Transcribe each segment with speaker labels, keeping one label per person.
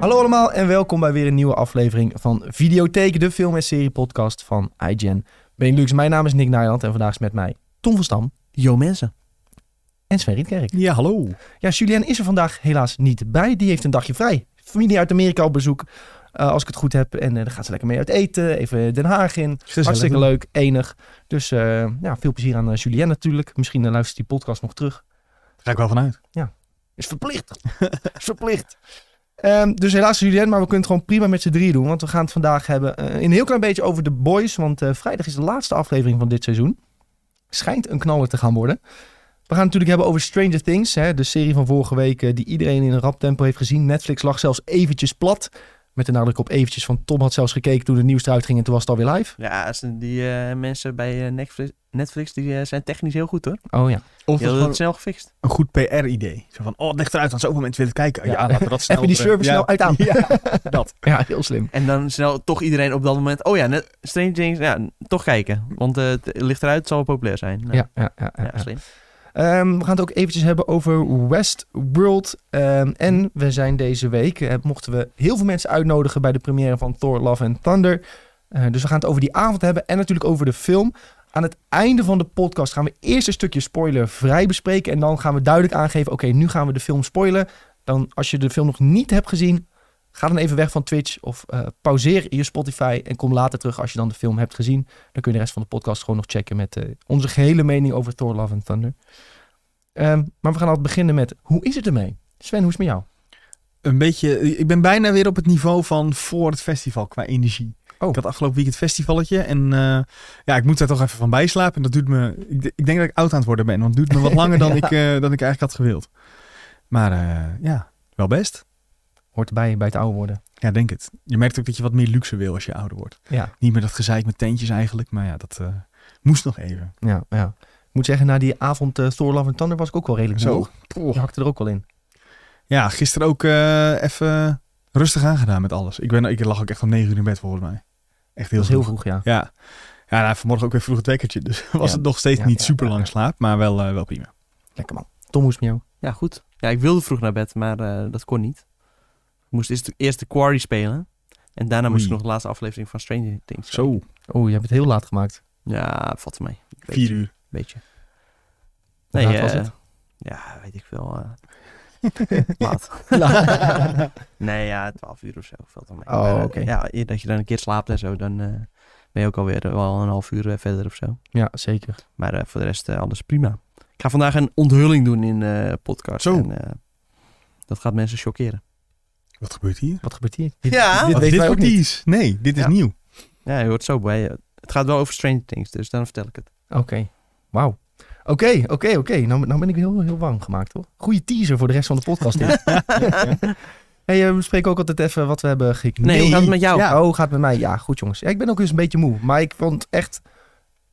Speaker 1: Hallo allemaal en welkom bij weer een nieuwe aflevering van Videotheek, de film- en serie-podcast van iGen. Benelux, mijn naam is Nick Nijland en vandaag is met mij Tom van Stam
Speaker 2: Yo mensen.
Speaker 1: en Sven Rietkerk.
Speaker 2: Ja, hallo.
Speaker 1: Ja, Julien is er vandaag helaas niet bij. Die heeft een dagje vrij. Familie uit Amerika op bezoek, eh, als ik het goed heb. En eh daar gaat ze lekker mee uit eten, even Den Haag in. Hartstikke leuk, enig. Dus eh, ja, veel plezier aan eh, Julien natuurlijk. Misschien eh, luistert die podcast nog terug.
Speaker 2: Ga ik wel vanuit.
Speaker 1: Is verplicht. Is verplicht. Ehm, dus helaas Julien, maar we kunnen het gewoon prima met z'n drie doen. Want we gaan het vandaag hebben eh, een heel klein beetje over de boys. Want eh, vrijdag is de laatste aflevering van dit seizoen. Schijnt een knaller te gaan worden. We gaan het natuurlijk hebben over Stranger Things. Hè, de serie van vorige week eh, die iedereen in een rap tempo heeft gezien. Netflix lag zelfs eventjes plat. Met de nadruk op eventjes. Van Tom had zelfs gekeken toen het nieuws eruit ging en toen was het alweer live.
Speaker 3: Ja, als die eh, mensen bij eh, Netflix, Netflix die eh, zijn technisch heel goed hoor.
Speaker 1: Oh ja.
Speaker 2: Of
Speaker 3: Die
Speaker 2: het is
Speaker 3: hadden het
Speaker 2: gewoon
Speaker 3: snel gefixt.
Speaker 2: een goed PR-idee. Zo van, oh, het ligt eruit, want zoveel mensen willen het kijken.
Speaker 1: Ja.
Speaker 2: Ja, laten we dat snel...
Speaker 1: Even die
Speaker 2: brengen.
Speaker 1: service
Speaker 2: Ja.
Speaker 1: snel uit aan.
Speaker 2: Ja, dat.
Speaker 1: Ja, heel slim.
Speaker 3: En dan snel toch iedereen op dat moment. Oh ja, net, Stranger Things, ja, toch kijken. Want eh, het ligt eruit, het zal wel populair zijn. Nou,
Speaker 1: Ja, ja, ja, ja,
Speaker 3: ja,
Speaker 1: ja.
Speaker 3: slim.
Speaker 1: Ehm, we gaan het ook eventjes hebben over Westworld. Ehm, en we zijn deze week, eh, mochten we heel veel mensen uitnodigen bij de première van Thor Love and Thunder. Eh, dus we gaan het over die avond hebben en natuurlijk over de film. Aan het einde van de podcast gaan we eerst een stukje spoilervrij bespreken. En dan gaan we duidelijk aangeven, oké, nu gaan we de film spoilen. Dan als je de film nog niet hebt gezien, ga dan even weg van Twitch of eh, pauzeer je Spotify en kom later terug als je dan de film hebt gezien. Dan kun je de rest van de podcast gewoon nog checken met eh, onze gehele mening over Thor Love and Thunder. Ehm, maar we gaan altijd beginnen met, hoe is het ermee? Sven, hoe is het met jou?
Speaker 2: Een beetje... Ik ben bijna weer op het niveau van voor het festival qua energie.
Speaker 1: Oh.
Speaker 2: Ik had afgelopen week het festivalletje en eh, ja, ik moet daar toch even van bijslapen. En dat duurt me... Ik, d- ik denk dat ik oud aan het worden ben, want het duurt me wat langer dan,
Speaker 1: Ja.
Speaker 2: ik, eh, dan ik eigenlijk had gewild. Maar eh, ja, wel best.
Speaker 1: Hoort erbij bij het oude worden.
Speaker 2: Ja, denk het. Je merkt ook dat je wat meer luxe wil als je ouder wordt.
Speaker 1: Ja,
Speaker 2: Niet meer dat gezeik met tentjes eigenlijk, maar ja, dat eh, moest nog even.
Speaker 1: ja, ja. Ik moet zeggen, na die avond eh Thor Love and Thunder was ik ook wel redelijk
Speaker 2: Zo.
Speaker 1: moe. Je hakte er ook wel in.
Speaker 2: Ja, gisteren ook eh, even rustig aangedaan met alles. Ik, ben, ik lag ook echt om negen uur in bed volgens mij. Echt
Speaker 1: Dat
Speaker 2: heel
Speaker 1: was heel
Speaker 2: vroeg.
Speaker 1: vroeg, ja.
Speaker 2: Ja, ja nou, vanmorgen ook weer vroeg het wekkertje. Dus was
Speaker 1: Ja.
Speaker 2: het nog steeds
Speaker 1: Ja,
Speaker 2: niet
Speaker 1: ja,
Speaker 2: super
Speaker 1: ja,
Speaker 2: lang
Speaker 1: ja.
Speaker 2: slaap, maar wel, eh, wel prima.
Speaker 1: Lekker man. Tom, hoe is het met jou?
Speaker 3: Ja, goed. Ja, ik wilde vroeg naar bed, maar eh, dat kon niet. Ik moest eerst, eerst de Quarry spelen. En daarna moest
Speaker 2: Oei.
Speaker 3: ik nog de laatste aflevering van Stranger Things.
Speaker 2: Zo,
Speaker 1: Oh, je hebt het heel laat gemaakt.
Speaker 3: Ja, valt mee.
Speaker 2: vier uur.
Speaker 3: Beetje.
Speaker 1: Hoe laat was
Speaker 3: eh,
Speaker 1: het?
Speaker 3: Ja, weet ik veel. eh, laat. Nee, ja, 12 uur of zo valt dan mee.
Speaker 1: Oh,
Speaker 3: Maar, eh,
Speaker 1: oké.
Speaker 3: Ja, eer dat je dan een keer slaapt en zo, dan eh, ben je ook alweer eh, wel een half uur eh, verder of zo.
Speaker 1: ja, zeker.
Speaker 3: Maar eh, voor de rest eh, alles prima. Ik ga vandaag een onthulling doen in eh podcast.
Speaker 2: Zo.
Speaker 3: En, eh, dat gaat mensen chockeren.
Speaker 2: Wat gebeurt hier?
Speaker 1: Wat gebeurt hier? Dit,
Speaker 3: Ja.
Speaker 1: dit
Speaker 2: Wat,
Speaker 1: Oh, weten wij ook
Speaker 2: Oh, wordt
Speaker 1: niet.
Speaker 2: iets? Nee, dit is
Speaker 3: Ja.
Speaker 2: nieuw.
Speaker 3: Ja, je hoort zo bij. eh, Het gaat wel over Stranger Things, dus dan vertel ik het.
Speaker 1: Oké, wauw. Oké, oké, oké. Nou, nou ben ik heel, heel warm gemaakt, hoor. Goeie teaser voor de rest van de podcast. dit. hey, eh, we bespreken ook altijd even wat we hebben geknipt.
Speaker 3: Nee, hoe gaat het met jou?
Speaker 1: Ja. Oh, gaat met mij. Ja, goed jongens. Ja, ik ben ook eens een beetje moe. Maar ik vond echt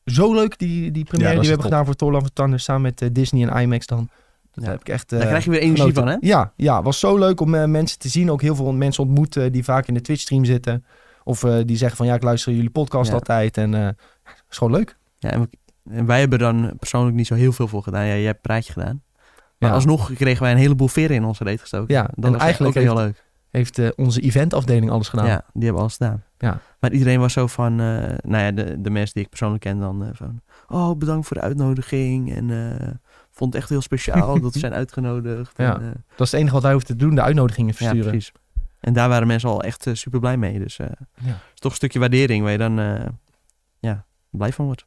Speaker 1: zo leuk die, die première die we
Speaker 2: Ja, dat is
Speaker 1: hebben
Speaker 2: top.
Speaker 1: gedaan voor Thorland van Thunder samen met eh, Disney en IMAX dan. Dat
Speaker 3: Ja.
Speaker 1: heb ik echt...
Speaker 3: Daar
Speaker 1: eh,
Speaker 3: krijg je weer energie
Speaker 1: genoten.
Speaker 3: van, hè?
Speaker 1: Ja, ja, was zo leuk om eh, mensen te zien. Ook heel veel mensen ontmoeten die vaak in de Twitch-stream zitten. Of eh, die zeggen van ja, ik luister jullie podcast
Speaker 3: Ja.
Speaker 1: altijd. En eh is gewoon leuk.
Speaker 3: Ja, en, we- en wij hebben dan persoonlijk niet zo heel veel voor gedaan. Ja, jij hebt een praatje gedaan. Maar
Speaker 1: Ja.
Speaker 3: alsnog kregen wij een heleboel veren in onze reet gestoken.
Speaker 1: Ja, en
Speaker 3: dat was
Speaker 1: eigenlijk
Speaker 3: eigenlijk ook heel leuk.
Speaker 1: Heeft eh, onze eventafdeling alles gedaan.
Speaker 3: Ja, die hebben alles gedaan.
Speaker 1: Nou. Ja.
Speaker 3: Maar iedereen was zo van, eh, nou ja, de, de mensen die ik persoonlijk ken dan, eh, van, oh bedankt voor de uitnodiging en eh, vond het echt heel speciaal dat we zijn uitgenodigd.
Speaker 1: Ja,
Speaker 3: en, eh,
Speaker 1: Dat is het enige wat wij hoeven te doen, de uitnodigingen
Speaker 3: ja,
Speaker 1: versturen.
Speaker 3: precies. En daar waren mensen al echt super blij mee. Dus eh,
Speaker 1: Ja.
Speaker 3: het is toch een stukje waardering waar je dan eh, ja, blij van wordt.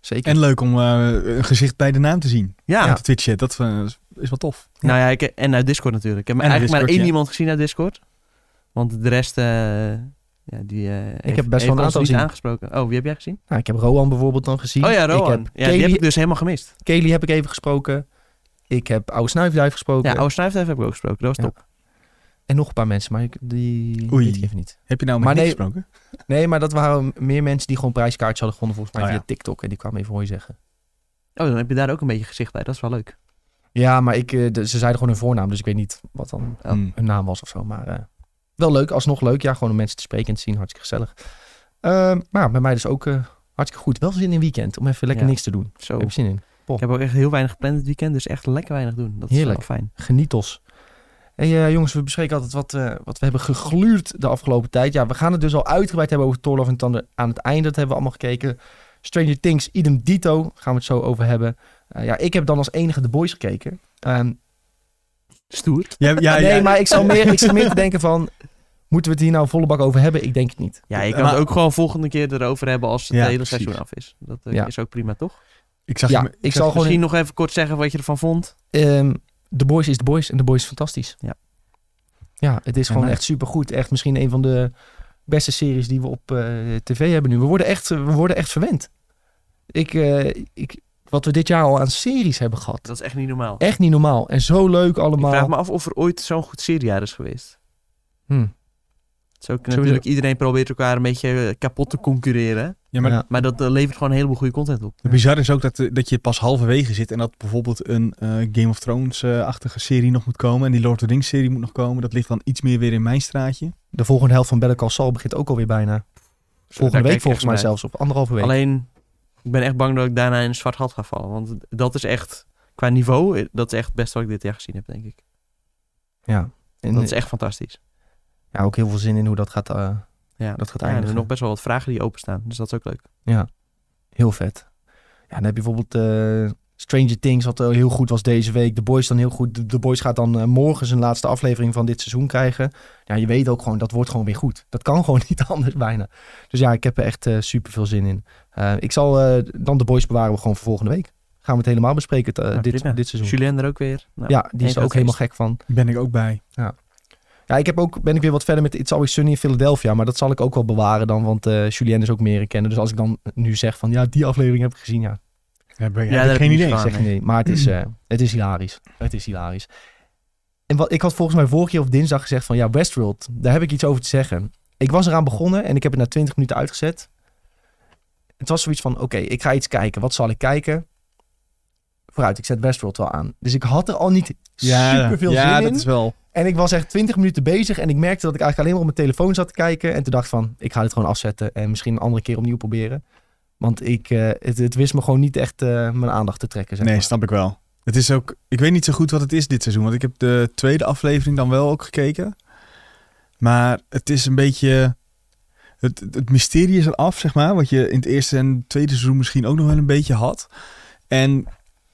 Speaker 1: Zeker.
Speaker 2: En leuk om eh, een gezicht bij de naam te zien.
Speaker 3: Ja,
Speaker 2: Op de Twitch-chat, dat eh, is- is wel tof.
Speaker 3: nou ja, ik, en uit Discord natuurlijk. Ik heb
Speaker 2: En uit
Speaker 3: eigenlijk maar
Speaker 2: Discord,
Speaker 3: één
Speaker 2: ja.
Speaker 3: iemand gezien uit Discord. Want de rest, eh, ja, die eh,
Speaker 1: heb best
Speaker 3: heeft-
Speaker 1: wel
Speaker 3: heeft
Speaker 1: een
Speaker 3: ons
Speaker 1: aantal
Speaker 3: niet
Speaker 1: gezien.
Speaker 3: aangesproken. Oh, wie heb jij gezien?
Speaker 1: Nou, ik heb Roan bijvoorbeeld dan gezien.
Speaker 3: Oh ja, Rowan.
Speaker 1: Ik heb
Speaker 3: ja,
Speaker 1: Kelly,
Speaker 3: die heb ik dus helemaal gemist.
Speaker 1: Kelly heb ik even gesproken. Ik heb Oude Snuifduif gesproken.
Speaker 3: Ja, Oude Snuifduif heb ik ook gesproken. Dat was
Speaker 1: Ja.
Speaker 3: top.
Speaker 1: En nog een paar mensen, maar ik, die
Speaker 2: Oei.
Speaker 1: weet ik even niet.
Speaker 2: Heb je nou met
Speaker 1: Maar
Speaker 2: Nick
Speaker 1: nee-
Speaker 2: gesproken?
Speaker 1: Nee, maar dat waren meer mensen die gewoon prijskaartjes hadden gewonnen volgens mij
Speaker 2: Oh ja.
Speaker 1: via TikTok. En die kwamen even hooi zeggen.
Speaker 3: Oh, dan heb je daar ook een beetje gezicht bij. Dat is wel leuk.
Speaker 1: Ja, maar ik, eh, de- ze zeiden gewoon hun voornaam, dus ik weet niet wat dan
Speaker 3: Ja.
Speaker 2: Hmm.
Speaker 1: hun naam was of zo. Maar eh, wel leuk, alsnog leuk. Ja, gewoon om mensen te spreken en te zien, hartstikke gezellig. Ehm, maar bij mij dus ook eh, hartstikke goed. Wel zin in weekend, om even lekker
Speaker 3: Ja. Oh.
Speaker 1: niks te doen.
Speaker 3: Zo.
Speaker 1: Ik heb
Speaker 3: Ik
Speaker 1: zin in.
Speaker 3: heb ook echt heel weinig gepland dit weekend, dus echt lekker weinig doen. Dat
Speaker 1: Heerlijk.
Speaker 3: is wel fijn.
Speaker 1: Genietos. En ja, eh, jongens, we bespreken altijd wat, eh, wat we hebben gegluurd de afgelopen tijd. Ja, we gaan het dus al uitgebreid hebben over Thor Love and Thunder aan het einde. Dat hebben we allemaal gekeken. Stranger Things, idem dito, gaan we het zo over hebben. Eh, ja, ik heb dan als enige The Boys gekeken. Ehm,
Speaker 3: Stoer.
Speaker 2: Ja, ja,
Speaker 1: nee,
Speaker 2: Ah, ja.
Speaker 1: maar ik zal meer, ik zal meer te denken van... Moeten we het hier nou volle bak over hebben? Ik denk het niet.
Speaker 3: Ja, je kan
Speaker 2: Maar-
Speaker 3: het ook gewoon volgende keer erover hebben als het
Speaker 2: Ja,
Speaker 3: hele
Speaker 2: precies.
Speaker 3: seizoen af is. Dat eh,
Speaker 1: Ja.
Speaker 3: is ook prima, toch?
Speaker 2: Ik zag
Speaker 1: ja,
Speaker 2: hem-
Speaker 1: ik zal
Speaker 2: zag-
Speaker 1: Gewoon
Speaker 3: Misschien nog even kort zeggen wat je ervan vond.
Speaker 1: Ehm the Boys is The Boys en The Boys is fantastisch.
Speaker 3: Ja.
Speaker 1: Ja, het is
Speaker 2: Ja,
Speaker 1: gewoon
Speaker 2: maar-
Speaker 1: echt supergoed. Echt misschien een van de beste series die we op eh, tv hebben nu. We worden echt, we worden echt verwend. Ik, eh, ik, wat we dit jaar al aan series hebben gehad.
Speaker 3: Dat is echt niet normaal.
Speaker 1: Echt niet normaal. En zo leuk allemaal.
Speaker 3: Ik vraag me af of er ooit zo'n goed seriejaar is geweest.
Speaker 1: Hm.
Speaker 3: Het is ook
Speaker 1: Sowieso.
Speaker 3: natuurlijk iedereen probeert elkaar een beetje eh, kapot te concurreren.
Speaker 2: Ja, maar
Speaker 1: Ja.
Speaker 3: Maar dat eh, levert gewoon een heleboel goede content op.
Speaker 2: het bizarre is ook dat, eh, dat je pas halverwege zit en dat bijvoorbeeld een eh, Game of Thrones-achtige serie nog moet komen. En die Lord of the Rings-serie moet nog komen. Dat ligt dan iets meer weer in mijn straatje.
Speaker 1: De volgende helft van Better Call Saul begint ook alweer bijna.
Speaker 3: Daar
Speaker 1: Volgende
Speaker 3: kijk
Speaker 1: week
Speaker 3: ik
Speaker 1: volgens
Speaker 3: echt
Speaker 1: mij
Speaker 3: naar
Speaker 1: zelfs. Op anderhalve week.
Speaker 3: uit. Alleen, ik ben echt bang dat ik daarna in een zwart gat ga vallen. Want dat is echt, qua niveau, eh, dat is echt het beste wat ik dit jaar gezien heb, denk ik.
Speaker 1: ja. En, eh,
Speaker 3: Dat is echt fantastisch.
Speaker 1: ja, ook heel veel zin in hoe dat gaat, eh,
Speaker 3: Ja.
Speaker 1: dat gaat
Speaker 3: Ja, en er
Speaker 1: eindigen.
Speaker 3: zijn nog best wel wat vragen die openstaan. Dus dat is ook leuk.
Speaker 1: Heel vet. Ja, dan heb je bijvoorbeeld eh, Stranger Things, wat eh, heel goed was deze week. The Boys dan heel goed. The, The Boys gaat dan eh, morgen zijn laatste aflevering van dit seizoen krijgen. Ja, je weet ook gewoon, dat wordt gewoon weer goed. Dat kan gewoon niet anders bijna. Dus ja, ik heb er echt super veel zin in. Eh, ik zal eh, dan The Boys bewaren we gewoon voor volgende week. Gaan we het helemaal bespreken het, eh,
Speaker 3: Nou, prima.
Speaker 1: dit, dit seizoen.
Speaker 3: Julien er ook weer. Nou,
Speaker 1: ja, die
Speaker 3: één
Speaker 1: is er
Speaker 3: groot
Speaker 1: ook helemaal
Speaker 3: feest.
Speaker 1: gek van.
Speaker 2: Ben ik ook bij.
Speaker 1: Ja, ik heb ook, ben ik weer wat verder met It's Always Sunny in Philadelphia. Maar dat zal ik ook wel bewaren dan, want eh Julien is ook meer kennen. Dus als ik dan nu zeg van, ja, die aflevering heb ik gezien, ja,
Speaker 2: Ja, ben,
Speaker 3: Ja, daar
Speaker 2: heb
Speaker 3: heb
Speaker 2: ik
Speaker 3: ik
Speaker 2: geen
Speaker 3: niet
Speaker 2: idee.
Speaker 3: van.
Speaker 2: zeg.
Speaker 1: zeg je nee. Maar het is, eh, het is hilarisch. Het is hilarisch. En wat, ik had volgens mij vorige keer op dinsdag gezegd van... Ja, Westworld, daar heb ik iets over te zeggen. Ik was eraan begonnen en ik heb het na 20 minuten uitgezet. Het was zoiets van, oké, ik ga iets kijken. Wat zal ik kijken? Vooruit, ik zet Westworld wel aan. Dus ik had er al niet superveel
Speaker 2: ja,
Speaker 1: zin
Speaker 2: dat
Speaker 1: in.
Speaker 2: is wel.
Speaker 1: En ik was echt 20 minuten bezig en ik merkte dat ik eigenlijk alleen maar op mijn telefoon zat te kijken. En toen dacht ik van, ik ga dit gewoon afzetten en misschien een andere keer opnieuw proberen. Want ik, eh, het, het wist me gewoon niet echt eh, mijn aandacht te trekken, zeg
Speaker 2: Nee,
Speaker 1: maar.
Speaker 2: snap ik wel. Het is ook, ik weet niet zo goed wat het is dit seizoen, want ik heb de tweede aflevering dan wel ook gekeken. Maar het is een beetje, het, het mysterie is eraf, zeg maar, wat je in het eerste en tweede seizoen misschien ook nog wel een beetje had. En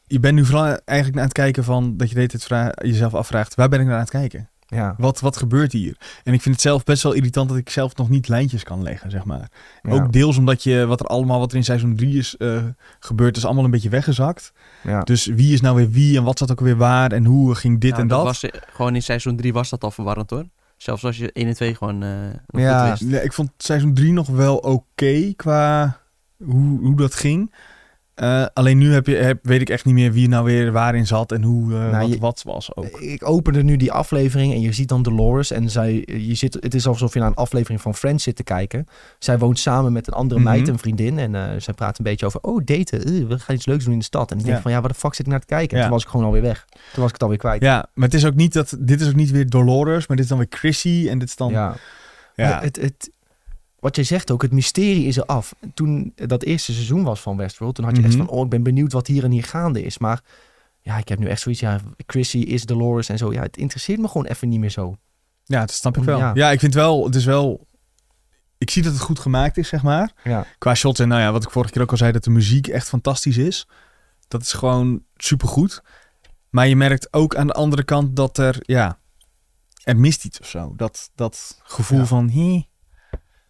Speaker 2: je bent nu vooral eigenlijk naar het kijken van, dat je de hele tijd vra- jezelf afvraagt, waar ben ik naar aan het kijken?
Speaker 1: Ja,
Speaker 2: Wat, wat gebeurt hier? En ik vind het zelf best wel irritant dat ik zelf nog niet lijntjes kan leggen, zeg maar. Ook deels omdat je, wat er allemaal, wat er in seizoen 3 is eh, gebeurd, is allemaal een beetje weggezakt.
Speaker 1: ja.
Speaker 2: Dus wie is nou weer wie en wat zat ook weer waar en hoe ging dit
Speaker 3: Nou,
Speaker 2: en dat?
Speaker 3: was, eh, gewoon in seizoen 3 was dat al verwarrend hoor. Zelfs als je 1 en 2 gewoon eh, nog
Speaker 1: Ja.
Speaker 3: goed wist.
Speaker 2: Nee, ik vond seizoen 3 nog wel oké qua hoe, hoe dat ging. Eh, alleen nu heb je, heb, weet ik echt niet meer wie nou weer waarin zat en hoe eh,
Speaker 1: Nou,
Speaker 2: wat,
Speaker 1: je-
Speaker 2: wat was ook.
Speaker 1: Ik opende nu die aflevering en je ziet dan Dolores. En zij, eh, je zit, het is alsof je naar een aflevering van Friends zit te kijken. Zij woont samen met een andere
Speaker 2: Mhm.
Speaker 1: meid, een vriendin. En eh, zij praat een beetje over, oh daten, eh, we gaan iets leuks doen in de stad. En ik denk
Speaker 2: Ja.
Speaker 1: van, ja, waar de fuck zit ik naar te kijken? En
Speaker 2: Ja.
Speaker 1: Toen was ik gewoon alweer weg. Toen was ik het alweer kwijt.
Speaker 2: Ja, maar het is ook niet dat, dit is ook niet weer Dolores, maar dit is dan weer Chrissy en dit is dan... Ja,
Speaker 1: Ja. Maar Het, het, wat jij zegt ook, het mysterie is eraf. Toen dat eerste seizoen was van Westworld, toen had je
Speaker 2: Mhm.
Speaker 1: echt van, oh, ik ben benieuwd wat hier en hier gaande is. Maar ja, ik heb nu echt zoiets, ja, Chrissy is Dolores en zo. Ja, het interesseert me gewoon even niet meer zo.
Speaker 2: Ja, dat snap ik wel.
Speaker 1: Ja.
Speaker 2: Ja. ik vind wel, het is wel... Ik zie dat het goed gemaakt is, zeg maar.
Speaker 1: Ja.
Speaker 2: Qua shots en nou ja, wat ik vorige keer ook al zei, dat de muziek echt fantastisch is. Dat is gewoon supergoed. Maar je merkt ook aan de andere kant dat er, ja, er mist iets of zo. Dat, dat gevoel
Speaker 1: Ja.
Speaker 2: van, hé,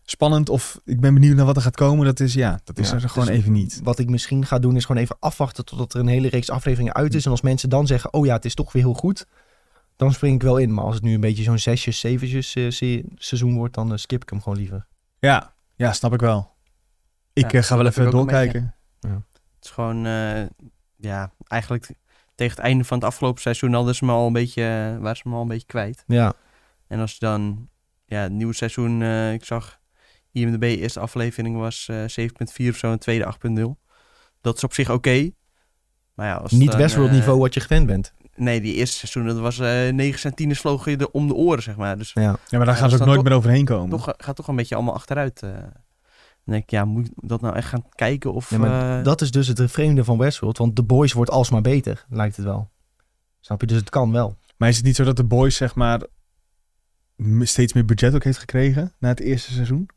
Speaker 2: spannend of ik ben benieuwd naar wat er gaat komen. Dat is, ja, dat is
Speaker 1: Ja,
Speaker 2: er gewoon
Speaker 1: dus
Speaker 2: even niet.
Speaker 1: Wat ik misschien ga doen is gewoon even afwachten totdat er een hele reeks afleveringen uit
Speaker 2: Mhm.
Speaker 1: is. En als mensen dan zeggen, oh ja, het is toch weer heel goed, dan spring ik wel in. Maar als het nu een beetje zo'n zesjes, zeventjes eh, se- seizoen wordt, dan eh, skip ik hem gewoon liever.
Speaker 2: Ja, ja, snap ik wel. Ik
Speaker 3: Ja,
Speaker 2: eh, ga wel
Speaker 3: dat
Speaker 2: even
Speaker 3: heb ik ook een
Speaker 2: doorkijken.
Speaker 3: Het is gewoon, eh, ja, eigenlijk tegen het einde van het afgelopen seizoen hadden ze me al een beetje, eh, waren ze me al een beetje kwijt.
Speaker 1: Ja,
Speaker 3: En als je dan, ja, het nieuwe seizoen, eh, ik zag IMDb, eerste aflevering was eh, 7.4 of zo en tweede 8.0. Dat is op zich oké. Maar ja, als
Speaker 2: Dus
Speaker 3: het
Speaker 1: niet
Speaker 3: dan,
Speaker 1: Westworld
Speaker 3: eh,
Speaker 1: niveau wat je gewend bent.
Speaker 3: Nee, die eerste seizoen, dat was eh 9 centimeters vlogen je er om de oren, zeg maar. Dus
Speaker 1: Ja.
Speaker 2: Ja, maar daar
Speaker 3: Ja,
Speaker 2: gaan ze ook
Speaker 3: dat is
Speaker 2: nooit
Speaker 3: dan
Speaker 2: meer overheen komen.
Speaker 3: toch, gaat toch een beetje allemaal achteruit. eh. Dan denk ik, ja, moet ik dat nou echt gaan kijken of...
Speaker 1: Ja, maar
Speaker 3: eh,
Speaker 1: dat is dus het vreemde van Westworld, want The Boys wordt alsmaar beter, lijkt het wel. Snap je? Dus het kan wel.
Speaker 2: Maar is het niet zo dat de Boys, zeg maar, m- steeds meer budget ook heeft gekregen na het eerste seizoen?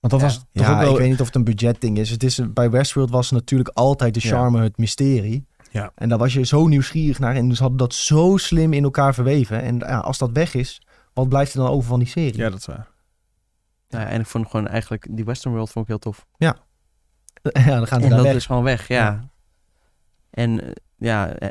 Speaker 2: Want dat
Speaker 1: Ja.
Speaker 2: was toch
Speaker 1: ja,
Speaker 2: ook wel...
Speaker 1: ik weet niet of het een budgetding is. Het is een- bij Westworld was natuurlijk altijd de
Speaker 2: Ja.
Speaker 1: charme het mysterie.
Speaker 2: Ja.
Speaker 1: En daar was je zo nieuwsgierig naar. En ze hadden dat zo slim in elkaar verweven. En ja, als dat weg is, wat blijft er dan over van die serie?
Speaker 2: Ja, dat is waar.
Speaker 3: Nou ja, en ik vond gewoon eigenlijk die Western World vond ik heel tof.
Speaker 1: Ja, dan gaan ze
Speaker 3: en
Speaker 1: daar
Speaker 3: dat
Speaker 1: weg.
Speaker 3: is gewoon weg, ja.
Speaker 1: Ja.
Speaker 3: En eh, ja, eh,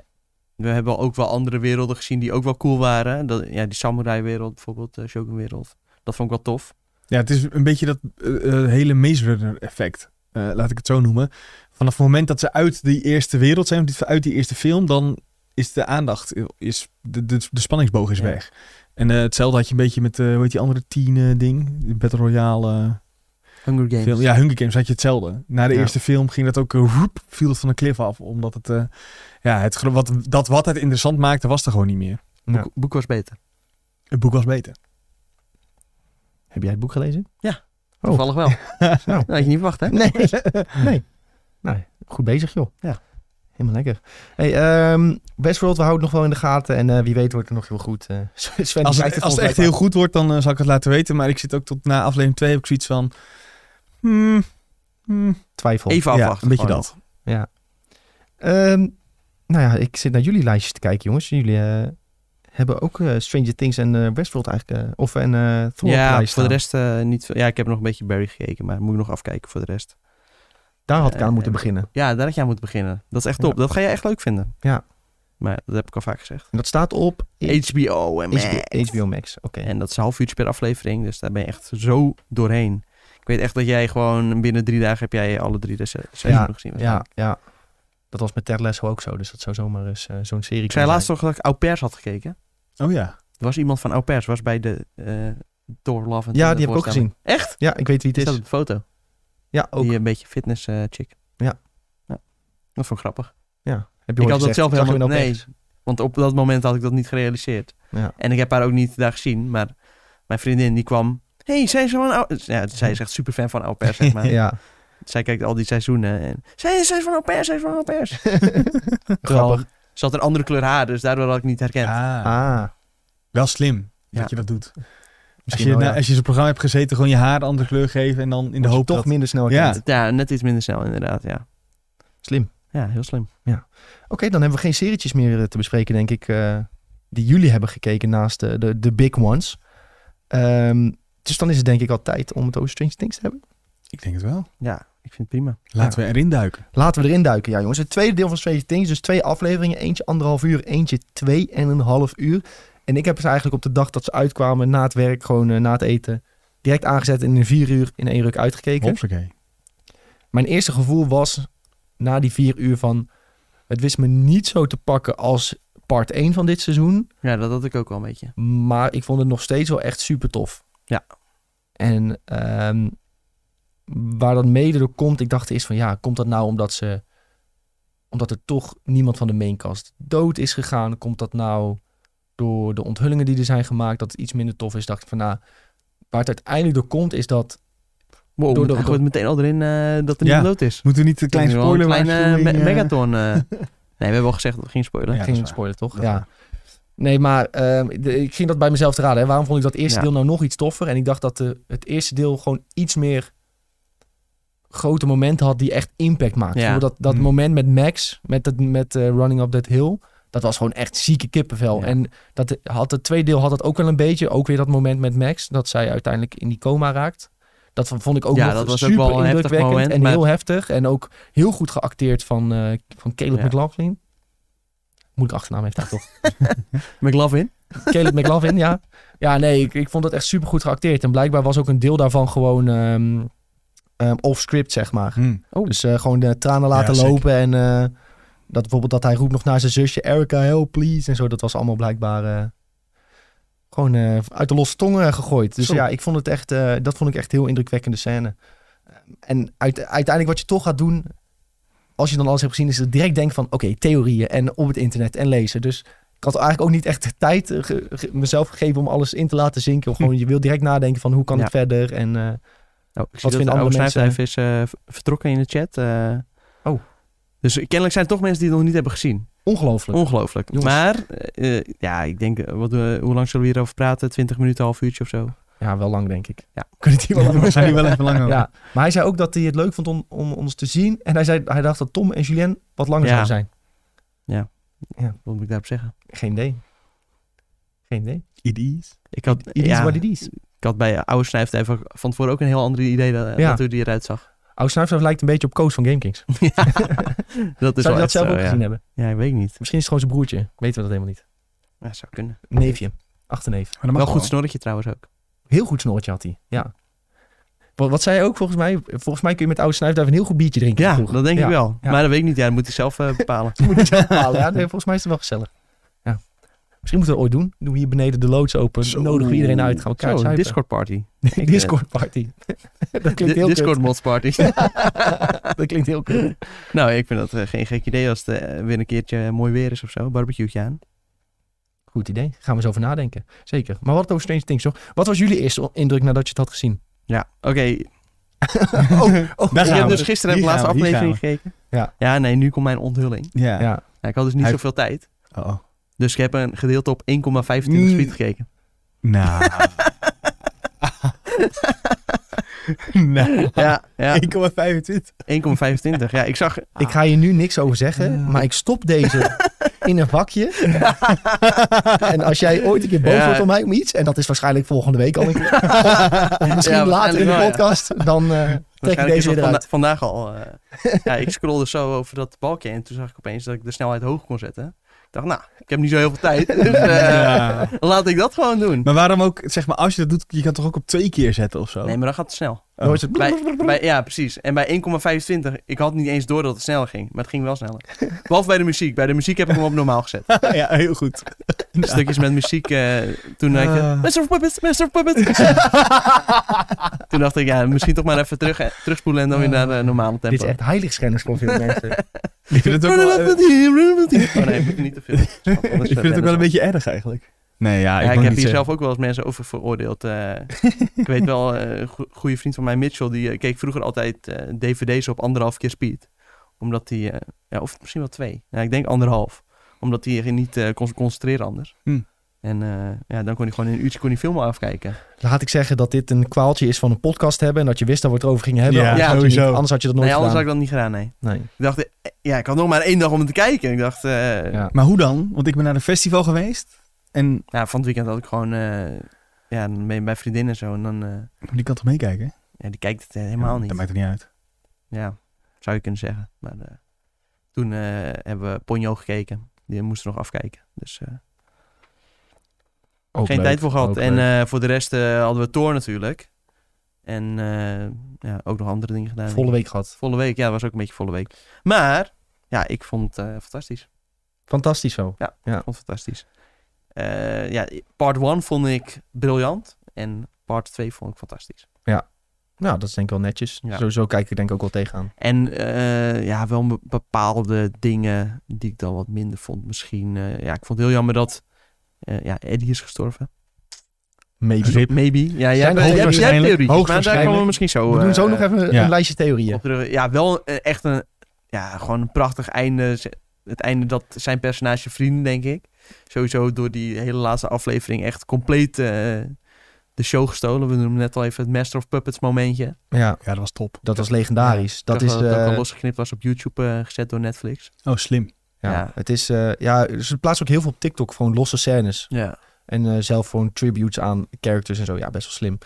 Speaker 3: we hebben ook wel andere werelden gezien die ook wel cool waren. Dat, ja, die samurai-wereld bijvoorbeeld, de shogun-wereld. Dat vond ik wel tof.
Speaker 2: Ja, het is een beetje dat eh, eh, hele Maze Runner effect. eh, laat ik het zo noemen. Vanaf het moment dat ze uit die eerste wereld zijn, of die- uit die eerste film, dan is de aandacht, eh, is de, de, de spanningsboog is
Speaker 3: Ja.
Speaker 2: weg. En eh, hetzelfde had je een beetje met, eh hoe heet die andere tien eh, ding? Die Battle Royale eh,
Speaker 3: Hunger Games.
Speaker 2: film. Ja, Hunger Games had je hetzelfde. Na de
Speaker 3: Ja.
Speaker 2: eerste film ging dat ook, eh, woep, viel het van de klif af. Omdat het, eh, ja, het, gro- wat, dat wat het interessant maakte, was er gewoon niet meer.
Speaker 3: boek,
Speaker 1: Ja.
Speaker 3: boek was beter.
Speaker 2: Het boek was beter.
Speaker 1: Heb jij het boek gelezen? Oh.
Speaker 3: Toevallig wel. nou, had je niet verwacht, hè?
Speaker 1: Nee. nee. Nou, goed bezig, joh.
Speaker 3: Ja.
Speaker 1: Helemaal lekker. Hey, ehm, Westworld, we houden het nog wel in de gaten. En eh, wie weet wordt het nog heel goed. Eh, Sven, die
Speaker 2: Als
Speaker 1: kijkt
Speaker 2: het, als
Speaker 1: volgens
Speaker 2: het
Speaker 1: mij
Speaker 2: echt heel goed wordt, dan eh, zal ik het laten weten. Maar ik zit ook tot na aflevering 2 heb ik zoiets van... hmm, hmm,
Speaker 1: Twijfel.
Speaker 3: Even
Speaker 2: Ja,
Speaker 3: afwachten.
Speaker 2: een beetje
Speaker 3: gewoon.
Speaker 2: dat.
Speaker 1: Ja. Ehm, nou ja, ik zit naar jullie lijstjes te kijken, jongens. Jullie eh, hebben ook eh, Stranger Things en eh, Westworld eigenlijk. eh, of en eh Thor op
Speaker 3: Ja,
Speaker 1: lijst
Speaker 3: voor de
Speaker 1: staan.
Speaker 3: rest eh, niet veel. Ja, ik heb nog een beetje Barry gekeken, maar moet ik nog afkijken voor de rest.
Speaker 1: Daar had ik aan
Speaker 3: eh,
Speaker 1: moeten
Speaker 3: eh,
Speaker 1: beginnen.
Speaker 3: Ja, daar had jij aan moeten beginnen. Dat is echt
Speaker 1: Ja.
Speaker 3: top. Dat ga jij echt leuk vinden.
Speaker 1: Ja.
Speaker 3: Maar dat heb ik al vaak gezegd.
Speaker 1: En dat staat op
Speaker 3: HBO en Max.
Speaker 1: HBO, HBO Max. Oké.
Speaker 3: En dat is een half uurtje per aflevering, dus daar ben je echt zo doorheen. Ik weet echt dat jij gewoon binnen drie dagen heb jij alle drie de se- seizoenen gezien.
Speaker 1: Ja,
Speaker 3: waarschijnlijk.
Speaker 1: ja. Dat was met Ted Lasso ook zo. Dus dat zou zomaar eens eh, zo'n serie
Speaker 3: Ik zei
Speaker 1: kunnen
Speaker 3: laatst nog dat ik Au Pairs had gekeken.
Speaker 2: Oh ja.
Speaker 3: Er was iemand van Au Pairs, was bij de eh Door Love
Speaker 1: zijn.
Speaker 3: and
Speaker 1: Ja,
Speaker 3: Thunder
Speaker 1: die heb ik ook
Speaker 3: voorstelling.
Speaker 1: gezien.
Speaker 3: Echt?
Speaker 1: Ja, ik weet wie het
Speaker 3: Die staat
Speaker 1: is.
Speaker 3: op de foto.
Speaker 1: Ja, ook.
Speaker 3: Die een beetje fitness eh, chick.
Speaker 1: Ja.
Speaker 3: ja. Dat vond ik grappig.
Speaker 1: ja. Heb
Speaker 3: Ik had dat
Speaker 1: gezegd?
Speaker 3: zelf
Speaker 1: Zag je
Speaker 3: helemaal
Speaker 1: nou
Speaker 3: nee.
Speaker 1: opeens?
Speaker 3: Want op dat moment had ik dat niet gerealiseerd.
Speaker 1: Ja.
Speaker 3: En ik heb haar ook niet daar gezien, maar mijn vriendin die kwam. hey, zij is zo'n oude... Ja, zij is echt super fan van au pair, zeg maar.
Speaker 1: Ja.
Speaker 3: Zij kijkt al die seizoenen en... Zij is, zij is van au pair, zij is van au pairs. Terwijl
Speaker 1: Grappig.
Speaker 3: Ze had een andere kleur haar, dus daardoor had ik niet herkend.
Speaker 2: Ah,
Speaker 1: Ah.
Speaker 2: wel slim
Speaker 3: Ja.
Speaker 2: dat je dat doet. Als
Speaker 1: Misschien
Speaker 2: je,
Speaker 1: wel,
Speaker 2: na-
Speaker 1: ja.
Speaker 2: als je zo'n programma hebt gezeten, gewoon je haar een andere kleur geven. En dan in de
Speaker 1: Wordt nou- je
Speaker 2: hoop
Speaker 1: toch
Speaker 2: dat...
Speaker 1: minder snel
Speaker 2: Ja.
Speaker 1: herkend.
Speaker 3: Ja, net iets minder snel inderdaad, ja.
Speaker 1: Slim.
Speaker 3: Ja, heel slim.
Speaker 1: Oké, dan hebben we geen serietjes meer eh, te bespreken, denk ik. eh, die jullie hebben gekeken naast de, de, de big ones. Ehm, dus dan is het denk ik al tijd om het over Strange Things te hebben.
Speaker 2: Ik denk het wel.
Speaker 3: Ja, ik vind het prima.
Speaker 2: Laten we erin duiken.
Speaker 1: Laten we erin duiken, ja jongens. Het tweede deel van Strange Things, dus twee afleveringen. Eentje anderhalf uur, eentje twee en een half uur. En ik heb ze eigenlijk op de dag dat ze uitkwamen, na het werk, gewoon eh, na het eten, direct aangezet en in vier uur in één ruk uitgekeken.
Speaker 2: Hopsakee.
Speaker 1: Mijn eerste gevoel was na die vier uur van... Het wist me niet zo te pakken als part 1 van dit seizoen.
Speaker 3: Ja, dat had ik ook wel een beetje.
Speaker 1: Maar ik vond het nog steeds wel echt super tof.
Speaker 3: Ja.
Speaker 1: En ehm, waar dat mede door komt, ik dacht eerst van ja, komt dat nou omdat ze omdat er toch niemand van de maincast dood is gegaan? Komt dat nou door de onthullingen die er zijn gemaakt, dat het iets minder tof is? Dacht ik van nou, waar het uiteindelijk door komt, is dat
Speaker 3: Wow,
Speaker 1: Door de-
Speaker 3: hij gooit meteen al erin eh, dat er
Speaker 2: Ja.
Speaker 3: niet dood is.
Speaker 2: Moeten we niet een klein
Speaker 3: Ik denk wel
Speaker 2: spoiler
Speaker 3: Een kleine
Speaker 2: waarschuwing,
Speaker 3: me-
Speaker 2: eh,
Speaker 3: megaton. eh. nee, we hebben al gezegd dat we geen spoiler.
Speaker 2: Ja, dat is
Speaker 1: geen
Speaker 2: waar.
Speaker 1: spoiler, toch?
Speaker 2: Dat is
Speaker 1: ja.
Speaker 2: waar.
Speaker 1: Nee, maar ehm, de- ik ging dat bij mezelf te raden. Hè. Waarom vond ik dat eerste
Speaker 3: Ja.
Speaker 1: deel nou nog iets toffer? En ik dacht dat de, het eerste deel gewoon iets meer grote momenten had die echt impact maakten.
Speaker 3: Ja. Mm.
Speaker 1: Bijvoorbeeld Dat, dat
Speaker 2: Hmm.
Speaker 1: moment met Max, met, dat, met eh, Running Up That Hill, dat was gewoon echt zieke kippenvel.
Speaker 3: Ja.
Speaker 1: En dat eh, had het tweede deel had dat ook wel een beetje. Ook weer dat moment met Max, dat zij uiteindelijk in die coma raakt. Dat vond ik ook
Speaker 3: Ja,
Speaker 1: nog
Speaker 3: dat was ook
Speaker 1: super
Speaker 3: wel een heftig
Speaker 1: indrukwekkend
Speaker 3: moment,
Speaker 1: en
Speaker 3: maar-
Speaker 1: heel heftig. En ook heel goed geacteerd van, eh, van Caleb
Speaker 3: Ja.
Speaker 1: McLaughlin. Moet ik achternaam heeft daar toch?
Speaker 3: McLovin.
Speaker 1: Caleb McLaughlin, ja. Ja, nee, ik, ik vond dat echt supergoed geacteerd. En blijkbaar was ook een deel daarvan gewoon ehm, ehm, off-script, zeg maar.
Speaker 2: Hmm.
Speaker 1: Dus eh, gewoon de tranen laten
Speaker 2: Ja, zeker.
Speaker 1: lopen en eh, dat bijvoorbeeld dat hij roept nog naar zijn zusje, Erica, help please, en zo. Dat was allemaal blijkbaar eh, gewoon eh, uit de losse tongen eh, gegooid. Dus
Speaker 2: Zo.
Speaker 1: ja, ik vond het echt, eh, dat vond ik echt heel indrukwekkende scène. En uit- uiteindelijk wat je toch gaat doen, als je dan alles hebt gezien, is het direct denken van oké, theorieën en op het internet en lezen. Dus ik had eigenlijk ook niet echt de tijd eh, ge- ge- mezelf gegeven om alles in te laten zinken. Of gewoon, je wil direct nadenken van hoe kan
Speaker 3: Ja.
Speaker 1: het verder en... eh,
Speaker 3: Oh, ik zie
Speaker 1: Wat
Speaker 3: dat
Speaker 1: vinden andere
Speaker 3: de oude
Speaker 1: mensen?
Speaker 3: schrijfwijf is eh, v- vertrokken in de chat. eh.
Speaker 1: Oh.
Speaker 3: Dus kennelijk zijn er toch mensen die het nog niet hebben gezien.
Speaker 1: Ongelooflijk.
Speaker 3: Ongelooflijk.
Speaker 1: Jongens.
Speaker 3: Maar eh, eh, ja, ik denk, eh, wat, eh, hoe lang zullen we hierover praten? 20 minuten, half uurtje of zo.
Speaker 1: Ja, wel lang denk ik.
Speaker 3: Ja.
Speaker 1: Kunnen die wel
Speaker 2: We
Speaker 1: lang
Speaker 2: zijn hier wel even lang over.
Speaker 1: Ja, maar hij zei ook dat hij het leuk vond om, om ons te zien. En hij, zei, hij dacht dat Tom en Julien wat langer
Speaker 3: Ja.
Speaker 1: zouden zijn.
Speaker 3: Wat moet ik daarop zeggen?
Speaker 1: Geen idee. Geen idee.
Speaker 2: It is.
Speaker 3: Ik had,
Speaker 1: It is
Speaker 3: ja,
Speaker 1: what it is.
Speaker 3: ik had bij eh, Oude Snuift even van tevoren ook een heel ander idee dat,
Speaker 1: Ja.
Speaker 3: dat hoe die eruit zag.
Speaker 1: Oud Snuifstaf lijkt een beetje op Koos van GameKings.
Speaker 3: ja, dat is
Speaker 1: Zou je
Speaker 3: wel
Speaker 1: dat
Speaker 3: echt
Speaker 1: zelf
Speaker 3: zo,
Speaker 1: ook
Speaker 3: ja.
Speaker 1: gezien hebben?
Speaker 3: Ja, ik weet niet.
Speaker 1: Misschien is het gewoon zijn broertje. Weten we dat helemaal niet.
Speaker 3: Ja, zou kunnen.
Speaker 1: Neefje. Achterneef.
Speaker 2: Maar dat mag
Speaker 3: Wel goed
Speaker 2: gewoon.
Speaker 3: snorretje trouwens ook.
Speaker 1: Heel goed snorretje had hij. Ja. Wat, wat zei hij ook volgens mij? Volgens mij kun je met Oud Snuifstaf een heel goed biertje drinken.
Speaker 3: Ja,
Speaker 1: vroeg.
Speaker 3: dat denk
Speaker 1: Ja.
Speaker 3: ik wel.
Speaker 1: Ja.
Speaker 3: Maar dat weet ik niet. Ja, dat moet ik zelf eh, bepalen.
Speaker 1: Moet ik zelf halen. Nou Ja, nee, volgens mij is het wel gezellig. Ja. Misschien moeten we dat ooit doen. Doen we hier beneden de loods open.
Speaker 2: Zo.
Speaker 1: Nodigen we iedereen uit. Gaan we elkaar
Speaker 3: Zo, een
Speaker 1: zuipen.
Speaker 3: Discord party. eh,
Speaker 1: Discord party. dat klinkt heel
Speaker 3: Di-
Speaker 1: kut.
Speaker 3: Discord mods party.
Speaker 1: Dat klinkt heel kut.
Speaker 3: nou, ik vind dat eh, geen gek idee als het eh, weer een keertje eh, mooi weer is of zo. Barbecueetje aan.
Speaker 1: Goed idee. Gaan we eens over nadenken. Zeker. Maar wat over Strange Things, toch? Wat was jullie eerste indruk nadat je het had gezien?
Speaker 3: Ja, oké.
Speaker 1: Oh,
Speaker 2: Daar
Speaker 3: Ik
Speaker 2: gaan
Speaker 3: heb
Speaker 2: we.
Speaker 3: dus gisteren
Speaker 2: Hier
Speaker 3: heb ik de laatste
Speaker 2: gaan we, hier
Speaker 3: aflevering gekeken.
Speaker 1: Ja.
Speaker 3: ja, nee, nu komt mijn onthulling.
Speaker 2: Ja.
Speaker 1: Ja.
Speaker 3: Nou, ik had dus niet
Speaker 2: Hij-
Speaker 3: zoveel tijd.
Speaker 2: Oh.
Speaker 3: Dus ik heb een gedeelte op 1,25
Speaker 2: Mm.
Speaker 3: speed gekeken.
Speaker 2: Nou. nou.
Speaker 3: Ja, ja
Speaker 2: 1,25.
Speaker 3: 1,25. Ja, ik zag...
Speaker 1: Ik ga hier nu niks over zeggen, maar ik stop deze in een vakje. en als jij ooit een keer boos
Speaker 3: Ja.
Speaker 1: wordt om mij om iets, en dat is waarschijnlijk volgende week al een keer, of misschien later
Speaker 3: Ja,
Speaker 1: in
Speaker 3: waarschijnlijk
Speaker 1: de
Speaker 3: wel, ja.
Speaker 1: podcast, dan eh, trek ik
Speaker 3: waarschijnlijk is
Speaker 1: deze
Speaker 3: dat
Speaker 1: weer
Speaker 3: vanda-
Speaker 1: eruit.
Speaker 3: vandaag al. eh, ja, ik scrollde zo over dat balkje en toen zag ik opeens dat ik de snelheid hoog kon zetten. Ik dacht, nou, ik heb niet zo heel veel tijd. Dus eh,
Speaker 2: Ja.
Speaker 3: laat ik dat gewoon doen.
Speaker 2: Maar waarom ook, zeg maar, als je dat doet, je kan toch ook op twee keer zetten of
Speaker 1: Nou.
Speaker 2: zo?
Speaker 3: Nee, maar dan gaat het snel.
Speaker 2: Oh.
Speaker 1: Dan is het
Speaker 3: Bij, bij- ja, precies. En bij 1,25, ik had niet eens door dat het sneller ging. Maar het ging wel sneller. Behalve bij de muziek. Bij de muziek heb ik hem op normaal gezet.
Speaker 2: ja, heel goed.
Speaker 3: Stukjes met muziek. eh, toen dacht ik,
Speaker 2: Ah.
Speaker 3: Mr. Puppet, Mr. Puppet. toen dacht ik, ja, misschien toch maar even terug, eh, terugspoelen en dan weer naar de normale
Speaker 1: Ah. Dit is
Speaker 3: tempo.
Speaker 1: echt heiligschennis voor veel mensen.
Speaker 2: Ik vind het ook wel, eh,
Speaker 3: Oh nee, moet ik niet te veel. Want anders, eh,
Speaker 2: ik vind het ook
Speaker 3: rennen
Speaker 2: wel een
Speaker 3: ze.
Speaker 2: beetje erg eigenlijk. Nee, ja, ik,
Speaker 3: Ja,
Speaker 2: mag
Speaker 3: ik heb
Speaker 2: niet
Speaker 3: hier
Speaker 2: zeggen.
Speaker 3: zelf ook wel eens mensen over veroordeeld. eh. ik weet wel, eh, een go- goede vriend van mij, Mitchell, die eh, keek vroeger altijd eh, dvd's op anderhalf keer speed. Omdat hij, eh, ja, of misschien wel twee. Ja, ik denk anderhalf. Omdat hij zich niet eh, kon concentreren anders.
Speaker 2: Hm.
Speaker 3: En eh, ja, dan kon hij gewoon in een uurtje kon hij filmen afkijken.
Speaker 1: Laat ik zeggen dat dit een kwaaltje is van een podcast hebben en dat je wist dat we het erover gingen hebben.
Speaker 2: Ja,
Speaker 1: anders, had je
Speaker 2: sowieso.
Speaker 1: niet- anders had je dat nooit
Speaker 3: nee, anders had ik
Speaker 1: gedaan.
Speaker 3: dat niet gedaan, nee.
Speaker 1: Nee.
Speaker 3: Ik dacht, eh, ja, ik had nog maar één dag om het te kijken. Ik dacht, eh,
Speaker 1: Ja.
Speaker 2: Maar hoe dan? Want ik ben naar een festival geweest en
Speaker 3: nou, van het weekend had ik gewoon, eh, ja, dan ben je bij vriendinnen en zo. En dan, eh,
Speaker 2: die kan toch meekijken?
Speaker 3: ja, die kijkt het eh, helemaal niet.
Speaker 2: Dat maakt er niet uit.
Speaker 3: Ja, zou je kunnen zeggen. Maar eh, toen eh, hebben we Ponyo gekeken. Die moesten nog afkijken. Dus eh,
Speaker 1: Ook
Speaker 3: geen
Speaker 1: leuk,
Speaker 3: tijd voor
Speaker 1: ook
Speaker 3: gehad. En
Speaker 1: leuk.
Speaker 3: eh, voor de rest eh, hadden we Thor natuurlijk. En eh, ja, ook nog andere dingen gedaan.
Speaker 1: Volle week gehad.
Speaker 3: Volle week, ja, dat was ook een beetje volle week. Maar ja, ik vond het eh, fantastisch. Ik
Speaker 1: Fantastisch zo.
Speaker 3: vond het fantastisch. Eh, ja, part 1 vond ik briljant. En part 2 vond ik fantastisch.
Speaker 1: Nou, dat is denk ik wel netjes.
Speaker 3: Ja.
Speaker 1: Zo, zo kijk ik denk ik ook wel tegenaan.
Speaker 3: En eh, ja, wel be- bepaalde dingen die ik dan wat minder vond. Misschien, eh, ja, ik vond het heel jammer dat eh, ja, Eddie is gestorven.
Speaker 1: Maybe.
Speaker 2: Rip.
Speaker 3: Maybe. Ja, jij
Speaker 1: Zijn
Speaker 3: hebt, jij hebt- jij hebt
Speaker 2: hoogwaarschijnlijk-
Speaker 3: theorie. Maar daar
Speaker 1: hoogwaarschijnlijk.
Speaker 3: komen we misschien zo,
Speaker 1: We doen zo
Speaker 3: eh,
Speaker 1: nog even
Speaker 2: ja.
Speaker 1: een lijstje theorieën.
Speaker 3: op terug. Ja, wel eh, echt een, ja, gewoon een prachtig einde. Z- Het einde dat zijn personage vrienden, denk ik. Sowieso door die hele laatste aflevering echt compleet eh, de show gestolen. We noemen net al even het Master of Puppets momentje.
Speaker 1: Ja,
Speaker 2: Ja, dat was top.
Speaker 1: dat was legendarisch.
Speaker 3: Ik
Speaker 1: Dat
Speaker 3: zag
Speaker 1: is,
Speaker 3: dat het ook
Speaker 1: eh,
Speaker 3: al losgeknipt was op YouTube, eh, gezet door Netflix.
Speaker 2: Oh, slim.
Speaker 1: ja,
Speaker 3: ja.
Speaker 1: het is, eh, ja, ze plaatsen ook heel veel op TikTok gewoon losse scènes.
Speaker 3: Ja.
Speaker 1: En eh, zelf gewoon tributes aan characters en zo. Ja, best wel slim.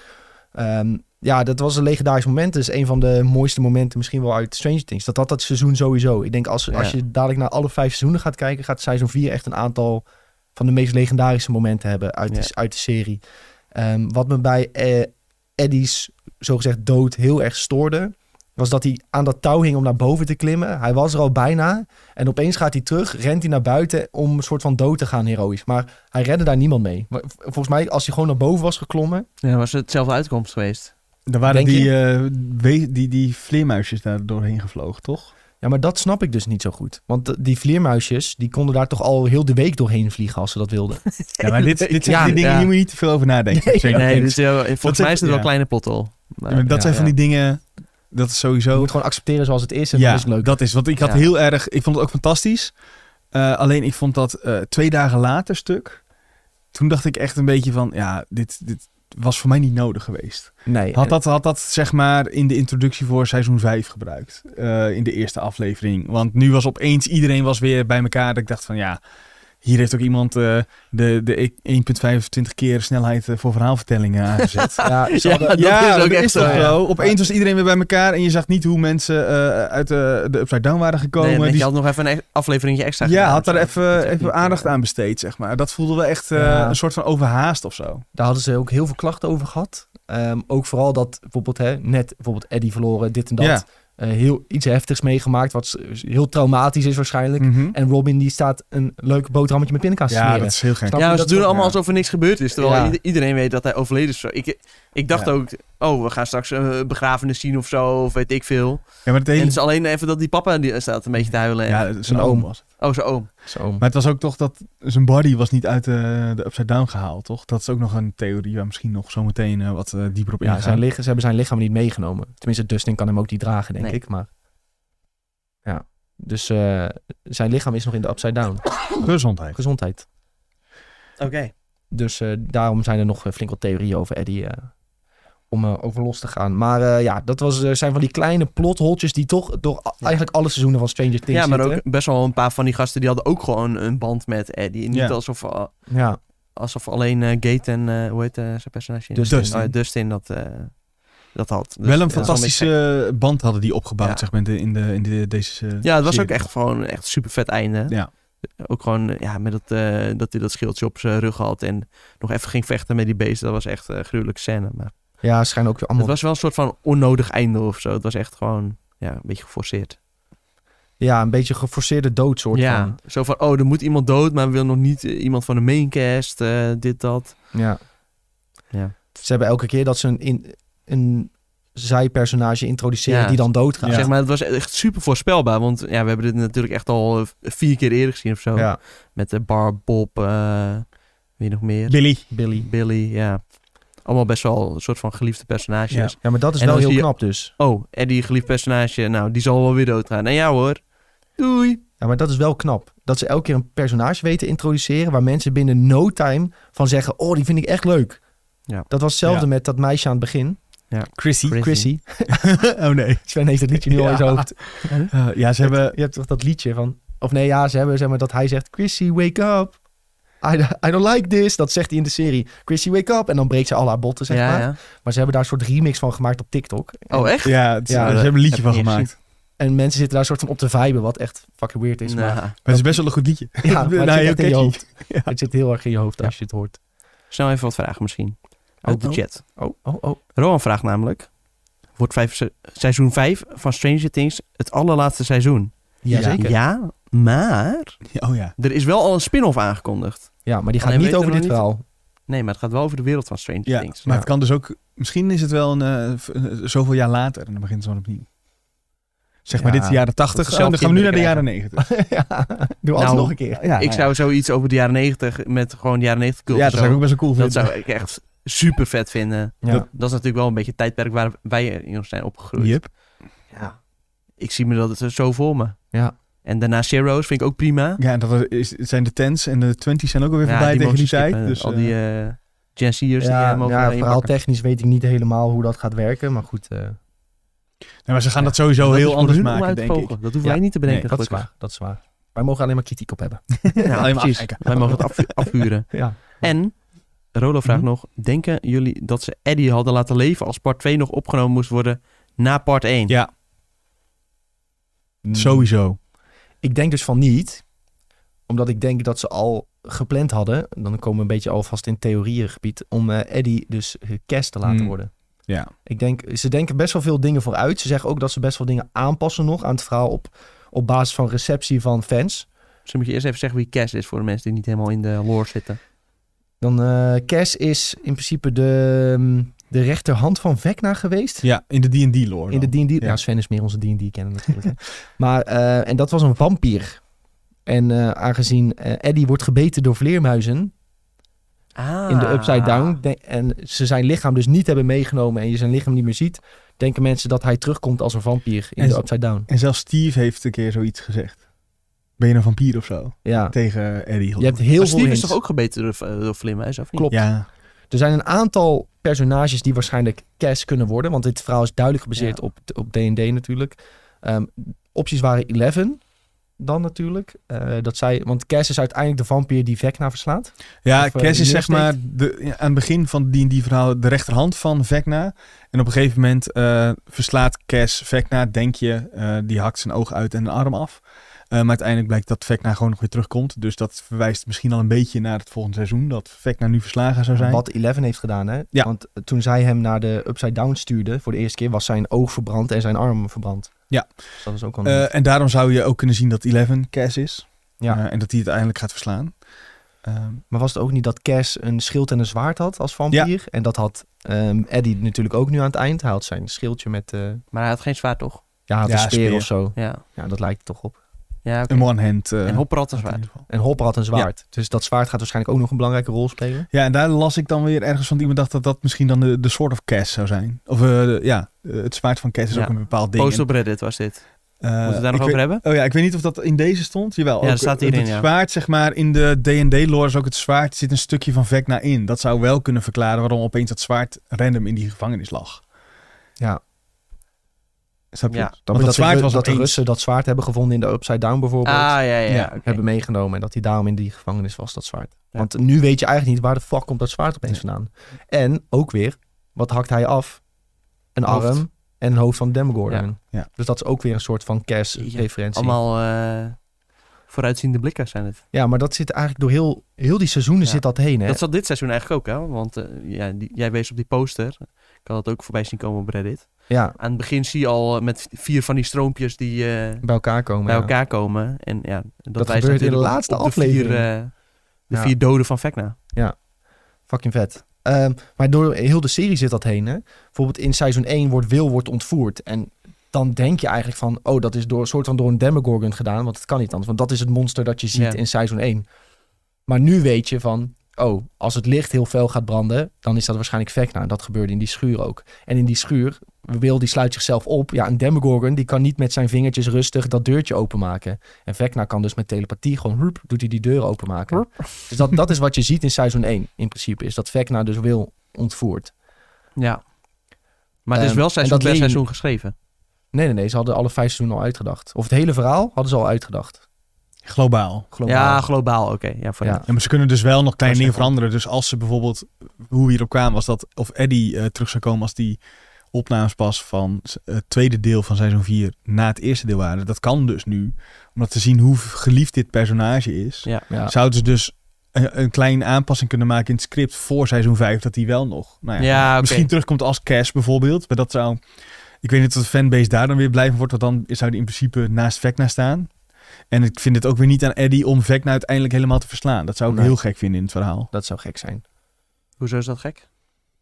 Speaker 1: Ehm, ja, dat was een legendarisch moment. Dus een van de mooiste momenten misschien wel uit Stranger Things. Dat had dat seizoen sowieso. Ik denk als,
Speaker 3: Ja.
Speaker 1: als je dadelijk naar alle vijf seizoenen gaat kijken... gaat seizoen 4 echt een aantal van de meest legendarische momenten hebben uit,
Speaker 3: Ja.
Speaker 1: de, uit de serie. Ehm, wat me bij eh, Eddie's zogezegd dood heel erg stoorde... was dat hij aan dat touw hing om naar boven te klimmen. Hij was er al bijna. En opeens gaat hij terug, rent hij naar buiten... om een soort van dood te gaan, heroïs. Maar hij redde daar niemand mee. Maar v- Volgens mij, als hij gewoon naar boven was geklommen...
Speaker 3: Ja, was het hetzelfde uitkomst geweest.
Speaker 2: Daar waren
Speaker 1: Denk
Speaker 2: die, eh, we- die, die vleermuisjes daar doorheen gevlogen, toch?
Speaker 1: Ja, maar dat snap ik dus niet zo goed. Want de- die vleermuisjes, die konden daar toch al heel de week doorheen vliegen als ze dat wilden.
Speaker 2: Ja, maar dit, dit zijn
Speaker 3: Ja,
Speaker 2: die dingen,
Speaker 3: ja.
Speaker 2: hier moet je niet te veel over nadenken. Stranger
Speaker 3: Nee,
Speaker 2: Things.
Speaker 3: dus, eh, volgens
Speaker 2: Dat
Speaker 3: mij
Speaker 2: zijn-
Speaker 3: is het wel
Speaker 2: ja.
Speaker 3: een kleine pothol. Maar-
Speaker 2: dat
Speaker 1: ja,
Speaker 2: zijn van
Speaker 1: ja.
Speaker 2: die dingen, dat is
Speaker 1: Je
Speaker 2: sowieso...
Speaker 1: moet gewoon accepteren zoals het is en dat is het leuk.
Speaker 2: dat is. Want ik had
Speaker 3: Ja.
Speaker 2: heel erg, ik vond het ook fantastisch. Eh, alleen ik vond dat eh, twee dagen later stuk. Toen dacht ik echt een beetje van, ja, dit, dit was voor mij niet nodig geweest.
Speaker 1: Nee,
Speaker 2: Had dat, had dat zeg maar in de introductie voor seizoen 5 gebruikt. eh, in de eerste aflevering. Want nu was opeens iedereen was weer bij elkaar. Dat ik dacht van ja, hier heeft ook iemand eh, de, de 1.25 keer snelheid eh, voor verhaalvertellingen aangezet.
Speaker 1: Ja, ze
Speaker 3: Ja,
Speaker 1: hadden-
Speaker 3: dat is ook echt
Speaker 2: toch
Speaker 1: zo, ja.
Speaker 2: zo. Opeens was iedereen weer bij elkaar. En je zag niet hoe mensen eh, uit de, de Upside Down waren gekomen.
Speaker 3: Nee, want
Speaker 2: eh, Die-
Speaker 3: je had nog even een e- afleveringje extra
Speaker 2: ja,
Speaker 3: gedaan
Speaker 2: had
Speaker 3: of zo.
Speaker 2: daar
Speaker 3: Dat is
Speaker 2: even,
Speaker 3: ook
Speaker 2: even
Speaker 3: niet,
Speaker 2: aandacht
Speaker 3: eh,
Speaker 2: aan besteed, zeg maar. Dat voelde wel echt eh,
Speaker 1: Ja.
Speaker 2: een soort van overhaast of zo.
Speaker 1: Daar hadden ze ook heel veel klachten over gehad. Ehm, ook vooral dat bijvoorbeeld hè, net bijvoorbeeld Eddie verloren, dit en dat.
Speaker 2: Ja.
Speaker 1: Eh, heel iets heftigs meegemaakt, wat s- heel traumatisch is waarschijnlijk.
Speaker 2: Mhm.
Speaker 1: En Robin die staat een leuk boterhammetje met pindakaas te
Speaker 2: Ja,
Speaker 1: smeren.
Speaker 2: dat is heel gek.
Speaker 1: Snap je?
Speaker 3: Ja, ze
Speaker 1: Dat
Speaker 3: doen
Speaker 1: soort-
Speaker 3: allemaal
Speaker 2: ja.
Speaker 3: alsof er niks gebeurd is. Terwijl
Speaker 1: Ja.
Speaker 3: ieder- iedereen weet dat hij overleden is. Ik, ik dacht
Speaker 2: Ja.
Speaker 3: ook, oh, we gaan straks een begrafenis zien of zo. Of weet ik veel.
Speaker 2: Ja, maar het
Speaker 3: En
Speaker 2: hele...
Speaker 3: het is alleen even dat die papa die staat een beetje te huilen. En,
Speaker 2: Ja, zijn
Speaker 1: Zijn
Speaker 2: oom
Speaker 1: oom.
Speaker 2: was. het.
Speaker 3: Oh, zijn oom.
Speaker 1: Zo.
Speaker 2: Maar het was ook toch dat zijn body was niet uit eh, de Upside Down gehaald, toch? Dat is ook nog een theorie waar misschien nog zometeen eh, wat eh, dieper op
Speaker 1: Ja,
Speaker 2: ingaan.
Speaker 1: zijn lich- ze hebben zijn lichaam niet meegenomen. Tenminste, Dustin kan hem ook niet dragen, denk
Speaker 3: Nee.
Speaker 1: ik. Maar ja, dus eh, zijn lichaam is nog in de upside down.
Speaker 2: Gezondheid.
Speaker 1: Gezondheid.
Speaker 3: Oké.
Speaker 1: Dus eh, daarom zijn er nog eh, flink wat theorieën over Eddie. eh, om eh, over los te gaan. Maar eh, ja, dat was, eh, zijn van die kleine plotholtjes die toch door a-
Speaker 3: Ja.
Speaker 1: eigenlijk alle seizoenen van Stranger Things
Speaker 3: Ja, maar
Speaker 1: zitten.
Speaker 3: ook best wel een paar van die gasten die hadden ook gewoon een band met Eddie. Niet
Speaker 2: Ja.
Speaker 3: alsof, eh, al-
Speaker 1: Ja,
Speaker 3: alsof alleen eh, Gate en, eh, hoe heet eh, zijn personage?
Speaker 1: Dustin.
Speaker 3: Oh, ja, Dustin dat, eh, dat had. Dus
Speaker 2: wel een
Speaker 3: dat is beetje
Speaker 2: fantastische
Speaker 3: gek.
Speaker 2: eh, band hadden die opgebouwd,
Speaker 3: Ja.
Speaker 2: zeg maar, in, de, in, de, in de- deze eh,
Speaker 3: Ja, het was ook
Speaker 2: serie.
Speaker 3: echt gewoon een echt super vet einde.
Speaker 2: Ja.
Speaker 3: Ook gewoon, ja, met dat, eh, dat hij dat schildje op zijn rug had en nog even ging vechten met die beesten. Dat was echt een gruwelijke scène. Maar
Speaker 1: ja schijnen ook weer
Speaker 3: het
Speaker 1: allemaal...
Speaker 3: was wel een soort van onnodig einde of zo. Het was echt gewoon, ja, een beetje geforceerd.
Speaker 1: Ja, een beetje geforceerde dood soort
Speaker 3: ja,
Speaker 1: van.
Speaker 3: zo van, oh, er moet iemand dood, maar we willen nog niet eh, iemand van de maincast, eh, dit, dat.
Speaker 1: Ja.
Speaker 3: Ja.
Speaker 1: Ze hebben elke keer dat ze een, in, een zijpersonage introduceren
Speaker 3: Ja.
Speaker 1: die dan doodgaat.
Speaker 3: Zeg maar, het was echt super voorspelbaar, want ja, we hebben dit natuurlijk echt al eh, vier keer eerder gezien of zo.
Speaker 1: Ja,
Speaker 3: Met de Bar, Bob, eh, wie nog meer?
Speaker 2: Billy.
Speaker 1: Billy.
Speaker 3: Billy, ja. Allemaal best wel een soort van geliefde personages.
Speaker 2: Ja.
Speaker 1: Ja, maar dat is
Speaker 3: En
Speaker 1: wel
Speaker 3: dan
Speaker 1: heel
Speaker 3: zie je-
Speaker 1: knap dus.
Speaker 3: Oh, Eddie, geliefd personage. Nou, die zal wel weer doodgaan. En ja hoor. Doei.
Speaker 1: Ja, maar dat is wel knap. Dat ze elke keer een personage weten te introduceren... waar mensen binnen no time van zeggen... oh, die vind ik echt leuk.
Speaker 3: Ja.
Speaker 1: Dat was hetzelfde
Speaker 2: Ja.
Speaker 1: met dat meisje aan het begin.
Speaker 2: Chrissy.
Speaker 1: Chrissy.
Speaker 2: oh nee.
Speaker 1: Sven heeft het liedje nu al in zijn
Speaker 2: Ja.
Speaker 1: hoofd.
Speaker 2: Eh, ja, ze hebben...
Speaker 1: Je hebt toch dat liedje van... Of nee, ja, ze hebben zeg maar dat hij zegt... Chrissy, wake up. I, I don't like this. Dat zegt hij in de serie. Chrissy, wake up. En dan breekt ze al haar botten, zeg
Speaker 3: ja,
Speaker 1: maar.
Speaker 3: ja.
Speaker 1: Maar ze hebben daar een soort remix van gemaakt op TikTok. En,
Speaker 3: Oh, echt?
Speaker 2: Ja, het-
Speaker 1: Ja,
Speaker 2: ze hebben een liedje van
Speaker 3: heb ik niet
Speaker 2: gemaakt.
Speaker 1: en mensen zitten daar een soort van op te viben, wat echt fucking weird is. Maar,
Speaker 3: Nou,
Speaker 2: Maar het is best wel een goed liedje.
Speaker 1: ja, maar het
Speaker 2: Nou,
Speaker 1: zit
Speaker 2: heel
Speaker 1: echt in je
Speaker 2: catchy.
Speaker 1: hoofd. Het zit heel erg in je hoofd als je het hoort.
Speaker 3: snel even wat vragen misschien. Uit
Speaker 1: Oh,
Speaker 3: de
Speaker 1: oh.
Speaker 3: chat.
Speaker 1: Oh, oh, oh.
Speaker 3: Rowan vraagt namelijk. Wordt vijf, se- seizoen 5 van Stranger Things het allerlaatste seizoen?
Speaker 1: Jazeker. Ja,
Speaker 3: Ja, maar
Speaker 2: Oh ja.
Speaker 3: er is wel al een spin-off aangekondigd.
Speaker 1: maar die gaat
Speaker 3: Alleen
Speaker 1: niet
Speaker 3: weten
Speaker 1: over
Speaker 3: we
Speaker 1: dit
Speaker 3: nog niet-
Speaker 1: verhaal.
Speaker 3: Nee, maar het gaat wel over de wereld van Stranger
Speaker 2: Ja, maar
Speaker 3: Things.
Speaker 2: het kan dus ook... Misschien is het wel een, eh, v- eh, zoveel jaar later en dan begint het zo opnieuw. Zeg
Speaker 1: Ja,
Speaker 2: maar dit is de jaren
Speaker 1: dat
Speaker 2: 80
Speaker 1: ze
Speaker 2: en dan
Speaker 1: zelf
Speaker 2: gaan we nu naar de jaren
Speaker 1: kinderen
Speaker 2: 90.
Speaker 1: ja, doe alles
Speaker 3: Nou,
Speaker 1: nog een keer.
Speaker 2: Ja,
Speaker 3: ik zou zoiets over de jaren 90 met gewoon jaren 90
Speaker 2: ja,
Speaker 3: cult
Speaker 2: dat
Speaker 3: of
Speaker 2: zou ik
Speaker 3: zo.
Speaker 2: ook best wel cool
Speaker 3: Dat
Speaker 2: vinden.
Speaker 3: zou ik echt super vet vinden.
Speaker 1: Ja.
Speaker 2: dat-
Speaker 3: Dat is natuurlijk wel een beetje het tijdperk waar wij in zijn opgegroeid.
Speaker 2: Yep.
Speaker 3: Ja. Ik zie me dat het er zo voor me.
Speaker 1: Ja.
Speaker 3: En daarna Zero's vind ik ook prima.
Speaker 2: Ja, en dat is, het zijn de tens en de twenties zijn ook alweer
Speaker 3: Ja,
Speaker 2: voorbij tegen die
Speaker 3: mogen
Speaker 2: tijd.
Speaker 3: skippen.
Speaker 2: Dus,
Speaker 3: al
Speaker 2: eh,
Speaker 3: die eh Gen Z'ers die
Speaker 1: ja,
Speaker 3: eh, mogen
Speaker 1: ja
Speaker 3: erin pakken.
Speaker 1: verhaaltechnisch weet ik niet helemaal hoe dat gaat werken. Maar goed, eh,
Speaker 2: nee, maar ze gaan
Speaker 1: ja.
Speaker 2: dat sowieso
Speaker 3: Dat is
Speaker 2: heel
Speaker 3: voor
Speaker 2: anders
Speaker 3: hun om
Speaker 2: maken,
Speaker 3: uit te
Speaker 2: denk ik.
Speaker 3: vogelen. Dat hoeven
Speaker 1: Ja.
Speaker 3: wij niet te bedenken,
Speaker 1: dat is
Speaker 3: gelukkig.
Speaker 1: waar. Dat is waar. Wij mogen alleen maar kritiek op hebben.
Speaker 3: Ja,
Speaker 2: Alleen maar
Speaker 3: precies.
Speaker 2: afkijken.
Speaker 3: Wij mogen het af- afhuren.
Speaker 1: ja.
Speaker 3: En, Rolo vraagt
Speaker 2: Mhm.
Speaker 3: nog, denken jullie dat ze Eddie hadden laten leven als part 2 nog opgenomen moest worden na part 1?
Speaker 2: Ja,
Speaker 1: Mm.
Speaker 2: sowieso.
Speaker 1: Ik denk dus van niet. Omdat ik denk dat ze al gepland hadden. Dan komen we een beetje alvast in theorieëngebied. Om eh Eddie dus cast te laten
Speaker 3: Mm.
Speaker 2: Hmm.
Speaker 1: worden.
Speaker 2: Ja.
Speaker 1: Ik denk, ze denken best wel veel dingen vooruit. Ze zeggen ook dat ze best wel dingen aanpassen nog aan het verhaal op, op basis van receptie van fans.
Speaker 3: Dus dan moet je eerst even zeggen wie Cass is voor de mensen die niet helemaal in de lore zitten.
Speaker 1: Dan eh Cass is in principe de, mm, de rechterhand van Vecna geweest.
Speaker 2: Ja, in de D&D-lore
Speaker 1: In de D&D.
Speaker 2: Ja.
Speaker 1: Nou, Sven is meer onze D&D kennen natuurlijk. hè. maar, eh, en dat was een vampier. En eh, aangezien eh, Eddie wordt gebeten door vleermuizen
Speaker 3: Ah.
Speaker 1: in de Upside Down... de- en ze zijn lichaam dus niet hebben meegenomen... en je zijn lichaam niet meer ziet... denken mensen dat hij terugkomt als een vampier in
Speaker 2: En
Speaker 1: de
Speaker 2: ze-
Speaker 1: Upside Down.
Speaker 2: En zelfs Steve heeft een keer zoiets gezegd. ben je een vampier of zo?
Speaker 1: Ja,
Speaker 2: Tegen Eddie.
Speaker 1: je hebt heel
Speaker 3: Maar
Speaker 1: veel
Speaker 3: Steve is
Speaker 1: hints.
Speaker 3: toch ook gebeten door, eh, door Vleermuis, of niet?
Speaker 1: Klopt.
Speaker 2: Ja,
Speaker 1: Er zijn een aantal personages die waarschijnlijk Cass kunnen worden. Want dit verhaal is duidelijk gebaseerd op op D&D natuurlijk. Ehm, opties waren Eleven dan natuurlijk. Eh, dat zij, want Cass is uiteindelijk de vampier die Vecna verslaat.
Speaker 2: Ja,
Speaker 1: Of, eh,
Speaker 2: Cass is zeg
Speaker 1: neersteekt.
Speaker 2: maar de, ja, aan het begin van die, die verhaal de rechterhand van Vecna. En op een gegeven moment eh, verslaat Cass Vecna, denk je. eh, die hakt zijn oog uit en een arm af. Eh, maar uiteindelijk blijkt dat Vecna gewoon nog weer terugkomt. Dus dat verwijst misschien al een beetje naar het volgende seizoen. Dat Vecna nu verslagen zou zijn.
Speaker 1: Wat Eleven heeft gedaan hè.
Speaker 2: Ja.
Speaker 1: Want eh, toen zij hem naar de Upside Down stuurde voor de eerste keer... was zijn oog verbrand en zijn arm verbrand.
Speaker 2: Ja.
Speaker 1: Dus dat is ook al een hint.
Speaker 2: Eh, en daarom zou je ook kunnen zien dat Eleven Cass is.
Speaker 1: Ja.
Speaker 2: Eh, en dat hij het uiteindelijk gaat verslaan. Ehm,
Speaker 1: Maar was het ook niet dat Cass een schild en een zwaard had als vampier? En dat had ehm, Eddie natuurlijk ook nu aan het eind. Hij had zijn schildje met eh,
Speaker 3: Maar hij had geen zwaard, toch?
Speaker 1: ja, hij had
Speaker 2: Ja,
Speaker 1: een speer,
Speaker 2: speer.
Speaker 1: of zo.
Speaker 3: Ja.
Speaker 1: Ja, dat lijkt er toch op.
Speaker 3: ja oké.
Speaker 2: een one-hand. eh,
Speaker 3: En
Speaker 2: had
Speaker 3: Hopper had een
Speaker 2: hij in
Speaker 3: zwaard.
Speaker 2: ieder geval.
Speaker 1: En Hopper had een zwaard. Dus dat zwaard gaat waarschijnlijk ook nog een belangrijke rol spelen.
Speaker 2: Ja, en daar las ik dan weer ergens van dat iemand dacht dat dat misschien dan de, de soort of Cass zou zijn. Of eh, de- ja, eh, het zwaard van Cass is
Speaker 3: Ja.
Speaker 2: ook een bepaald ding.
Speaker 3: Post op Reddit was dit.
Speaker 2: En, eh,
Speaker 3: Moeten we het daar nog
Speaker 2: ik
Speaker 3: over
Speaker 2: weet-
Speaker 3: hebben?
Speaker 2: Oh ja, ik weet niet of dat in deze stond. Jawel.
Speaker 3: Ja,
Speaker 2: ook,
Speaker 3: dat staat
Speaker 2: eh,
Speaker 3: hierin,
Speaker 2: Het
Speaker 3: ja.
Speaker 2: zwaard, zeg maar, in de D&D-lore is ook het zwaard, zit een stukje van Vecna in. Dat zou wel kunnen verklaren waarom opeens dat zwaard random in die gevangenis lag.
Speaker 1: Ja.
Speaker 2: Snap je?
Speaker 3: Ja.
Speaker 2: Want dat,
Speaker 1: de
Speaker 2: zwaard
Speaker 1: Ru-
Speaker 2: was
Speaker 1: dat de
Speaker 2: opeens-
Speaker 1: Russen dat zwaard hebben gevonden in de Upside Down bijvoorbeeld.
Speaker 3: Ah, ja, ja. ja.
Speaker 2: Ja,
Speaker 3: oké.
Speaker 1: Hebben meegenomen en dat hij daarom in die gevangenis was, dat zwaard.
Speaker 3: Ja.
Speaker 1: Want nu weet je eigenlijk niet waar de fuck komt dat zwaard opeens vandaan. En ook weer, wat hakt hij af? Een
Speaker 3: Hoofd.
Speaker 1: arm en een hoofd van Demogorgon.
Speaker 2: Ja. Ja.
Speaker 1: Dus dat is ook weer een soort van
Speaker 3: Ja.
Speaker 1: Cass-referentie.
Speaker 3: Allemaal eh, vooruitziende blikken zijn het.
Speaker 1: Ja, maar dat zit eigenlijk door heel, heel die seizoenen
Speaker 3: Ja.
Speaker 1: zit dat heen. Hè?
Speaker 3: Dat zat dit seizoen eigenlijk ook, hè? Want eh, ja, die- jij wees op die poster. Ik had dat ook voorbij zien komen op Reddit.
Speaker 1: Ja,
Speaker 3: Aan het begin zie je al eh, met vier van die stroompjes die eh,
Speaker 1: bij elkaar komen.
Speaker 3: bij
Speaker 1: ja.
Speaker 3: elkaar komen. En ja, dat,
Speaker 1: Dat gebeurt in
Speaker 3: wijst
Speaker 1: de
Speaker 3: natuurlijk op-
Speaker 1: laatste
Speaker 3: op de
Speaker 1: aflevering.
Speaker 3: Vier, eh, de
Speaker 1: Ja.
Speaker 3: vier doden van Vecna.
Speaker 1: Fucking vet. Ehm, maar door heel de serie zit dat heen. Hè? Bijvoorbeeld in seizoen 1 wordt Wil wordt ontvoerd. En dan denk je eigenlijk van... oh, dat is door, soort van door een Demogorgon gedaan. Want het kan niet anders. Want dat is het monster dat je ziet
Speaker 3: Ja.
Speaker 1: in seizoen 1. Maar nu weet je van... oh, als het licht heel fel gaat branden... dan is dat waarschijnlijk Vecna. En dat gebeurde in die schuur ook. En in die schuur... Wil die sluit zichzelf op. Ja, een Demogorgon die kan niet met zijn vingertjes rustig dat deurtje openmaken. En Vecna kan dus met telepathie gewoon... roep, doet hij die deur openmaken. Dus dat, dat is wat je ziet in seizoen 1 in principe. Is dat Vecna dus wil ontvoerd.
Speaker 3: Ja. Maar het is
Speaker 1: Ehm,
Speaker 3: wel
Speaker 1: en dat
Speaker 3: seizoen per
Speaker 1: leer je-
Speaker 3: seizoen geschreven.
Speaker 1: Nee, nee, nee. Ze hadden alle vijf seizoenen al uitgedacht. Of het hele verhaal hadden ze al uitgedacht.
Speaker 2: Globaal.
Speaker 1: Globaal.
Speaker 3: Ja, globaal, oké. Ja, voor
Speaker 1: Ja.
Speaker 2: Ja, maar ze kunnen dus wel nog kleine
Speaker 1: Dat is
Speaker 2: dingen
Speaker 1: echt
Speaker 2: veranderen. Dus als ze bijvoorbeeld, hoe we hierop kwamen, was dat of Eddie eh, terug zou komen als die opnames pas van s- eh, het tweede deel van seizoen 4 na het eerste deel waren. Dat kan dus nu. Omdat te zien hoe geliefd dit personage is,
Speaker 3: Ja.
Speaker 1: Ja.
Speaker 2: zouden ze dus een, een kleine aanpassing kunnen maken in het script voor seizoen 5, dat die wel nog. Nou ja,
Speaker 3: Ja, oké.
Speaker 2: Misschien terugkomt als Cash bijvoorbeeld. Maar dat zou. Ik weet niet of de fanbase daar dan weer blij van wordt. Want dan zou die in principe naast Vecna staan. En ik vind het ook weer niet aan Eddie om Vecna uiteindelijk helemaal te verslaan. Dat zou ik
Speaker 1: Nee.
Speaker 2: heel gek vinden in het verhaal.
Speaker 1: Dat zou gek zijn.
Speaker 3: Hoezo is dat gek?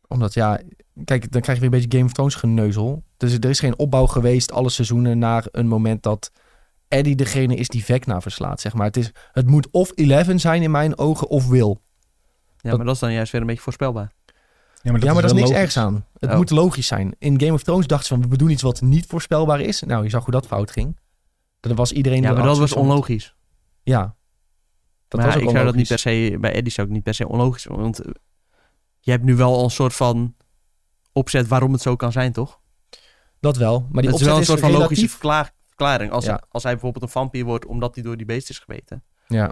Speaker 1: Omdat ja, kijk, dan krijg je weer een beetje Game of Thrones geneuzel. Dus er is geen opbouw geweest alle seizoenen naar een moment dat Eddie degene is die Vecna verslaat, zeg maar. Het, is, het moet of Eleven zijn in mijn ogen of Will.
Speaker 3: Ja,
Speaker 1: Dat-
Speaker 3: maar dat is dan juist weer een beetje voorspelbaar.
Speaker 2: maar
Speaker 1: ja, maar daar is niks
Speaker 2: ergs
Speaker 1: ergs aan. Het
Speaker 3: Oh.
Speaker 1: moet logisch zijn. In Game of Thrones dachten ze van, we doen iets wat niet voorspelbaar is. Nou, je zag hoe dat fout ging. Dat was iedereen...
Speaker 3: Ja, maar dat was
Speaker 1: onlogisch.
Speaker 3: onlogisch.
Speaker 1: Ja. Dat
Speaker 3: maar
Speaker 1: was ook
Speaker 3: ik zou dat niet
Speaker 1: onlogisch.
Speaker 3: per se, bij Eddie zou ik niet per se onlogisch vinden, Want eh, je hebt nu wel al een soort van opzet waarom het zo kan zijn, toch?
Speaker 1: Dat wel. Maar die
Speaker 3: het
Speaker 1: opzet
Speaker 3: is wel een
Speaker 1: is
Speaker 3: soort van logische
Speaker 1: relatief...
Speaker 3: verklaar- verklaring. Als,
Speaker 1: Ja.
Speaker 3: hij, als hij bijvoorbeeld een vampier wordt omdat hij door die beest is gebeten.
Speaker 1: Ja.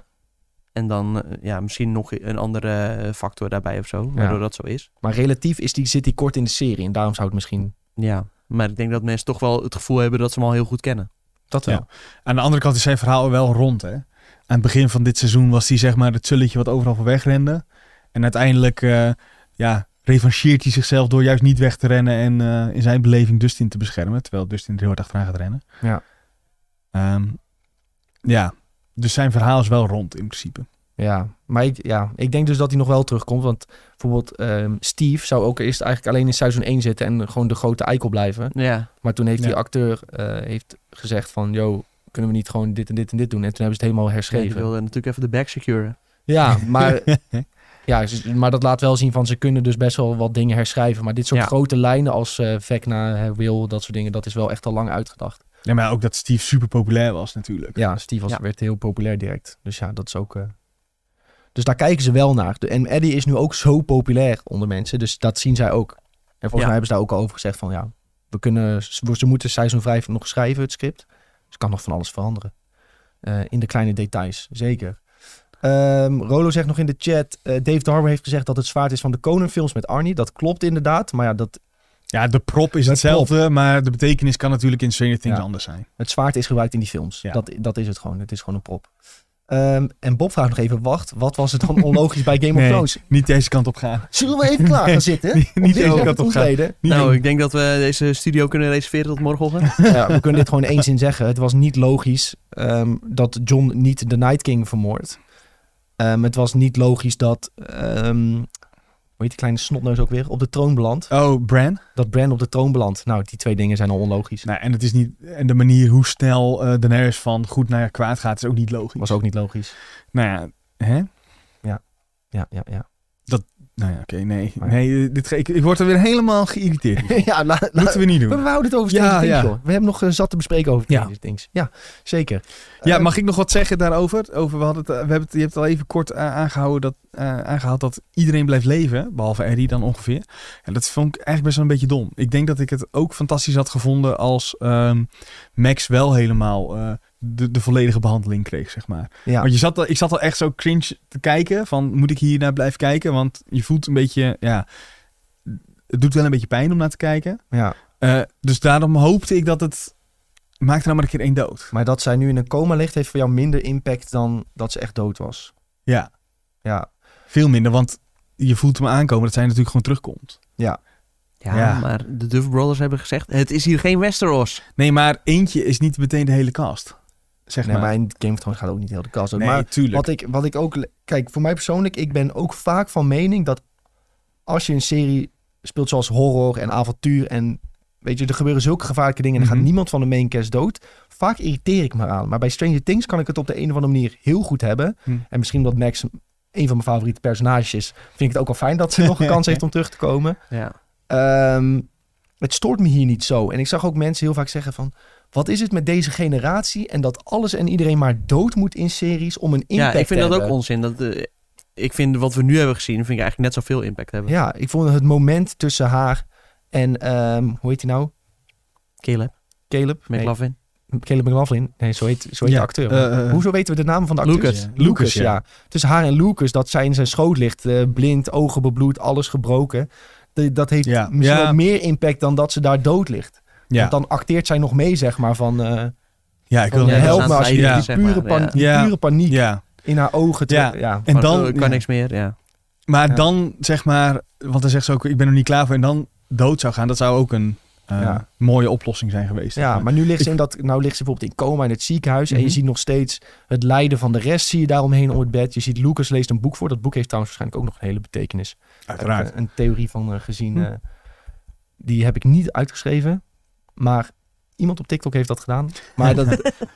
Speaker 3: En dan eh, ja, misschien nog een andere eh, factor daarbij of zo, waardoor dat zo is.
Speaker 1: Maar relatief is die, zit die kort in de serie. En daarom zou het misschien...
Speaker 3: Ja, maar ik denk dat mensen toch wel het gevoel hebben dat ze hem al heel goed kennen.
Speaker 1: Dat wel.
Speaker 2: Ja. Aan de andere kant is zijn verhaal wel rond. Hè? Aan het begin van dit seizoen was hij zeg maar het zulletje wat overal voor wegrende. En uiteindelijk eh, ja, revancheert hij zichzelf door juist niet weg te rennen. En eh, in zijn beleving Dustin te beschermen. Terwijl Dustin er heel hard achteraan gaat rennen.
Speaker 1: Ja.
Speaker 2: Ehm, ja. Dus zijn verhaal is wel rond in principe.
Speaker 1: Ja. Maar ik, ja, ik denk dus dat hij nog wel terugkomt. Want bijvoorbeeld ehm, Steve zou ook eerst eigenlijk alleen in seizoen 1 zitten. En gewoon de grote eikel blijven.
Speaker 3: Ja,
Speaker 1: Maar toen heeft
Speaker 2: Ja.
Speaker 1: die acteur eh, heeft gezegd van... Yo, kunnen we niet gewoon dit en dit en dit doen? En toen hebben ze het helemaal
Speaker 3: ik
Speaker 1: herschreven.
Speaker 3: wilde natuurlijk even de back securen.
Speaker 1: Ja, maar, ja, ze- maar dat laat wel zien van ze kunnen dus best wel wat dingen herschrijven. Maar dit soort
Speaker 3: Ja.
Speaker 1: grote lijnen als eh Vecna, eh, Will, dat soort dingen, dat is wel echt al lang uitgedacht.
Speaker 2: Ja, maar ook dat Steve super populair was natuurlijk.
Speaker 1: Ja, Steve was,
Speaker 3: Ja.
Speaker 1: werd heel populair direct. Dus ja, dat is ook... eh, Dus daar kijken ze wel naar. De- En Eddie is nu ook zo populair onder mensen. Dus dat zien zij ook. En volgens
Speaker 3: Ja.
Speaker 1: mij hebben ze daar ook al over gezegd van... Ja, we kunnen, ze ze moeten seizoen 5 nog schrijven, het script. Dus kan nog van alles veranderen. Eh, in de kleine details, zeker. Ehm, Rolo zegt nog in de chat... eh, Dave Darwin heeft gezegd dat het zwaard is van de Conan-films met Arnie. Dat klopt inderdaad. Maar ja, dat,
Speaker 2: Ja, de prop is
Speaker 1: De
Speaker 2: hetzelfde, maar de betekenis kan natuurlijk in Stranger Things
Speaker 1: Ja.
Speaker 2: anders zijn.
Speaker 1: het zwaard is gebruikt in die films.
Speaker 2: Ja.
Speaker 1: Dat, dat is het gewoon. Het is gewoon een prop. Ehm, en Bob vraagt nog even... Wacht, wat was het dan onlogisch bij Game of
Speaker 2: Nee.
Speaker 1: Thrones?
Speaker 2: Niet deze kant op gaan.
Speaker 1: Zullen we even klaar gaan zitten?
Speaker 2: niet
Speaker 1: Om
Speaker 2: niet
Speaker 1: dit
Speaker 2: deze
Speaker 1: even
Speaker 2: kant
Speaker 1: te
Speaker 2: op gaan.
Speaker 1: ontleden?
Speaker 2: Niet
Speaker 3: Nou,
Speaker 2: in-
Speaker 3: ik denk dat we deze studio kunnen reserveren tot morgenochtend.
Speaker 1: Ja, we kunnen dit gewoon in één zin zeggen. Het was niet logisch ehm, dat John niet de Night King vermoordt. Ehm, het was niet logisch dat... ehm, hoe heet die kleine snotneus ook weer? Op de troon belandt.
Speaker 2: Oh, Bran?
Speaker 1: Dat Bran op de troon belandt. Nou, die twee dingen zijn al onlogisch.
Speaker 2: Nou, en, het is niet, en de manier hoe snel eh Daenerys van goed naar kwaad gaat, is ook niet logisch.
Speaker 1: Was ook niet logisch.
Speaker 2: Nou ja, hè?
Speaker 1: Ja, ja, ja.
Speaker 2: Nou ja, oké, nee.
Speaker 1: Maar-
Speaker 2: nee eh, dit, ge- ik, ik word er weer helemaal geïrriteerd. hiervan.
Speaker 1: ja, la- la-
Speaker 2: Moeten we niet
Speaker 1: we,
Speaker 2: doen.
Speaker 1: we houden het over
Speaker 2: Ja,
Speaker 1: Stranger Things,
Speaker 2: ja.
Speaker 1: joh. We hebben nog eh, zat te bespreken over
Speaker 2: Ja.
Speaker 1: Stranger Things. Ja, zeker.
Speaker 2: Ja,
Speaker 1: Eh,
Speaker 2: mag ik nog wat zeggen daarover? Over, we hadden het, eh, we hebben het, je hebt het al even kort eh, aangehouden dat, eh, aangehaald dat iedereen blijft leven, behalve Eddie dan ongeveer. En dat vond ik eigenlijk best wel een beetje dom. Ik denk dat ik het ook fantastisch had gevonden als ehm, Max wel helemaal eh, de, de volledige behandeling kreeg, zeg maar.
Speaker 1: Ja.
Speaker 2: Want je zat, al- ik zat al echt zo cringe te kijken van moet ik hier naar blijven kijken? Want je voelt een beetje, ja, het doet wel een beetje pijn om naar te kijken.
Speaker 1: ja.
Speaker 2: Eh, dus daarom hoopte ik dat het, maak er nou maar een keer één dood.
Speaker 1: Maar dat zij nu in een coma ligt, heeft voor jou minder impact dan dat ze echt dood was.
Speaker 2: Ja.
Speaker 1: Ja,
Speaker 2: Veel minder, want je voelt hem aankomen dat zij natuurlijk gewoon terugkomt.
Speaker 3: Ja,
Speaker 2: Ja.
Speaker 3: maar de Duff Brothers hebben gezegd, het is hier geen Westeros.
Speaker 2: Nee, maar eentje is niet meteen de hele cast. Zeg
Speaker 1: nee,
Speaker 2: maar.
Speaker 1: maar in Game of Thrones gaat ook niet heel de kast uit.
Speaker 2: nee,
Speaker 1: maar
Speaker 2: tuurlijk.
Speaker 1: wat ik, wat ik ook... le- Kijk, voor mij persoonlijk, ik ben ook vaak van mening dat als je een serie speelt zoals horror en avontuur en... Weet je, er gebeuren zulke gevaarlijke dingen en er
Speaker 2: Mhm.
Speaker 1: gaat niemand van de main cast dood. Vaak irriteer ik me aan. Maar bij Stranger Things kan ik het op de een of andere manier heel goed hebben.
Speaker 2: Hm.
Speaker 1: En misschien omdat Max een van mijn favoriete personages is, vind ik het ook al fijn dat ze nog een kans heeft om terug te komen.
Speaker 3: Ja.
Speaker 1: Ehm, het stoort me hier niet zo. En ik zag ook mensen heel vaak zeggen van... wat is het met deze generatie en dat alles en iedereen maar dood moet in series om een impact te
Speaker 3: ja,
Speaker 1: hebben.
Speaker 3: ik vind dat ook onzin. Dat, eh, ik vind wat we nu hebben gezien, vind ik eigenlijk net zoveel impact hebben.
Speaker 1: Ja, ik vond het moment tussen haar en... ehm, hoe heet hij nou?
Speaker 3: Caleb,
Speaker 1: Caleb? Nee,
Speaker 3: McLaughlin.
Speaker 1: Caleb McLaughlin. Nee, zo heet, zo heet
Speaker 2: Ja,
Speaker 1: de acteur.
Speaker 2: eh, eh,
Speaker 1: Hoezo weten we de naam van de acteur?
Speaker 3: Lucas.
Speaker 2: Ja.
Speaker 1: Lucas,
Speaker 2: Lucas,
Speaker 1: ja. Tussen haar en Lucas, dat zij in zijn schoot ligt. eh, blind, ogen bebloed, alles gebroken. De- dat heeft
Speaker 2: Ja.
Speaker 1: misschien
Speaker 2: Ja.
Speaker 1: wel meer impact dan dat ze daar dood ligt.
Speaker 2: ja.
Speaker 1: Want dan acteert zij nog mee, zeg maar, van... eh,
Speaker 2: ja, ik wil
Speaker 1: Van,
Speaker 3: ja,
Speaker 2: hem helpen.
Speaker 3: help
Speaker 1: help me
Speaker 3: staan
Speaker 1: als je
Speaker 2: zij
Speaker 1: die
Speaker 3: hier,
Speaker 1: pure,
Speaker 3: zeg maar,
Speaker 1: pan- die
Speaker 2: ja.
Speaker 1: pure paniek
Speaker 2: Ja.
Speaker 1: in haar ogen. Te, ja.
Speaker 2: Ja.
Speaker 3: En
Speaker 2: En dan,
Speaker 3: eh, kan niks meer, ja.
Speaker 2: maar
Speaker 1: Ja.
Speaker 2: dan zeg maar, want dan zegt ze ook, ik ben er niet klaar voor. En dan dood zou gaan, dat zou ook een eh,
Speaker 1: Ja.
Speaker 2: mooie oplossing zijn geweest. zeg
Speaker 1: Ja, maar nu ligt ze in dat, nou ligt ze bijvoorbeeld in coma in het ziekenhuis en
Speaker 2: Mhm.
Speaker 1: je ziet nog steeds het lijden van de rest zie je daaromheen om het bed. Je ziet Lucas leest een boek voor. Dat boek heeft trouwens waarschijnlijk ook nog een hele betekenis. Daar heb
Speaker 2: Uiteraard.
Speaker 1: ik, eh, een theorie van eh, gezien.
Speaker 2: Hm.
Speaker 1: eh, die heb ik niet uitgeschreven, maar iemand op TikTok heeft dat gedaan. Maar dat,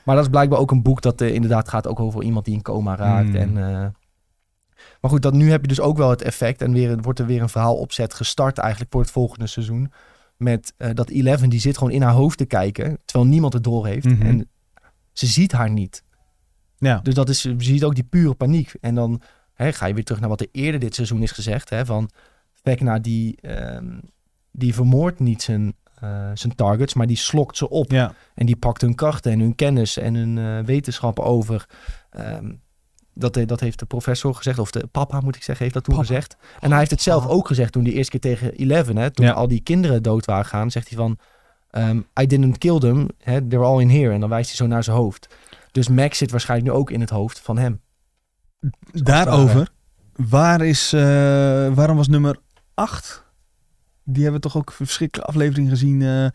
Speaker 1: maar dat is blijkbaar ook een boek dat eh, inderdaad gaat ook over iemand die in coma raakt en.
Speaker 2: Hmm.
Speaker 1: eh, maar goed, dat, nu heb je dus ook wel het effect. En weer, wordt er weer een verhaalopzet gestart eigenlijk voor het volgende seizoen. Met eh, dat Eleven, die zit gewoon in haar hoofd te kijken. Terwijl niemand het door heeft.
Speaker 2: Mhm.
Speaker 1: En ze ziet haar niet.
Speaker 2: Ja.
Speaker 1: Dus dat is, je ziet ook die pure paniek. En dan hè, ga je weer terug naar wat er eerder dit seizoen is gezegd. Hè, van Vecna, die, ehm, die vermoordt niet zijn, eh, zijn targets, maar die slokt ze op.
Speaker 2: Ja.
Speaker 1: En die pakt hun krachten en hun kennis en hun eh, wetenschappen over. Ehm, dat, he- dat heeft de professor gezegd, of de papa moet ik zeggen, heeft dat toen
Speaker 2: Papa.
Speaker 1: gezegd. En hij heeft het zelf ook gezegd toen die eerste keer tegen Eleven, hè, toen
Speaker 2: Ja.
Speaker 1: al die kinderen dood waren gaan, zegt hij van, ehm, I didn't kill them, hè, they're all in here. En dan wijst hij zo naar zijn hoofd. Dus Max zit waarschijnlijk nu ook in het hoofd van hem.
Speaker 2: Daarover, waar is, eh, waarom was nummer 8? Die hebben we toch ook verschrikkelijke aflevering gezien. eh,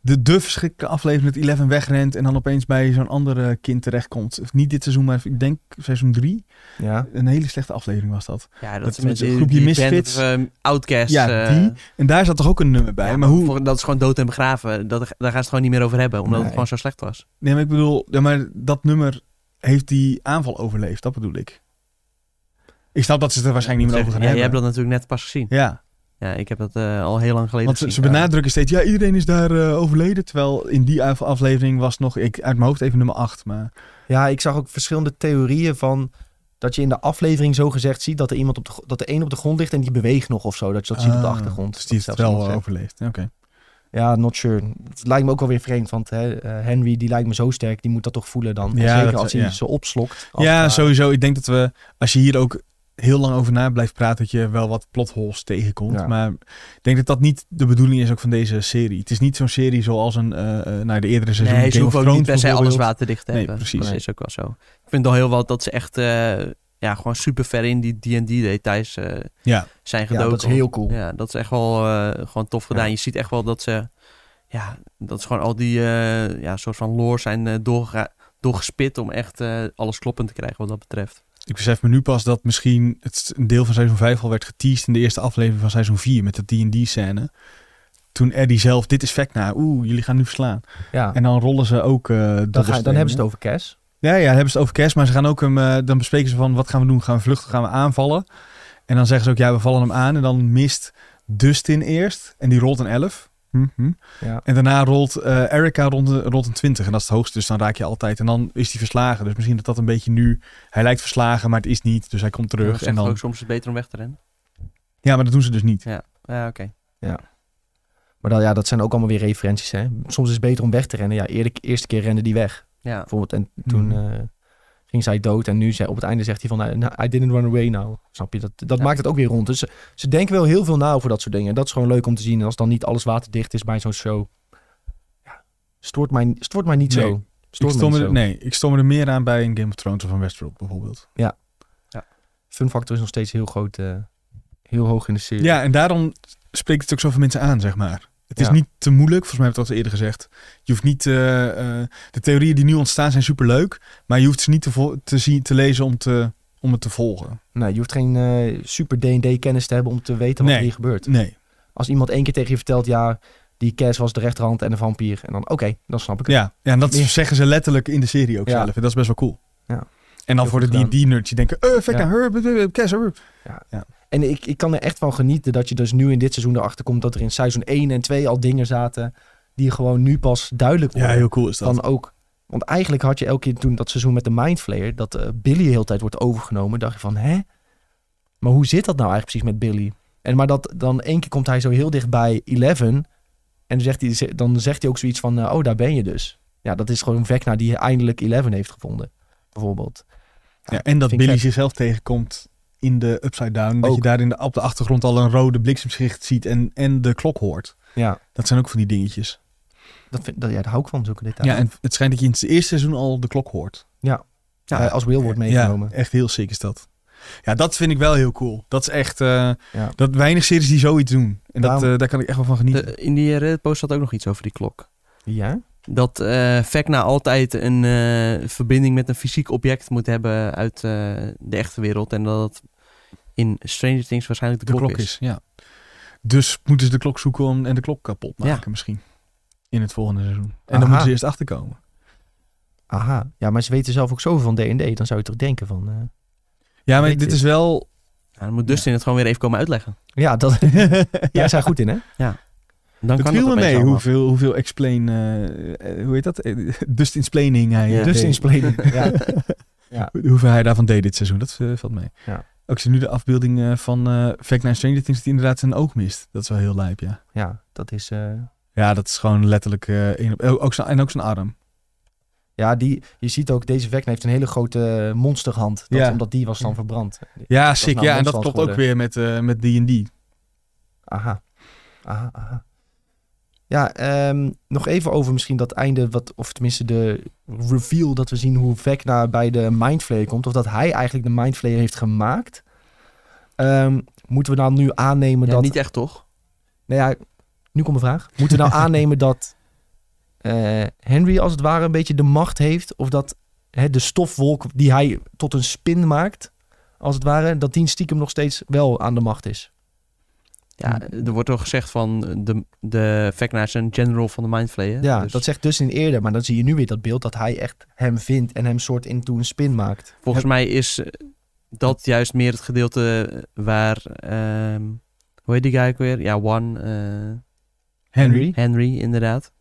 Speaker 2: de, de verschrikkelijke aflevering dat Eleven wegrent en dan opeens bij zo'n ander eh, kind terechtkomt. Of Niet dit seizoen, maar ik denk seizoen 3.
Speaker 1: Ja,
Speaker 2: Een hele slechte aflevering was dat.
Speaker 3: Ja, dat,
Speaker 2: Dat
Speaker 3: is met
Speaker 2: met een
Speaker 3: die-
Speaker 2: groepje
Speaker 3: die band,
Speaker 2: misfits.
Speaker 3: eh, outcasts.
Speaker 2: Ja,
Speaker 3: eh,
Speaker 2: die. En daar zat toch ook een nummer bij.
Speaker 3: ja,
Speaker 2: maar hoe,
Speaker 3: voor- Dat is gewoon dood en begraven. Dat, daar gaan ze het gewoon niet meer over hebben, omdat
Speaker 1: Nee.
Speaker 3: het gewoon zo slecht was.
Speaker 2: nee, maar ik bedoel, ja, maar dat nummer heeft die aanval overleefd. Dat bedoel ik. Ik snap dat ze het er waarschijnlijk niet meer over gaan
Speaker 3: ja, jij
Speaker 2: hebben.
Speaker 3: hebt dat natuurlijk net pas gezien.
Speaker 2: Ja,
Speaker 3: Ja, ik heb dat eh, al heel lang geleden
Speaker 2: Want ze,
Speaker 3: gezien.
Speaker 2: ze benadrukken steeds, ja, iedereen is daar eh, overleden. Terwijl in die af- aflevering was nog, ik uit mijn hoofd even nummer 8. Maar
Speaker 1: Ja, ik zag ook verschillende theorieën van dat je in de aflevering zo gezegd ziet dat er iemand op de, gr- dat er één op de grond ligt en die beweegt nog of zo. Dat je dat ziet op de
Speaker 2: Ah,
Speaker 1: achtergrond.
Speaker 2: Dus
Speaker 1: Dat
Speaker 2: die heeft
Speaker 1: zelfs
Speaker 2: wel
Speaker 1: iemand zegt.
Speaker 2: overleefd. Ja, Oké.
Speaker 1: Ja, not sure. Het lijkt me ook wel weer vreemd, want hè, eh, Henry die lijkt me zo sterk, die moet dat toch voelen dan. En
Speaker 2: Ja,
Speaker 1: Zeker
Speaker 2: dat-
Speaker 1: als hij
Speaker 2: ja.
Speaker 1: ze opslokt. eh, als het
Speaker 2: Ja,
Speaker 1: ware.
Speaker 2: sowieso. Ik denk dat we, als je hier ook heel lang over na blijft praten, dat je wel wat plotholes tegenkomt.
Speaker 1: Ja.
Speaker 2: Maar ik denk dat dat niet de bedoeling is ook van deze serie. Het is niet zo'n serie zoals een, eh eh, nou, de eerdere
Speaker 1: Dus
Speaker 2: seizoen
Speaker 3: Nee, ze
Speaker 2: Game of
Speaker 3: hoeven ook niet
Speaker 2: Thrones
Speaker 3: per se alles
Speaker 2: bijvoorbeeld.
Speaker 3: waterdicht te
Speaker 2: Nee,
Speaker 3: hebben.
Speaker 2: precies.
Speaker 3: Dat is ook wel zo. Ik vind al heel wat dat ze echt eh, ja, gewoon super ver in die D&D-details
Speaker 2: Ja.
Speaker 3: eh, zijn
Speaker 1: Ja,
Speaker 3: gedoken.
Speaker 1: dat is heel cool.
Speaker 3: Ja, dat is echt wel eh, gewoon tof gedaan.
Speaker 1: Ja.
Speaker 3: Je ziet echt wel dat ze... Ja, dat is gewoon al die eh, ja, soort van lore zijn eh, doorgega- doorgespit om echt eh, alles kloppend te krijgen wat dat betreft.
Speaker 2: Ik besef me nu pas dat misschien het een deel van seizoen 5 al werd geteased in de eerste aflevering van seizoen 4 met de D&D scène. Toen Eddie zelf, dit is Vecna, oeh, jullie gaan nu verslaan.
Speaker 1: Ja.
Speaker 2: En dan rollen ze ook eh
Speaker 1: Dan, ga, dan hebben ze het over Cass.
Speaker 2: Ja, ja, dan hebben ze het over Kerst, maar ze gaan ook hem, eh, dan bespreken ze van wat gaan we doen? Gaan we vluchten? Gaan we aanvallen? En dan zeggen ze ook, ja, we vallen hem aan. En dan mist Dustin eerst en die rolt een 11. Mhm.
Speaker 1: Ja.
Speaker 2: En daarna rolt eh Erika rond, de- rond een 20 en dat is het hoogste, dus dan raak je altijd. En dan is hij verslagen, dus misschien dat dat een beetje nu... Hij lijkt verslagen, maar het is niet, dus hij komt terug.
Speaker 3: Ze
Speaker 2: en
Speaker 3: zeggen
Speaker 2: dan,
Speaker 3: ook soms is het beter om weg te rennen.
Speaker 2: ja, maar dat doen ze dus niet.
Speaker 3: Ja, oké.
Speaker 1: Maar dan, ja, dat zijn ook allemaal weer referenties. Hè? Soms is het beter om weg te rennen. Ja, eerlijk, eerste keer rende die weg.
Speaker 3: Ja.
Speaker 1: Bijvoorbeeld, en toen
Speaker 2: Mhm.
Speaker 1: eh, ging zij dood. En nu zei, op het einde zegt hij van, "Nou, I didn't run away now. Snap je? Dat, dat
Speaker 3: Ja.
Speaker 1: maakt het ook weer rond. Dus ze, ze denken wel heel veel na over dat soort dingen. En dat is gewoon leuk om te zien. En als dan niet alles waterdicht is bij zo'n show. Ja, stoort, mij, stoort mij niet
Speaker 2: Nee.
Speaker 1: zo.
Speaker 2: Ik
Speaker 1: Stoort mij
Speaker 2: stoor, me,
Speaker 1: niet
Speaker 2: er-
Speaker 1: zo.
Speaker 2: nee, ik stoor me er meer aan bij een Game of Thrones of een Westworld bijvoorbeeld.
Speaker 1: Fun factor is nog steeds heel groot. eh, heel hoog in de serie.
Speaker 2: Ja, en daarom spreekt het ook zoveel mensen aan, zeg maar. Het is
Speaker 1: Ja.
Speaker 2: niet te moeilijk, volgens mij heb ik het al eerder gezegd. Je hoeft niet, eh, eh, de theorieën die nu ontstaan zijn superleuk, maar je hoeft ze niet te, vo- te, zien, te lezen om, te, om het te volgen.
Speaker 1: Nou, je hoeft geen eh, super D&D kennis te hebben om te weten wat
Speaker 2: Nee.
Speaker 1: hier gebeurt.
Speaker 2: Nee,
Speaker 1: Als iemand één keer tegen je vertelt, ja, die Cass was de rechterhand en een vampier. En dan, oké, dan snap ik het.
Speaker 2: ja. ja en dat
Speaker 1: Ja.
Speaker 2: zeggen ze letterlijk in de serie ook
Speaker 1: Ja.
Speaker 2: zelf. En dat is best wel cool.
Speaker 1: Ja.
Speaker 2: En dan
Speaker 1: Heel
Speaker 2: voor
Speaker 1: goed
Speaker 2: de D&D-nerds die denken, eh, Vecna,
Speaker 1: Ja.
Speaker 2: her, b- b- b- Kes, her.
Speaker 1: En ik, ik kan er echt van genieten dat je dus nu in dit seizoen erachter komt dat er in seizoen 1 en 2 al dingen zaten die gewoon nu pas duidelijk
Speaker 2: Ja,
Speaker 1: worden.
Speaker 2: heel cool is dat.
Speaker 1: Dan ook. Want eigenlijk had je elke keer toen dat seizoen met de Mindflayer, dat eh, Billy de hele tijd wordt overgenomen, dacht je van, hè? Maar hoe zit dat nou eigenlijk precies met Billy? En maar dat dan één keer komt hij zo heel dicht bij Eleven en dan zegt hij, dan zegt hij ook zoiets van, eh, oh, daar ben je dus. Ja, dat is gewoon Vecna die eindelijk Eleven heeft gevonden, bijvoorbeeld.
Speaker 2: Ja, en dat
Speaker 1: vind ik
Speaker 2: Billy
Speaker 1: vet.
Speaker 2: zichzelf tegenkomt in de Upside Down. Dat
Speaker 1: Ook.
Speaker 2: je daar in de, op de achtergrond al een rode bliksemschicht ziet en, en de klok hoort.
Speaker 1: Ja,
Speaker 2: Dat zijn ook van die dingetjes.
Speaker 1: dat vind, dat, ja daar hou ik van, zulke details.
Speaker 2: Ja, en het schijnt dat je in het eerste seizoen al de klok hoort.
Speaker 1: Ja,
Speaker 2: ja.
Speaker 1: als Will wordt meegenomen.
Speaker 2: Ja, echt heel sick is dat. Ja, dat vind ik wel heel cool. Dat is echt... eh,
Speaker 1: Ja.
Speaker 2: Dat weinig series die zoiets doen. En dat,
Speaker 1: Daarom-
Speaker 2: eh, daar kan ik echt wel van genieten.
Speaker 3: De- in die eh, Reddit-post zat ook nog iets over die klok.
Speaker 1: Ja?
Speaker 3: dat eh Vecna altijd een eh, verbinding met een fysiek object moet hebben uit eh, de echte wereld. En dat het in Stranger Things waarschijnlijk de, klok, is.
Speaker 2: ja. Dus moeten ze de klok zoeken om, en de klok kapot maken
Speaker 3: Ja.
Speaker 2: misschien. In het volgende seizoen. En
Speaker 1: Aha.
Speaker 2: dan moeten ze eerst achterkomen.
Speaker 1: Aha. Ja, maar ze weten zelf ook zoveel van D&D. Dan zou je toch denken van... eh,
Speaker 2: Ja, maar
Speaker 1: Weet
Speaker 2: dit
Speaker 1: je.
Speaker 2: is wel...
Speaker 3: Ja, dan moet Dustin het gewoon weer even komen uitleggen.
Speaker 1: Ja, dat... Jij zijn goed in, hè?
Speaker 3: Dan
Speaker 2: het viel
Speaker 3: kan dat
Speaker 2: me
Speaker 3: opeens
Speaker 2: mee
Speaker 3: allemaal.
Speaker 2: hoeveel, hoeveel explain... eh, eh, hoe heet dat? Eh, Dust insplaining hij
Speaker 3: Ja.
Speaker 2: eh,
Speaker 1: Dus
Speaker 2: deed.
Speaker 1: in Splendid. Ja.
Speaker 2: Hoe- Hoeveel hij daarvan deed dit seizoen, dat eh, valt mee.
Speaker 1: Ja.
Speaker 2: Ook zie nu de afbeelding eh, van eh Vecna en Stranger Things die inderdaad zijn oog mist. Dat is wel heel lijp, ja.
Speaker 1: ja, dat is... eh,
Speaker 2: Ja, dat is gewoon letterlijk... eh, één op- ook, ook zijn, en ook zijn arm.
Speaker 1: Ja, die, je ziet ook, deze Vecna heeft een hele grote eh, monsterhand. Dat,
Speaker 2: Ja.
Speaker 1: Omdat die was dan verbrand.
Speaker 2: Ja,
Speaker 1: is
Speaker 2: sick.
Speaker 1: nou
Speaker 2: ja, en dat
Speaker 1: Monsterhand
Speaker 2: klopt ook weer met eh, met D&D.
Speaker 1: Aha. Aha, aha. Ja, ehm, nog even over misschien dat einde, wat, of tenminste de reveal dat we zien hoe Vecna bij de Mindflayer komt. Of dat hij eigenlijk de Mindflayer heeft gemaakt. Ehm, moeten we dan nu aannemen
Speaker 3: Ja,
Speaker 1: dat...
Speaker 3: Niet echt toch?
Speaker 1: Nou ja, nu komt mijn vraag. Moeten we nou aannemen dat eh, Henry als het ware een beetje de macht heeft? Of dat hè, de stofwolk die hij tot een spin maakt, als het ware, dat die stiekem nog steeds wel aan de macht is?
Speaker 3: Ja, er wordt al gezegd van de, de Vecna is een general van de Mindflayer.
Speaker 1: Ja,
Speaker 3: Dus
Speaker 1: dat zegt Dustin eerder, maar dan zie je nu weer dat beeld dat hij echt hem vindt en hem soort in toen een spin maakt.
Speaker 3: Volgens mij is eh, dat juist meer het gedeelte waar eh, ehm, Hoe heet die guy ook weer? Ja, One. eh,
Speaker 2: Henry.
Speaker 3: Henry, inderdaad.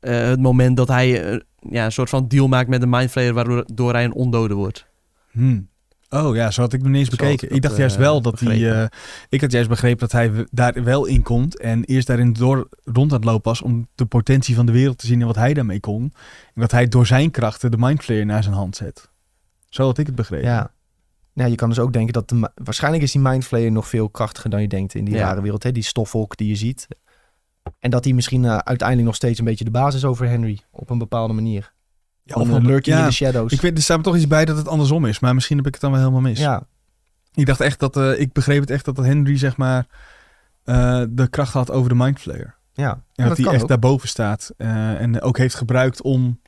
Speaker 3: Eh, het moment dat hij eh, ja, een soort van deal maakt met de Mindflayer... waardoor door hij een ondode wordt.
Speaker 2: Hmm. Oh ja, zo had ik hem niet eens
Speaker 3: Zo had ik
Speaker 2: bekeken. Ik,
Speaker 3: dat,
Speaker 2: dacht juist
Speaker 3: eh,
Speaker 2: wel dat hij...
Speaker 3: begrepen.
Speaker 2: eh, ik had juist begrepen dat hij w- daar wel in komt. En eerst daarin door, rond aan het lopen was om de potentie van de wereld te zien en wat hij daarmee kon. En dat hij door zijn krachten de mindflayer naar zijn hand zet. Zo had ik het begrepen.
Speaker 1: Ja. Nou, je kan dus ook denken dat... De, ma- waarschijnlijk is die mindflayer nog veel krachtiger dan je denkt in die
Speaker 3: Ja.
Speaker 1: rare wereld. Hè? Die stofwolk die je ziet. En dat die misschien eh, uiteindelijk nog steeds een beetje de basis over Henry. Op een bepaalde manier.
Speaker 2: Ja,
Speaker 1: of
Speaker 2: wel-
Speaker 1: een lurking in
Speaker 2: ja,
Speaker 1: de shadows.
Speaker 2: Ik weet, er staat me toch iets bij dat het andersom is. Maar misschien heb ik het dan wel helemaal mis.
Speaker 1: ja,
Speaker 2: Ik dacht echt dat... eh, ik begreep het echt dat Henry zeg maar eh, de kracht had over de mindflayer.
Speaker 1: ja.
Speaker 2: En
Speaker 1: Ja,
Speaker 2: dat,
Speaker 1: kan
Speaker 2: hij echt
Speaker 1: ook.
Speaker 2: daarboven staat. eh, en ook heeft gebruikt om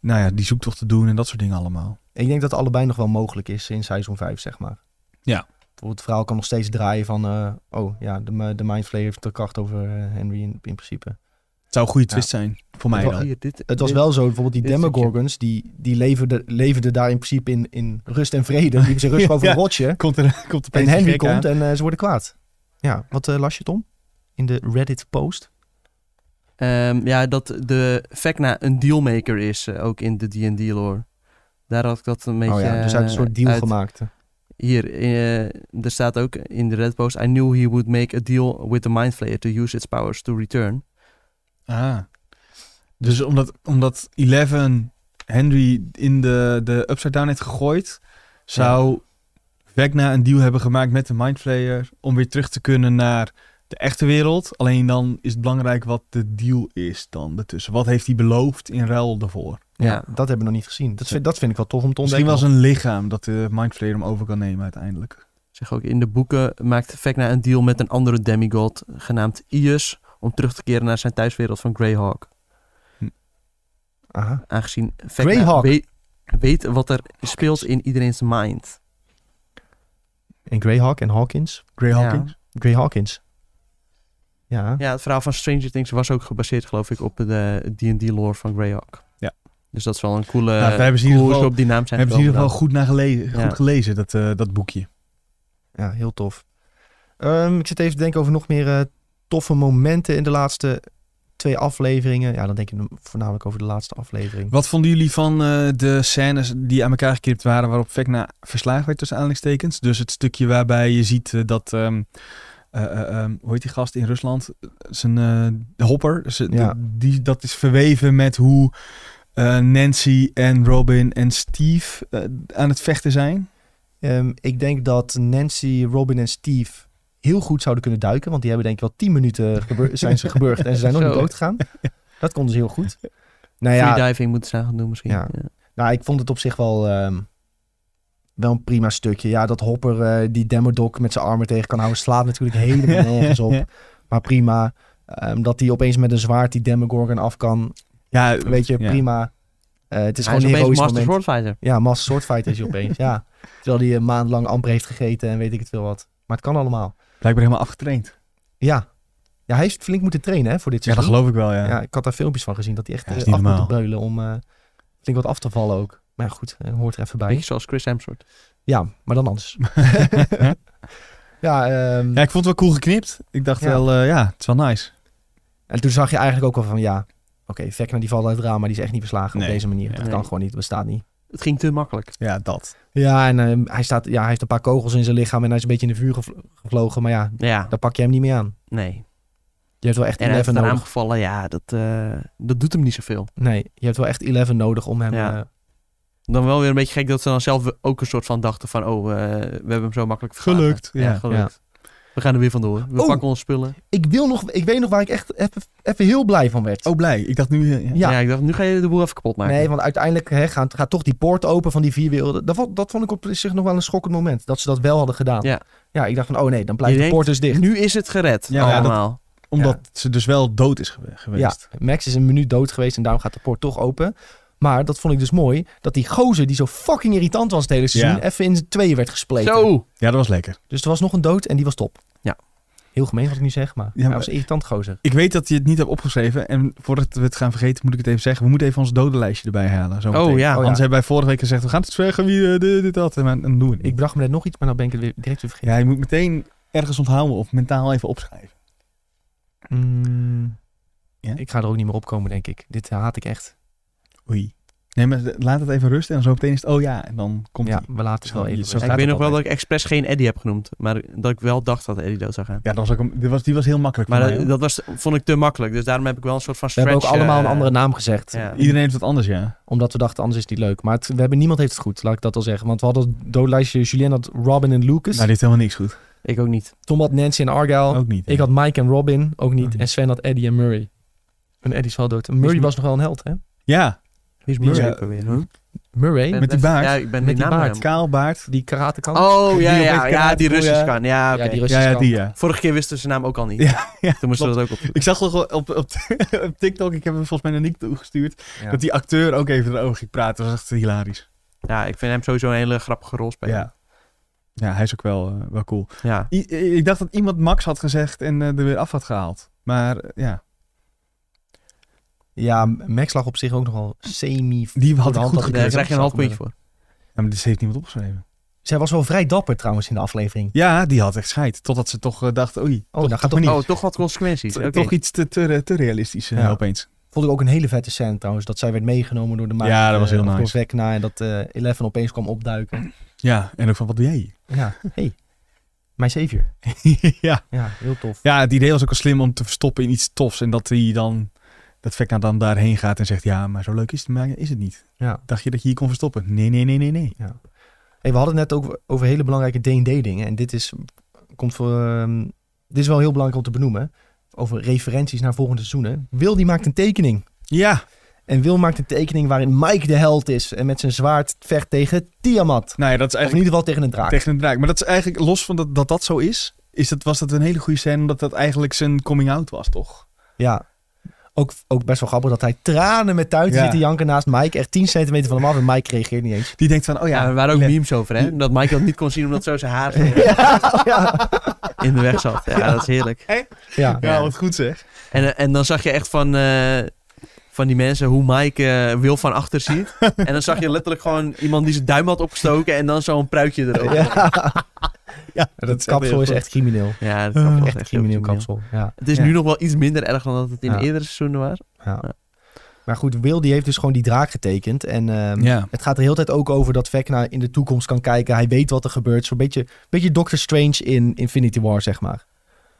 Speaker 2: nou ja, die zoektocht te doen en dat soort dingen allemaal.
Speaker 1: Ik denk dat allebei nog wel mogelijk is in seizoen 5, zeg maar.
Speaker 2: Ja.
Speaker 1: Bijvoorbeeld, het verhaal kan nog steeds draaien van... eh, oh, ja, de, ma- de Mindflayer heeft de kracht over eh, Henry in, in principe.
Speaker 2: Het zou een goede twist zijn, voor mij
Speaker 1: Het
Speaker 2: dan.
Speaker 3: Hier, dit,
Speaker 1: Het was
Speaker 3: dit-
Speaker 1: wel zo, bijvoorbeeld die
Speaker 3: dit stukje.
Speaker 1: Demogorgons... die, die leverden, leverden daar in principe in, in rust en vrede. Die hebben zich rustig over
Speaker 2: Ja.
Speaker 1: een rotje.
Speaker 2: Komt er, komt
Speaker 1: En
Speaker 2: opeens die
Speaker 1: Henry
Speaker 2: gek aan.
Speaker 1: komt en eh, ze worden kwaad. Ja, wat eh, las je, Tom? In de Reddit-post?
Speaker 3: Ehm, ja, dat de Vecna een dealmaker is, eh, ook in de D&D-lore. Daar had ik dat een beetje...
Speaker 1: Oh ja, dus uit een
Speaker 3: eh,
Speaker 1: soort deal
Speaker 3: uit-
Speaker 1: gemaakt.
Speaker 3: Hier, eh, er staat ook in de Reddit-post... I knew he would make a deal with the Mindflayer to use its powers to return.
Speaker 2: Ah. Dus omdat, omdat Eleven Henry in de, de Upside Down heeft gegooid, zou Vecna een deal hebben gemaakt met de Mindflayer om weer terug te kunnen naar de echte wereld. Alleen dan is het belangrijk wat de deal is dan ertussen. Wat heeft hij beloofd in ruil daarvoor?
Speaker 1: Ja,
Speaker 3: Ja.
Speaker 1: dat hebben we nog niet gezien. Dat vind, dat vind ik wel tof om te
Speaker 2: Misschien
Speaker 1: ontdekken.
Speaker 2: wel zijn lichaam dat de Mindflayer hem over kan nemen
Speaker 1: Eh,
Speaker 2: uiteindelijk.
Speaker 3: Zeg ook in de boeken maakt Vecna een deal met een andere demigod genaamd Ius om terug te keren naar zijn thuiswereld van Greyhawk.
Speaker 1: Aha.
Speaker 3: Aangezien Vecna
Speaker 1: Greyhawk?
Speaker 3: weet, weet wat er speelt in iedereen's mind.
Speaker 1: En Greyhawk en Hawkins.
Speaker 2: Grey
Speaker 3: Ja.
Speaker 2: Hawkins?
Speaker 1: Grey Hawkins. Ja.
Speaker 3: Ja, het verhaal van Stranger Things was ook gebaseerd geloof ik op de D&D lore van Greyhawk.
Speaker 2: Ja.
Speaker 3: Dus dat is wel een coole
Speaker 2: Nou, daar hebben ze in ieder
Speaker 3: cool hoe ze
Speaker 2: geval-
Speaker 3: op die naam zijn
Speaker 2: Hebben ze in ieder geval
Speaker 3: gekomen
Speaker 2: goed, naar gelezen,
Speaker 3: Ja.
Speaker 2: goed gelezen, dat, eh, dat boekje.
Speaker 1: Ja, heel tof. Ehm, ik zit even te denken over nog meer eh, toffe momenten in de laatste twee afleveringen. Ja, dan denk ik voornamelijk over de laatste aflevering.
Speaker 2: Wat vonden jullie van eh, de scènes die aan elkaar geknipt waren waarop Vecna verslagen werd tussen aanhalingstekens? Dus het stukje waarbij je ziet eh, dat, ehm, eh, eh, ehm, hoe heet die gast in Rusland? Zijn eh, de hopper, ze-
Speaker 1: Ja.
Speaker 2: de- die, dat is verweven met hoe eh, Nancy en Robin en Steve eh, aan het vechten zijn.
Speaker 1: Ehm, ik denk dat Nancy, Robin en Steve heel goed zouden kunnen duiken. Want die hebben denk ik wel tien minuten gebur- zijn ze geburgd en ze zijn nog niet
Speaker 3: Zo.
Speaker 1: dood gegaan. Dat konden ze heel goed. Nou
Speaker 3: Free
Speaker 1: ja,
Speaker 3: diving moeten ze aan gaan doen misschien.
Speaker 1: Ja. Nou, ik vond het op zich wel, ehm, wel een prima stukje. Ja, dat Hopper eh, die Demodoc met zijn armen tegen kan houden, slaat natuurlijk helemaal nergens op. Maar prima. Ehm, dat hij opeens met een zwaard die Demogorgon af kan.
Speaker 2: Ja,
Speaker 1: Weet je,
Speaker 2: ja.
Speaker 1: prima. Eh, het is
Speaker 3: Hij is
Speaker 1: gewoon een
Speaker 3: opeens
Speaker 1: heroïsch
Speaker 3: Master
Speaker 1: moment.
Speaker 3: Sword Fighter.
Speaker 1: Ja, master swordfight is hij opeens, ja. Terwijl hij een maand lang amper heeft gegeten en weet ik het veel wat. Maar het kan allemaal.
Speaker 2: Blijkbaar helemaal afgetraind.
Speaker 1: Ja. Ja, hij heeft flink moeten trainen hè, voor dit
Speaker 2: Ja, dat
Speaker 1: seizoen.
Speaker 2: geloof ik wel, ja.
Speaker 1: Ja, ik had daar filmpjes van gezien dat hij echt
Speaker 2: Ja,
Speaker 1: eh,
Speaker 2: is
Speaker 1: af
Speaker 2: niet
Speaker 1: moet
Speaker 2: normaal.
Speaker 1: breulen om eh, flink wat af te vallen ook. Maar ja, goed, eh, hoort er even bij.
Speaker 3: Beetje zoals Chris Hemsworth.
Speaker 1: Ja, maar dan anders. ja, ehm,
Speaker 2: Ja, ik vond het wel cool geknipt. Ik dacht
Speaker 1: Ja.
Speaker 2: wel, eh, ja, het is wel nice.
Speaker 1: en toen zag je eigenlijk ook wel van ja, oké, Vecna die valt uit het raam, maar die is echt niet verslagen op
Speaker 2: Nee.
Speaker 1: deze manier. Dat
Speaker 3: Nee.
Speaker 1: kan gewoon niet, dat bestaat niet.
Speaker 3: Het ging te makkelijk.
Speaker 2: Ja, eh, dat.
Speaker 1: Ja, en ehm, hij, staat, ja, hij heeft een paar kogels in zijn lichaam en hij is een beetje in de vuur gevl- gevlogen. Maar ja,
Speaker 3: Ja,
Speaker 1: daar pak je hem niet mee aan.
Speaker 3: nee.
Speaker 1: Je hebt wel echt
Speaker 3: En hij heeft
Speaker 1: 11
Speaker 3: eraan
Speaker 1: nodig.
Speaker 3: gevallen, ja, dat, eh, dat doet hem niet zoveel.
Speaker 1: Nee, je hebt wel echt 11 nodig om hem...
Speaker 3: Ja.
Speaker 1: eh,
Speaker 3: Dan wel weer een beetje gek dat ze dan zelf ook een soort van dachten van... oh, eh, we hebben hem zo makkelijk verslagen.
Speaker 2: Gelukt, ja.
Speaker 3: gelukt. We gaan er weer vandoor. We
Speaker 1: Oh.
Speaker 3: pakken onze spullen.
Speaker 1: ik, wil nog, ik weet nog waar ik echt even, even heel blij van werd.
Speaker 2: Oh, blij. Ik dacht nu... eh, ja.
Speaker 1: Ja.
Speaker 3: Ja. ik dacht, nu ga je de boel even kapot maken.
Speaker 1: Nee, want uiteindelijk hè, gaan, gaat toch die poort open van die vier werelden. Dat, vo- dat vond ik op zich nog wel een schokkend moment. Dat ze dat wel hadden gedaan.
Speaker 3: Ja.
Speaker 1: ja ik dacht van, oh nee, dan blijft
Speaker 3: Je
Speaker 1: de poort dus dicht.
Speaker 3: Nu is het gered,
Speaker 2: Ja,
Speaker 3: ja,
Speaker 2: maar ja,
Speaker 3: allemaal.
Speaker 2: Omdat ze dus wel dood is gewe-
Speaker 1: Ja,
Speaker 2: geweest.
Speaker 1: Max is een minuut dood geweest en daarom gaat de poort toch open. Maar dat vond ik dus mooi. Dat die gozer die zo fucking irritant was het hele seizoen.
Speaker 2: Ja.
Speaker 1: Even in z'n tweeën werd gespleten.
Speaker 3: Zo! Oh,
Speaker 2: Ja, dat was lekker.
Speaker 1: Dus er was nog een dood en die was top.
Speaker 3: Ja.
Speaker 1: Heel gemeen wat ik nu zeg, maar,
Speaker 2: maar-
Speaker 1: hij was een irritant gozer.
Speaker 2: Ik weet dat je het niet hebt opgeschreven. En voordat we het gaan vergeten, moet ik het even zeggen. We moeten even ons dodenlijstje erbij halen. Zo
Speaker 3: Oh
Speaker 2: meteen.
Speaker 3: ja.
Speaker 1: Oh, ja.
Speaker 2: Anders hebben wij vorige week gezegd, we gaan het zeggen wie eh, dit, dit, dat. En dan doen we het niet.
Speaker 1: Ik bracht me net nog iets, maar nou ben ik het weer direct weer vergeten.
Speaker 2: Ja, je moet meteen ergens onthouden of mentaal even opschrijven.
Speaker 1: Mm,
Speaker 2: Ja?
Speaker 1: Ik ga er ook niet meer op komen, denk ik. Dit haat ik echt.
Speaker 2: Oei. Nee, maar laat het even rusten en zo meteen is het, oh ja, en dan komt
Speaker 1: ja,
Speaker 2: die.
Speaker 1: we laten het
Speaker 2: Zo-
Speaker 1: wel even.
Speaker 2: zo
Speaker 1: rusten.
Speaker 2: gaat
Speaker 3: ik weet
Speaker 1: het
Speaker 3: nog wel dat
Speaker 1: altijd.
Speaker 3: ik expres geen Eddie heb genoemd. Maar dat ik wel dacht dat Eddie dood zou gaan.
Speaker 2: Ja, dat was ook een- die, was, die was heel makkelijk
Speaker 3: Maar
Speaker 2: voor
Speaker 3: dat,
Speaker 2: mij,
Speaker 3: dat was, vond ik te makkelijk. Dus daarom heb ik wel een soort van
Speaker 1: We
Speaker 3: stretch.
Speaker 1: hebben ook allemaal een
Speaker 3: eh,
Speaker 1: andere naam gezegd.
Speaker 3: ja.
Speaker 2: hoor. Iedereen heeft wat anders, ja.
Speaker 1: Omdat we dachten, anders is het niet leuk. Maar het, we hebben, niemand heeft het goed, laat ik dat al zeggen. Want we hadden het doodlijstje. Julien had Robin en Lucas.
Speaker 2: Nou, die heeft helemaal niks goed.
Speaker 3: Ik ook niet.
Speaker 1: Tom had Nancy en Argyle.
Speaker 2: Ook niet.
Speaker 1: Oh, Ik
Speaker 2: hè.
Speaker 1: had Mike en Robin, ook niet.
Speaker 2: Ook niet.
Speaker 1: En Sven had Eddie en Murray. En Eddie is wel dood. En Murray
Speaker 3: Is-
Speaker 1: was nog wel een held, hè?
Speaker 2: Ja,
Speaker 3: Wie is
Speaker 1: Wie is
Speaker 3: Murray
Speaker 2: dat?
Speaker 3: ook alweer? Huh?
Speaker 1: Murray,
Speaker 3: Ben-
Speaker 2: Met die baard.
Speaker 3: Ja, ik ben
Speaker 1: Met
Speaker 3: die
Speaker 1: die
Speaker 3: naam
Speaker 1: baard.
Speaker 3: naam.
Speaker 2: kaalbaard.
Speaker 1: die karate kan.
Speaker 3: Oh, ja,
Speaker 2: Die
Speaker 3: ja,
Speaker 2: opeens
Speaker 3: ja,
Speaker 2: kaart
Speaker 3: die
Speaker 2: voor,
Speaker 3: Russisch
Speaker 2: ja.
Speaker 3: kan. Ja, oké.
Speaker 1: Ja, die
Speaker 2: Ja,
Speaker 1: Russische
Speaker 2: ja,
Speaker 1: kant.
Speaker 2: die ja.
Speaker 3: Vorige keer wisten ze de naam ook al niet.
Speaker 2: Ja, ja,
Speaker 3: Toen moesten we dat ook op.
Speaker 2: Ik zag nog wel op, op, op TikTok, ik heb hem volgens mij naar Nick toegestuurd,
Speaker 1: Ja.
Speaker 2: dat die acteur ook even erover ging praten. Dat was echt hilarisch.
Speaker 3: Ja, ik vind hem sowieso een hele grappige rol spelen.
Speaker 2: Ja. Ja, hij is ook wel, eh, wel cool.
Speaker 3: ja.
Speaker 2: I- i- ik dacht dat iemand Max had gezegd en eh, er weer af had gehaald. Maar eh, ja,
Speaker 1: Ja, Max lag op zich ook nogal semi...
Speaker 2: die had ik
Speaker 1: Voorhand dat ik
Speaker 2: goed
Speaker 3: Daar
Speaker 1: dat
Speaker 2: gekregen.
Speaker 3: krijg je een half
Speaker 1: zou
Speaker 3: puntje voor.
Speaker 2: Ja, maar dit heeft niemand opgeschreven.
Speaker 1: Zij was wel vrij dapper trouwens in de aflevering.
Speaker 2: Ja, die had echt scheid. Totdat ze toch eh, dacht, oei,
Speaker 1: Oh, nou gaat
Speaker 2: toch
Speaker 1: toch
Speaker 2: niet.
Speaker 3: Oh, toch wat consequenties.
Speaker 2: t-
Speaker 3: Oké.
Speaker 2: toch iets te, te, te realistisch eh,
Speaker 1: Ja.
Speaker 2: opeens.
Speaker 1: Vond ik ook een hele vette scène trouwens. Dat zij werd meegenomen door de maag.
Speaker 2: Ja, dat was heel
Speaker 1: eh, of
Speaker 2: nice.
Speaker 1: door Vecna en dat eh Eleven opeens kwam opduiken.
Speaker 2: Ja, en ook van, wat doe jij hier?
Speaker 1: Ja, hey, mijn savior.
Speaker 2: ja.
Speaker 1: Ja, heel tof.
Speaker 2: ja, het idee was ook al slim om te verstoppen in iets tofs. En dat hij dan, dat Vecna dan daarheen gaat en zegt, ja, maar zo leuk is het, maar is het niet.
Speaker 1: Ja.
Speaker 2: Dacht je dat je hier kon verstoppen? Nee, nee, nee, nee, nee.
Speaker 1: Hey, we hadden het net ook over hele belangrijke D&D-dingen. En dit is, komt voor, ehm, dit is wel heel belangrijk om te benoemen. Over referenties naar volgende seizoenen. Wil die maakt een tekening.
Speaker 2: Ja,
Speaker 1: En Wil maakt een tekening waarin Mike de held is. En met zijn zwaard vecht tegen Tiamat.
Speaker 2: nou ja, dat is
Speaker 1: Of in
Speaker 2: eigenlijk
Speaker 1: ieder geval tegen een draak.
Speaker 2: tegen een draak. Maar dat is eigenlijk, los van dat dat, dat zo is, is dat, was dat een hele goede scène. Omdat dat eigenlijk zijn coming-out was, toch?
Speaker 1: Ja. Ook, ook best wel grappig dat hij tranen met tuiten
Speaker 2: Ja.
Speaker 1: zit te janken naast Mike. Echt 10 centimeter van hem af en Mike reageert niet eens.
Speaker 2: Die denkt van, oh
Speaker 3: Ja,
Speaker 2: ja,
Speaker 3: er waren ook
Speaker 2: Let-
Speaker 3: memes over, hè? Dat Mike dat niet kon zien omdat zo zijn haar zo
Speaker 1: Ja, ja.
Speaker 3: in de weg zat. Ja, dat is heerlijk.
Speaker 1: ja.
Speaker 2: ja, wat goed zeg.
Speaker 3: En, eh, en dan zag je echt van, eh, van die mensen hoe Mike eh, Wil van achter ziet. En dan zag je letterlijk gewoon iemand die zijn duim had opgestoken en dan zo'n pruikje erover. Ja,
Speaker 2: Ja,
Speaker 1: Dat kapsel is echt crimineel.
Speaker 3: dat
Speaker 2: Oh,
Speaker 3: kan wel
Speaker 1: Echt crimineel
Speaker 3: heel
Speaker 1: kapsel. Ja.
Speaker 3: Het is
Speaker 2: Ja.
Speaker 3: nu nog wel iets minder erg dan dat het in
Speaker 1: Ja.
Speaker 3: eerdere seizoenen was.
Speaker 1: Ja.
Speaker 3: Ja.
Speaker 1: Maar goed, Will die heeft dus gewoon die draak getekend. En ehm,
Speaker 2: Ja.
Speaker 1: het gaat er heel de tijd ook over dat Vecna in de toekomst kan kijken. Hij weet wat er gebeurt. Zo'n beetje, beetje Doctor Strange in Infinity War, zeg maar.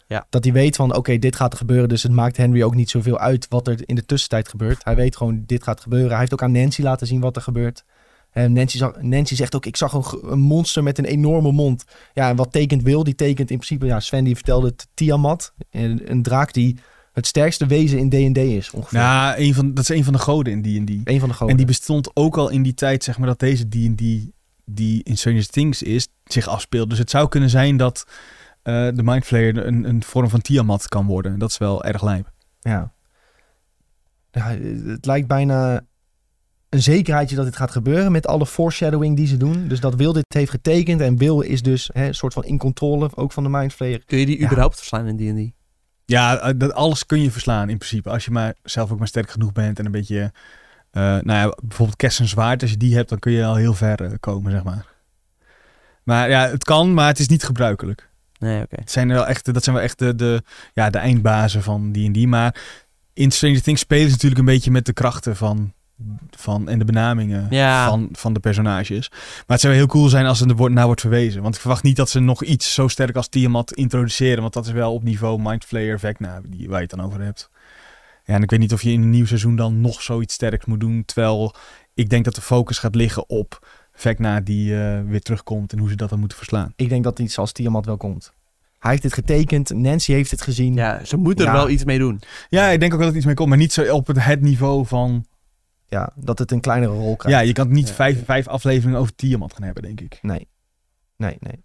Speaker 3: Ja.
Speaker 1: Dat hij weet van, oké, dit gaat er gebeuren. Dus het maakt Henry ook niet zoveel uit wat er in de tussentijd gebeurt. Hij weet gewoon, dit gaat gebeuren. Hij heeft ook aan Nancy laten zien wat er gebeurt. En Nancy, zag- Nancy zegt ook, ik zag een, g- een monster met een enorme mond. Ja, en wat tekent Will? Die tekent in principe, ja, Sven die vertelde het, Tiamat. Een, een draak die het sterkste wezen in D&D is, ongeveer.
Speaker 2: Nou, een van, dat is een van de goden in die en die.
Speaker 1: Een van de goden.
Speaker 2: En die bestond ook al in die tijd, zeg maar, dat deze D&D die in Stranger Things is, zich afspeelt. Dus het zou kunnen zijn dat eh, de Mind Flayer een, een vorm van Tiamat kan worden. Dat is wel erg lijp.
Speaker 1: Ja. ja. Het lijkt bijna een zekerheidje dat dit gaat gebeuren met alle foreshadowing die ze doen. Dus dat Wil dit heeft getekend en Wil is dus hè, een soort van in controle ook van de Mindflayer.
Speaker 3: Kun je die
Speaker 1: Ja.
Speaker 3: überhaupt verslaan in D&D?
Speaker 2: Ja, eh, dat, alles kun je verslaan in principe. Als je maar zelf ook maar sterk genoeg bent en een beetje... eh, nou ja, bijvoorbeeld Kerst en Zwaard. Als je die hebt, dan kun je al heel ver eh, komen, zeg maar. Maar ja, het kan, maar het is niet gebruikelijk.
Speaker 3: Nee, oké.
Speaker 2: Het zijn wel echt, dat zijn wel echt de, de, ja, de eindbazen van die en die. Maar in Stranger Things spelen ze natuurlijk een beetje met de krachten van, van en de benamingen
Speaker 3: Ja.
Speaker 2: van, van de personages. Maar het zou wel heel cool zijn als er wordt- naar wordt verwezen. Want ik verwacht niet dat ze nog iets zo sterk als Tiamat introduceren. Want dat is wel op niveau Mindflayer, Vecna, die, waar je het dan over hebt. Ja, en ik weet niet of je in een nieuw seizoen dan nog zoiets sterks moet doen. Terwijl ik denk dat de focus gaat liggen op Vecna die eh, weer terugkomt en hoe ze dat dan moeten verslaan.
Speaker 1: Ik denk dat iets als Tiamat wel komt. Hij heeft dit getekend, Nancy heeft het gezien.
Speaker 3: Ja,
Speaker 2: Mm.
Speaker 3: ze moeten er
Speaker 1: Ja.
Speaker 3: wel iets mee doen.
Speaker 2: Ja, ik denk ook dat het iets mee komt, maar niet zo op het, het niveau van...
Speaker 1: Ja, dat het een kleinere rol krijgt.
Speaker 2: Ja, je kan niet
Speaker 3: Ja.
Speaker 2: vijf, vijf afleveringen over Tiamat gaan hebben, denk ik.
Speaker 1: Nee, nee, nee.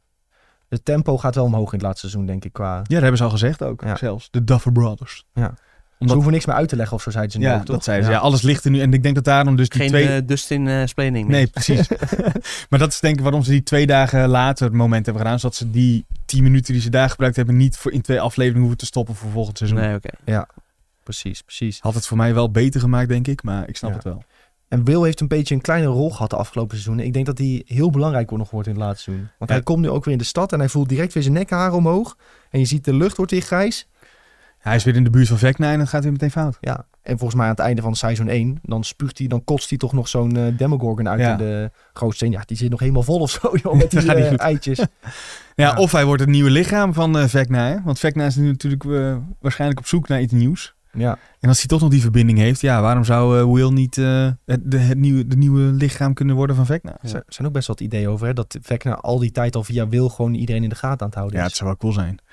Speaker 1: Het tempo gaat wel omhoog in het laatste seizoen, denk ik. Qua...
Speaker 2: Ja, dat hebben ze al gezegd ook,
Speaker 1: Ja.
Speaker 2: zelfs. De Duffer Brothers.
Speaker 1: Ze hoeven niks meer uit te leggen of zo zeiden ze nu
Speaker 2: ja,
Speaker 1: ook, toch?
Speaker 2: dat zeiden ze. Ja, alles ligt er nu. En ik denk dat daarom dus die
Speaker 3: Geen
Speaker 2: twee...
Speaker 3: eh, Dustin eh Splaning meer.
Speaker 2: nee, precies. maar dat is denk ik waarom ze die twee dagen later moment hebben gedaan. Zodat ze die tien minuten die ze daar gebruikt hebben... niet voor in twee afleveringen hoeven te stoppen voor volgend seizoen.
Speaker 3: Nee, oké.
Speaker 1: Precies, precies.
Speaker 2: Had het voor mij wel beter gemaakt, denk ik. Maar ik snap
Speaker 1: Ja.
Speaker 2: het wel.
Speaker 1: En Will heeft een beetje een kleine rol gehad de afgelopen seizoenen. Ik denk dat hij heel belangrijk wordt nog wordt in het laatste seizoen. Want
Speaker 2: Ja.
Speaker 1: hij komt nu ook weer in de stad en hij voelt direct weer zijn nekhaar omhoog. En je ziet de lucht wordt weer grijs.
Speaker 2: Hij is weer in de buurt van Vecna en het gaat weer meteen fout.
Speaker 1: Ja. En volgens mij aan het einde van seizoen 1, dan spuugt hij, dan kotst hij toch nog zo'n eh, Demogorgon uit
Speaker 2: Ja.
Speaker 1: in de gootsteen. Ja, die zit nog helemaal vol of zo, joh, met
Speaker 2: Dat
Speaker 1: die
Speaker 2: gaat niet
Speaker 1: eh,
Speaker 2: goed.
Speaker 1: eitjes.
Speaker 2: Ja,
Speaker 1: Ja.
Speaker 2: Of hij wordt het nieuwe lichaam van eh, Vecna. Hè? Want Vecna is nu natuurlijk eh, waarschijnlijk op zoek naar iets nieuws.
Speaker 1: Ja.
Speaker 2: En als hij toch nog die verbinding heeft, ja, waarom zou eh, Will niet eh, het, de, het nieuwe, de nieuwe lichaam kunnen worden van Vecna?
Speaker 1: Er zijn- zijn ook best wel wat ideeën over, hè? Dat Vecna al die tijd al via Will gewoon iedereen in de gaten aan het houden
Speaker 2: Ja,
Speaker 1: is.
Speaker 2: het zou wel cool zijn. Dus-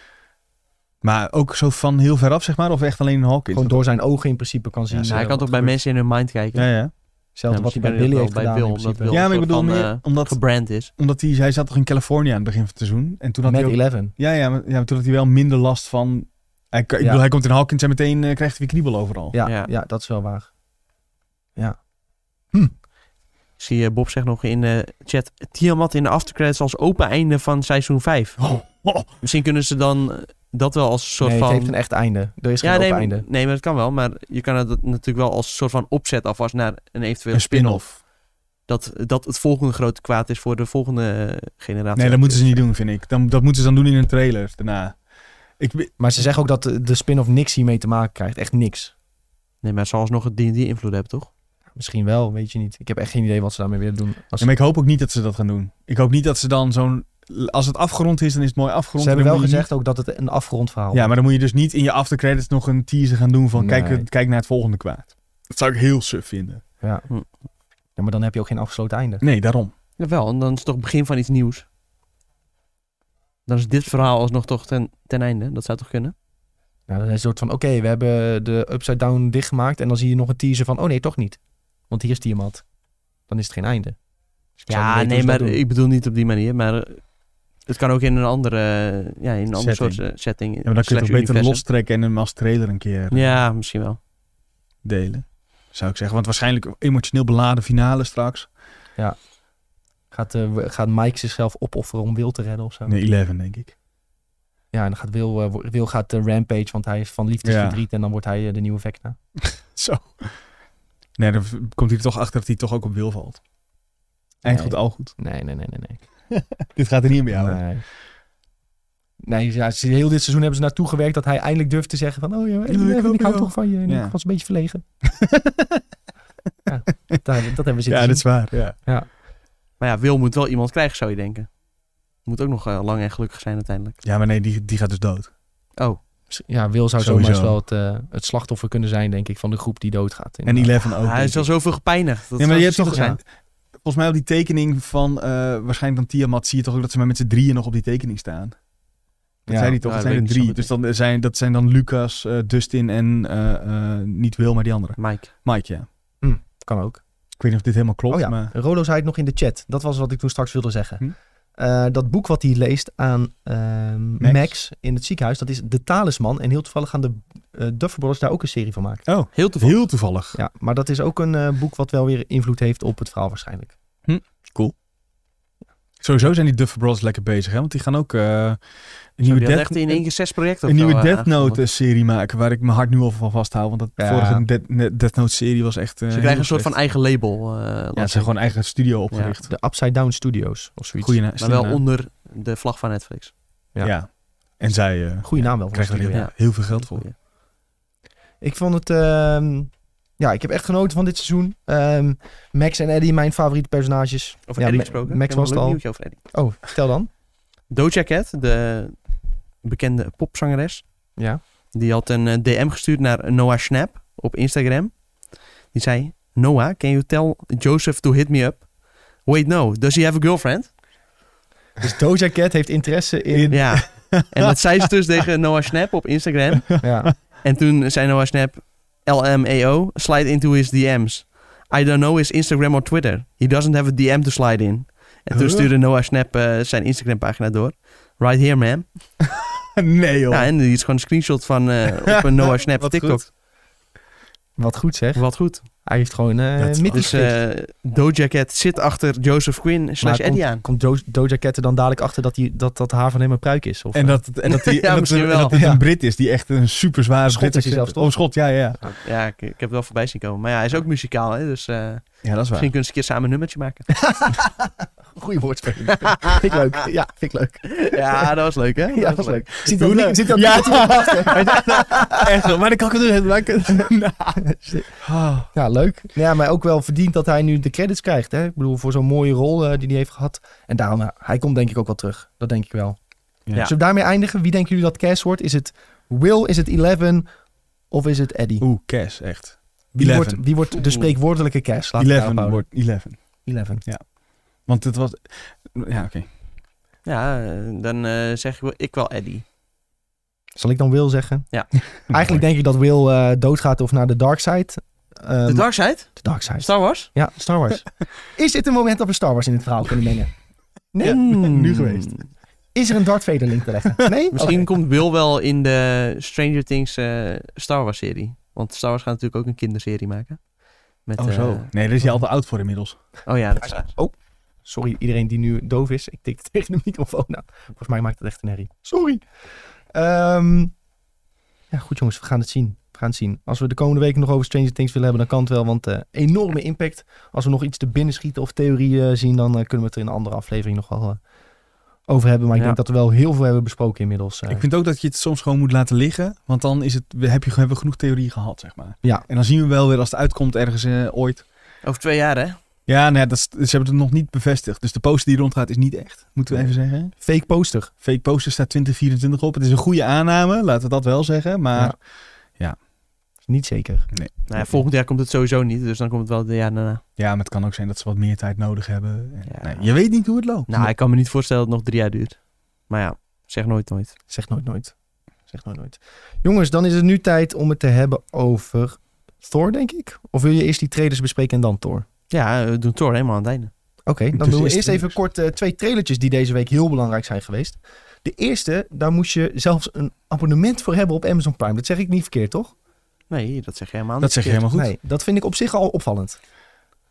Speaker 2: Maar ook zo van heel veraf, zeg maar, of echt alleen een Hawkins?
Speaker 1: Gewoon door zijn ogen in principe kan zien.
Speaker 2: Ja,
Speaker 1: eh,
Speaker 3: Maar Nou, hij
Speaker 1: wat
Speaker 3: kan toch bij
Speaker 1: gebeurt.
Speaker 3: mensen in hun mind kijken.
Speaker 2: Ja, ja.
Speaker 1: Hetzelfde
Speaker 3: Ja,
Speaker 1: wat hij
Speaker 3: misschien
Speaker 1: bij
Speaker 3: ben je
Speaker 1: Willy
Speaker 3: wel
Speaker 1: heeft
Speaker 3: bij
Speaker 1: gedaan in
Speaker 3: Bill, omdat
Speaker 1: principe.
Speaker 3: Bill-
Speaker 2: ja, maar ik
Speaker 3: soort
Speaker 2: bedoel
Speaker 3: van,
Speaker 2: meer
Speaker 3: eh,
Speaker 2: omdat,
Speaker 3: Gebrand is.
Speaker 2: omdat hij, hij zat toch in Californië aan het begin van het seizoen. En toen had
Speaker 1: Met
Speaker 2: hij ook-
Speaker 1: 11.
Speaker 2: ja, ja, maar, ja, maar toen had hij wel minder last van... Hij, ik
Speaker 1: Ja.
Speaker 2: bedoel, hij komt in Hawkins en meteen eh, krijgt hij weer kriebel overal.
Speaker 1: Ja, ja.
Speaker 3: Ja.
Speaker 1: dat is wel waar.
Speaker 3: Ik zie eh, Bob zegt nog in de chat... Tiamat in de aftercredits als open einde van seizoen 5.
Speaker 2: Oh, oh.
Speaker 3: Misschien kunnen ze dan eh, dat wel als een soort
Speaker 1: nee,
Speaker 3: van...
Speaker 1: het heeft een echt einde. Er is geen
Speaker 3: nee,
Speaker 1: open
Speaker 3: maar-
Speaker 1: einde.
Speaker 3: nee, maar dat kan wel. Maar je kan het natuurlijk wel als soort van opzet alvast naar een eventuele
Speaker 2: Een
Speaker 3: spin-off.
Speaker 2: spin-off.
Speaker 3: Dat, dat het volgende grote kwaad is voor de volgende eh, generatie.
Speaker 2: Nee, dat moeten ze niet doen, vind ik. Dan, dat moeten ze dan doen in een trailer daarna. Ik, we-
Speaker 1: Maar ze zeggen ook dat de, de spin-off niks hiermee te maken krijgt. Echt niks.
Speaker 3: Nee, maar het zal alsnog een D&D-invloed hebben, toch?
Speaker 1: Misschien wel, weet je niet. Ik heb echt geen idee wat ze daarmee willen doen. Als,
Speaker 2: ja, maar ik hoop ook niet dat ze dat gaan doen. Ik hoop niet dat ze dan zo'n... Als het afgerond is, dan is het mooi afgerond.
Speaker 1: ze hebben
Speaker 2: en
Speaker 1: wel
Speaker 2: dan moet je
Speaker 1: gezegd ook dat het een afgerond verhaal
Speaker 2: niet- ja, maar dan moet je dus niet in je aftercredits nog een teaser gaan doen van...
Speaker 1: Nee.
Speaker 2: Kijk, kijk naar het volgende kwaad. Dat zou ik heel suf vinden.
Speaker 1: is. Ja, maar dan heb je ook geen afgesloten einde.
Speaker 2: Nee, daarom.
Speaker 3: Jawel, en dan is het toch het begin van iets nieuws. Dan is dit verhaal alsnog toch ten, ten einde. Dat zou toch kunnen?
Speaker 1: Nou, dan is het soort van, oké, we hebben de upside down dichtgemaakt. En dan zie je nog een teaser van, oh nee, toch niet. Want hier is Tiamat. Dan is het geen einde. Dus ik zou
Speaker 3: Ja,
Speaker 1: niet weten hoe
Speaker 3: nee,
Speaker 1: ze dat
Speaker 3: maar
Speaker 1: doen.
Speaker 3: ik bedoel niet op die manier. Maar eh, het kan ook in een andere, eh, ja, in een ander
Speaker 2: Setting.
Speaker 3: soort eh, setting.
Speaker 2: Ja, maar dan kun je het
Speaker 3: slash
Speaker 2: ook beter
Speaker 3: universum.
Speaker 2: lostrekken en hem als trailer een keer
Speaker 3: Ja, misschien wel.
Speaker 2: delen. Zou ik zeggen. Want waarschijnlijk een emotioneel beladen finale straks.
Speaker 1: Gaat, eh, w- gaat Mike zichzelf opofferen om Will te redden of zo?
Speaker 2: Nee, 11 denk ik.
Speaker 1: Ja, en dan gaat Will, eh, wo- Will gaat de rampage, want hij is van liefdesverdriet. En dan wordt hij eh, de nieuwe Vecna.
Speaker 2: Zo. Nee, dan v- komt hij er toch achter dat hij toch ook op wil valt. Eind
Speaker 1: Nee.
Speaker 2: goed, al goed.
Speaker 1: Nee, nee, nee, nee. nee.
Speaker 2: Dit gaat er niet bij jou. hè?
Speaker 1: nee. Nee, ja, ze- heel dit seizoen hebben ze naartoe gewerkt dat hij eindelijk durft te zeggen van... Oh ja, ik,
Speaker 2: ik
Speaker 1: ik,
Speaker 2: ook
Speaker 1: hou
Speaker 2: wel.
Speaker 1: toch van je. En
Speaker 2: Ja.
Speaker 1: ik was een beetje verlegen. ja, dat, dat hebben we zitten
Speaker 2: Ja,
Speaker 1: zien.
Speaker 2: dat is waar. Ja.
Speaker 3: Maar ja, Wil moet wel iemand krijgen, zou je denken. Moet ook nog eh, lang en gelukkig zijn uiteindelijk.
Speaker 2: ja, maar nee, die, die gaat dus dood.
Speaker 3: Oh,
Speaker 1: Ja, Will zou
Speaker 2: Sowieso.
Speaker 1: zomaar eens wel het, eh, het slachtoffer kunnen zijn, denk ik, van de groep die doodgaat.
Speaker 2: En 11 ook.
Speaker 3: hij
Speaker 2: denk
Speaker 3: is al
Speaker 2: ik.
Speaker 3: zoveel gepijnigd.
Speaker 2: Nee,
Speaker 3: Dat
Speaker 2: maar
Speaker 3: zou
Speaker 2: je hebt
Speaker 3: zielig
Speaker 2: toch
Speaker 3: zijn.
Speaker 2: Volgens mij op die tekening van eh, waarschijnlijk dan Tiamat zie je toch ook dat ze maar met z'n drieën nog op die tekening staan. Dat
Speaker 1: Ja.
Speaker 2: zijn die toch?
Speaker 3: Ja,
Speaker 2: dat
Speaker 3: dat
Speaker 2: zijn er
Speaker 3: weet ik
Speaker 2: drie.
Speaker 3: niet
Speaker 2: Dus
Speaker 3: zo
Speaker 2: dan zijn, dat zijn dan Lucas, eh, Dustin en eh, eh, niet Wil, maar die andere.
Speaker 3: Mike.
Speaker 2: Mike, ja.
Speaker 1: Kan ook.
Speaker 2: Ik weet niet of dit helemaal klopt,
Speaker 1: oh ja,
Speaker 2: maar...
Speaker 1: Rolo zei het nog in de chat. Dat was wat ik toen straks wilde zeggen.
Speaker 2: Hm?
Speaker 1: Eh, dat boek wat hij leest aan ehm, Max.
Speaker 2: Max.
Speaker 1: in het ziekenhuis, dat is De Talisman. En heel toevallig gaan de eh Duffer Brothers daar ook een serie van maken.
Speaker 2: Oh,
Speaker 3: Heel toevallig.
Speaker 2: heel toevallig.
Speaker 1: Ja, maar dat is ook een eh, boek wat wel weer invloed heeft op het verhaal waarschijnlijk.
Speaker 2: Sowieso zijn die Duffer Bros lekker bezig, hè? Want die gaan ook eh, een
Speaker 3: Zo,
Speaker 2: nieuwe
Speaker 3: die had
Speaker 2: Death,
Speaker 3: echt in één keer zes projecten
Speaker 2: een
Speaker 3: of zo,
Speaker 2: nieuwe
Speaker 3: eh,
Speaker 2: Death
Speaker 3: aangekondigd.
Speaker 2: Note-serie maken. Waar ik mijn hart nu al van vasthoud. Want dat
Speaker 1: Ja.
Speaker 2: vorige Death, Death Note-serie was echt... eh,
Speaker 3: Ze
Speaker 2: heel
Speaker 3: krijgen een soort
Speaker 2: slecht.
Speaker 3: van eigen label. eh,
Speaker 2: Ja,
Speaker 3: laat
Speaker 2: ze zijn
Speaker 3: zien.
Speaker 2: gewoon eigen studio opgericht.
Speaker 1: De Upside Down Studios of zoiets.
Speaker 2: Goeie na-
Speaker 3: maar
Speaker 2: slimme
Speaker 3: wel
Speaker 2: naam.
Speaker 3: onder de vlag van Netflix.
Speaker 1: ja.
Speaker 2: Ja. En zij eh
Speaker 1: Goeie naam wel. voor
Speaker 2: krijgen
Speaker 1: een
Speaker 2: er heel,
Speaker 1: studio.
Speaker 3: ja.
Speaker 2: heel veel geld voor.
Speaker 3: Goeie.
Speaker 1: Ik vond het... ehm, ja, ik heb echt genoten van dit seizoen. Ehm, Max en Eddie, mijn favoriete personages.
Speaker 3: Over
Speaker 1: ja,
Speaker 3: Eddie
Speaker 1: Ma-
Speaker 3: gesproken.
Speaker 1: Max
Speaker 3: Ik heb
Speaker 1: was het
Speaker 3: een leuk
Speaker 1: al.
Speaker 3: nieuwtje over Eddie.
Speaker 1: Oh, vertel dan.
Speaker 3: Doja Cat, de bekende popzangeres.
Speaker 1: Ja.
Speaker 3: Die had een eh, DM gestuurd naar Noah Snap op Instagram. Die zei... Noah, can you tell Joseph to hit me up? Wait, no. Does he have a girlfriend?
Speaker 1: Dus Doja Cat heeft interesse in...
Speaker 3: Ja. en dat zei ze dus tegen Noah Snap op Instagram.
Speaker 1: ja.
Speaker 3: En toen zei Noah Snap... LMAO, slide into his DM's. I don't know his Instagram or Twitter. He doesn't have a DM to slide in. En toen
Speaker 2: Huh?
Speaker 3: stuurde Noah Snap eh, zijn Instagram pagina door. Right here, man.
Speaker 2: nee, joh.
Speaker 3: Ja, en die is gewoon een screenshot van eh, op een Noah Snap
Speaker 2: Wat
Speaker 3: TikTok.
Speaker 2: goed.
Speaker 1: Wat goed zeg.
Speaker 3: Wat goed.
Speaker 1: Hij heeft gewoon eh
Speaker 2: Dat is
Speaker 1: Mickey
Speaker 3: Dus
Speaker 1: gefixt.
Speaker 3: eh Doja Cat zit achter Joseph Quinn slash
Speaker 1: Maar komt-
Speaker 3: Eddie aan.
Speaker 1: Komt Do Doja Cat er dan dadelijk achter dat, die, dat, dat haar van hem een pruik is? Of,
Speaker 2: En
Speaker 1: eh,
Speaker 2: dat, en dat, die,
Speaker 3: Ja,
Speaker 2: en dat,
Speaker 3: misschien
Speaker 2: en
Speaker 3: wel.
Speaker 2: dat het
Speaker 1: Ja.
Speaker 2: een Brit is die echt een super zware
Speaker 1: Schot is hij zelfs, toch?
Speaker 2: Oh, schot, ja, ja.
Speaker 3: Ja, ik, ik heb het wel voorbij zien komen. Maar ja, hij is ook muzikaal, hè? dus eh,
Speaker 2: Ja, dat is waar.
Speaker 3: misschien kunnen ze een keer samen een nummertje maken.
Speaker 1: Goeie woordspeling. vind ik leuk. Ja, vind ik leuk.
Speaker 3: ja, dat was leuk, hè?
Speaker 1: Ja, dat is leuk. Zit
Speaker 2: Hoe
Speaker 1: dat,
Speaker 2: leuk.
Speaker 1: zit dat
Speaker 2: Ja.
Speaker 1: niet te wachten?
Speaker 2: Echt, maar dan kan ik het doen.
Speaker 1: Nou.
Speaker 2: Ah,
Speaker 1: Ja, leuk. Ja, maar ook wel verdiend dat hij nu de credits krijgt. Hè? Ik bedoel, voor zo'n mooie rol eh, die hij heeft gehad. En daarom, eh, hij komt denk ik ook wel terug. Dat denk ik wel.
Speaker 2: Ja.
Speaker 1: Zullen we daarmee eindigen? Wie denken jullie dat Cass wordt? Is het Will, is het Eleven of is het Eddie?
Speaker 2: Oeh, Cass, echt.
Speaker 1: Wie wordt,
Speaker 2: 11.
Speaker 1: wie wordt de
Speaker 3: Oeh.
Speaker 1: spreekwoordelijke Cass? Laat
Speaker 2: 11 wordt 11.
Speaker 1: 11.
Speaker 2: Want het was... Ja, oké.
Speaker 3: Ja, eh, dan eh, zeg ik wel, ik wel Eddie.
Speaker 1: Zal ik dan Will zeggen?
Speaker 3: Ja.
Speaker 1: Eigenlijk denk ik dat Will eh, doodgaat of naar de dark side. Ehm,
Speaker 3: De Dark Side?
Speaker 1: de dark side.
Speaker 3: Star Wars?
Speaker 1: ja, Star Wars. is dit een moment dat we Star Wars in het verhaal kunnen mengen? Nee.
Speaker 2: Ja,
Speaker 3: Hmm.
Speaker 2: nu geweest.
Speaker 1: Is er een Darth Vader link te leggen? Nee?
Speaker 3: Misschien
Speaker 1: Oké.
Speaker 3: komt Will wel in de Stranger Things eh, Star Wars serie. Want Star Wars gaat natuurlijk ook een kinderserie maken. Met,
Speaker 2: Oh, zo.
Speaker 3: eh,
Speaker 2: Nee, daar is hij al te oud voor inmiddels.
Speaker 3: oh ja, dat is waar.
Speaker 1: Sorry, iedereen die nu doof is. Ik tik tegen de microfoon aan. Volgens mij maakt het echt een herrie. Sorry. Ehm, ja, goed jongens. We gaan het zien. We gaan het zien. Als we de komende weken nog over Stranger Things willen hebben, dan kan het wel. Want eh, enorme impact. Als we nog iets te binnen schieten of theorieën zien, dan eh, kunnen we het er in een andere aflevering nog wel eh, over hebben. Maar ik
Speaker 3: Ja.
Speaker 1: denk dat we wel heel veel hebben besproken inmiddels. eh.
Speaker 2: Ik vind ook dat je het soms gewoon moet laten liggen. Want dan is het, heb je, hebben we genoeg theorie gehad, zeg maar.
Speaker 1: Ja.
Speaker 2: En dan zien we wel weer als het uitkomt ergens eh, ooit.
Speaker 3: Over twee jaar, hè?
Speaker 2: Ja, nou ja, dat, is- ze hebben het nog niet bevestigd. Dus de poster die rondgaat is niet echt, moeten we even zeggen.
Speaker 1: Fake poster.
Speaker 2: Fake poster staat 2024 op. Het is een goede aanname, laten we dat wel zeggen. Maar
Speaker 1: Ja. Niet zeker.
Speaker 3: Nou ja, volgend jaar komt het sowieso niet, dus dan komt het wel het jaar daarna.
Speaker 2: Ja, maar het kan ook zijn dat ze wat meer tijd nodig hebben. En,
Speaker 3: Ja.
Speaker 2: nee, je weet niet hoe het loopt.
Speaker 3: Nou, ik kan me niet voorstellen dat het nog drie jaar duurt. Maar ja, zeg nooit nooit.
Speaker 1: Zeg nooit nooit. Zeg nooit nooit. Jongens, dan is het nu tijd om het te hebben over Thor, denk ik. Of wil je eerst die trailers bespreken en dan Thor?
Speaker 3: Ja, we doen Thor helemaal aan het einde.
Speaker 1: Oké, dan
Speaker 2: Dus
Speaker 1: doen we
Speaker 2: eerst
Speaker 1: eerst even
Speaker 2: trailers.
Speaker 1: kort eh, twee trailertjes die deze week heel belangrijk zijn geweest. De eerste, daar moest je zelfs een abonnement voor hebben op Amazon Prime. Dat zeg ik niet verkeerd, toch?
Speaker 3: Nee, dat zeg je helemaal
Speaker 2: dat
Speaker 3: niet
Speaker 2: zeg je
Speaker 3: verkeerd.
Speaker 2: helemaal goed.
Speaker 1: Nee, dat vind ik op zich al opvallend.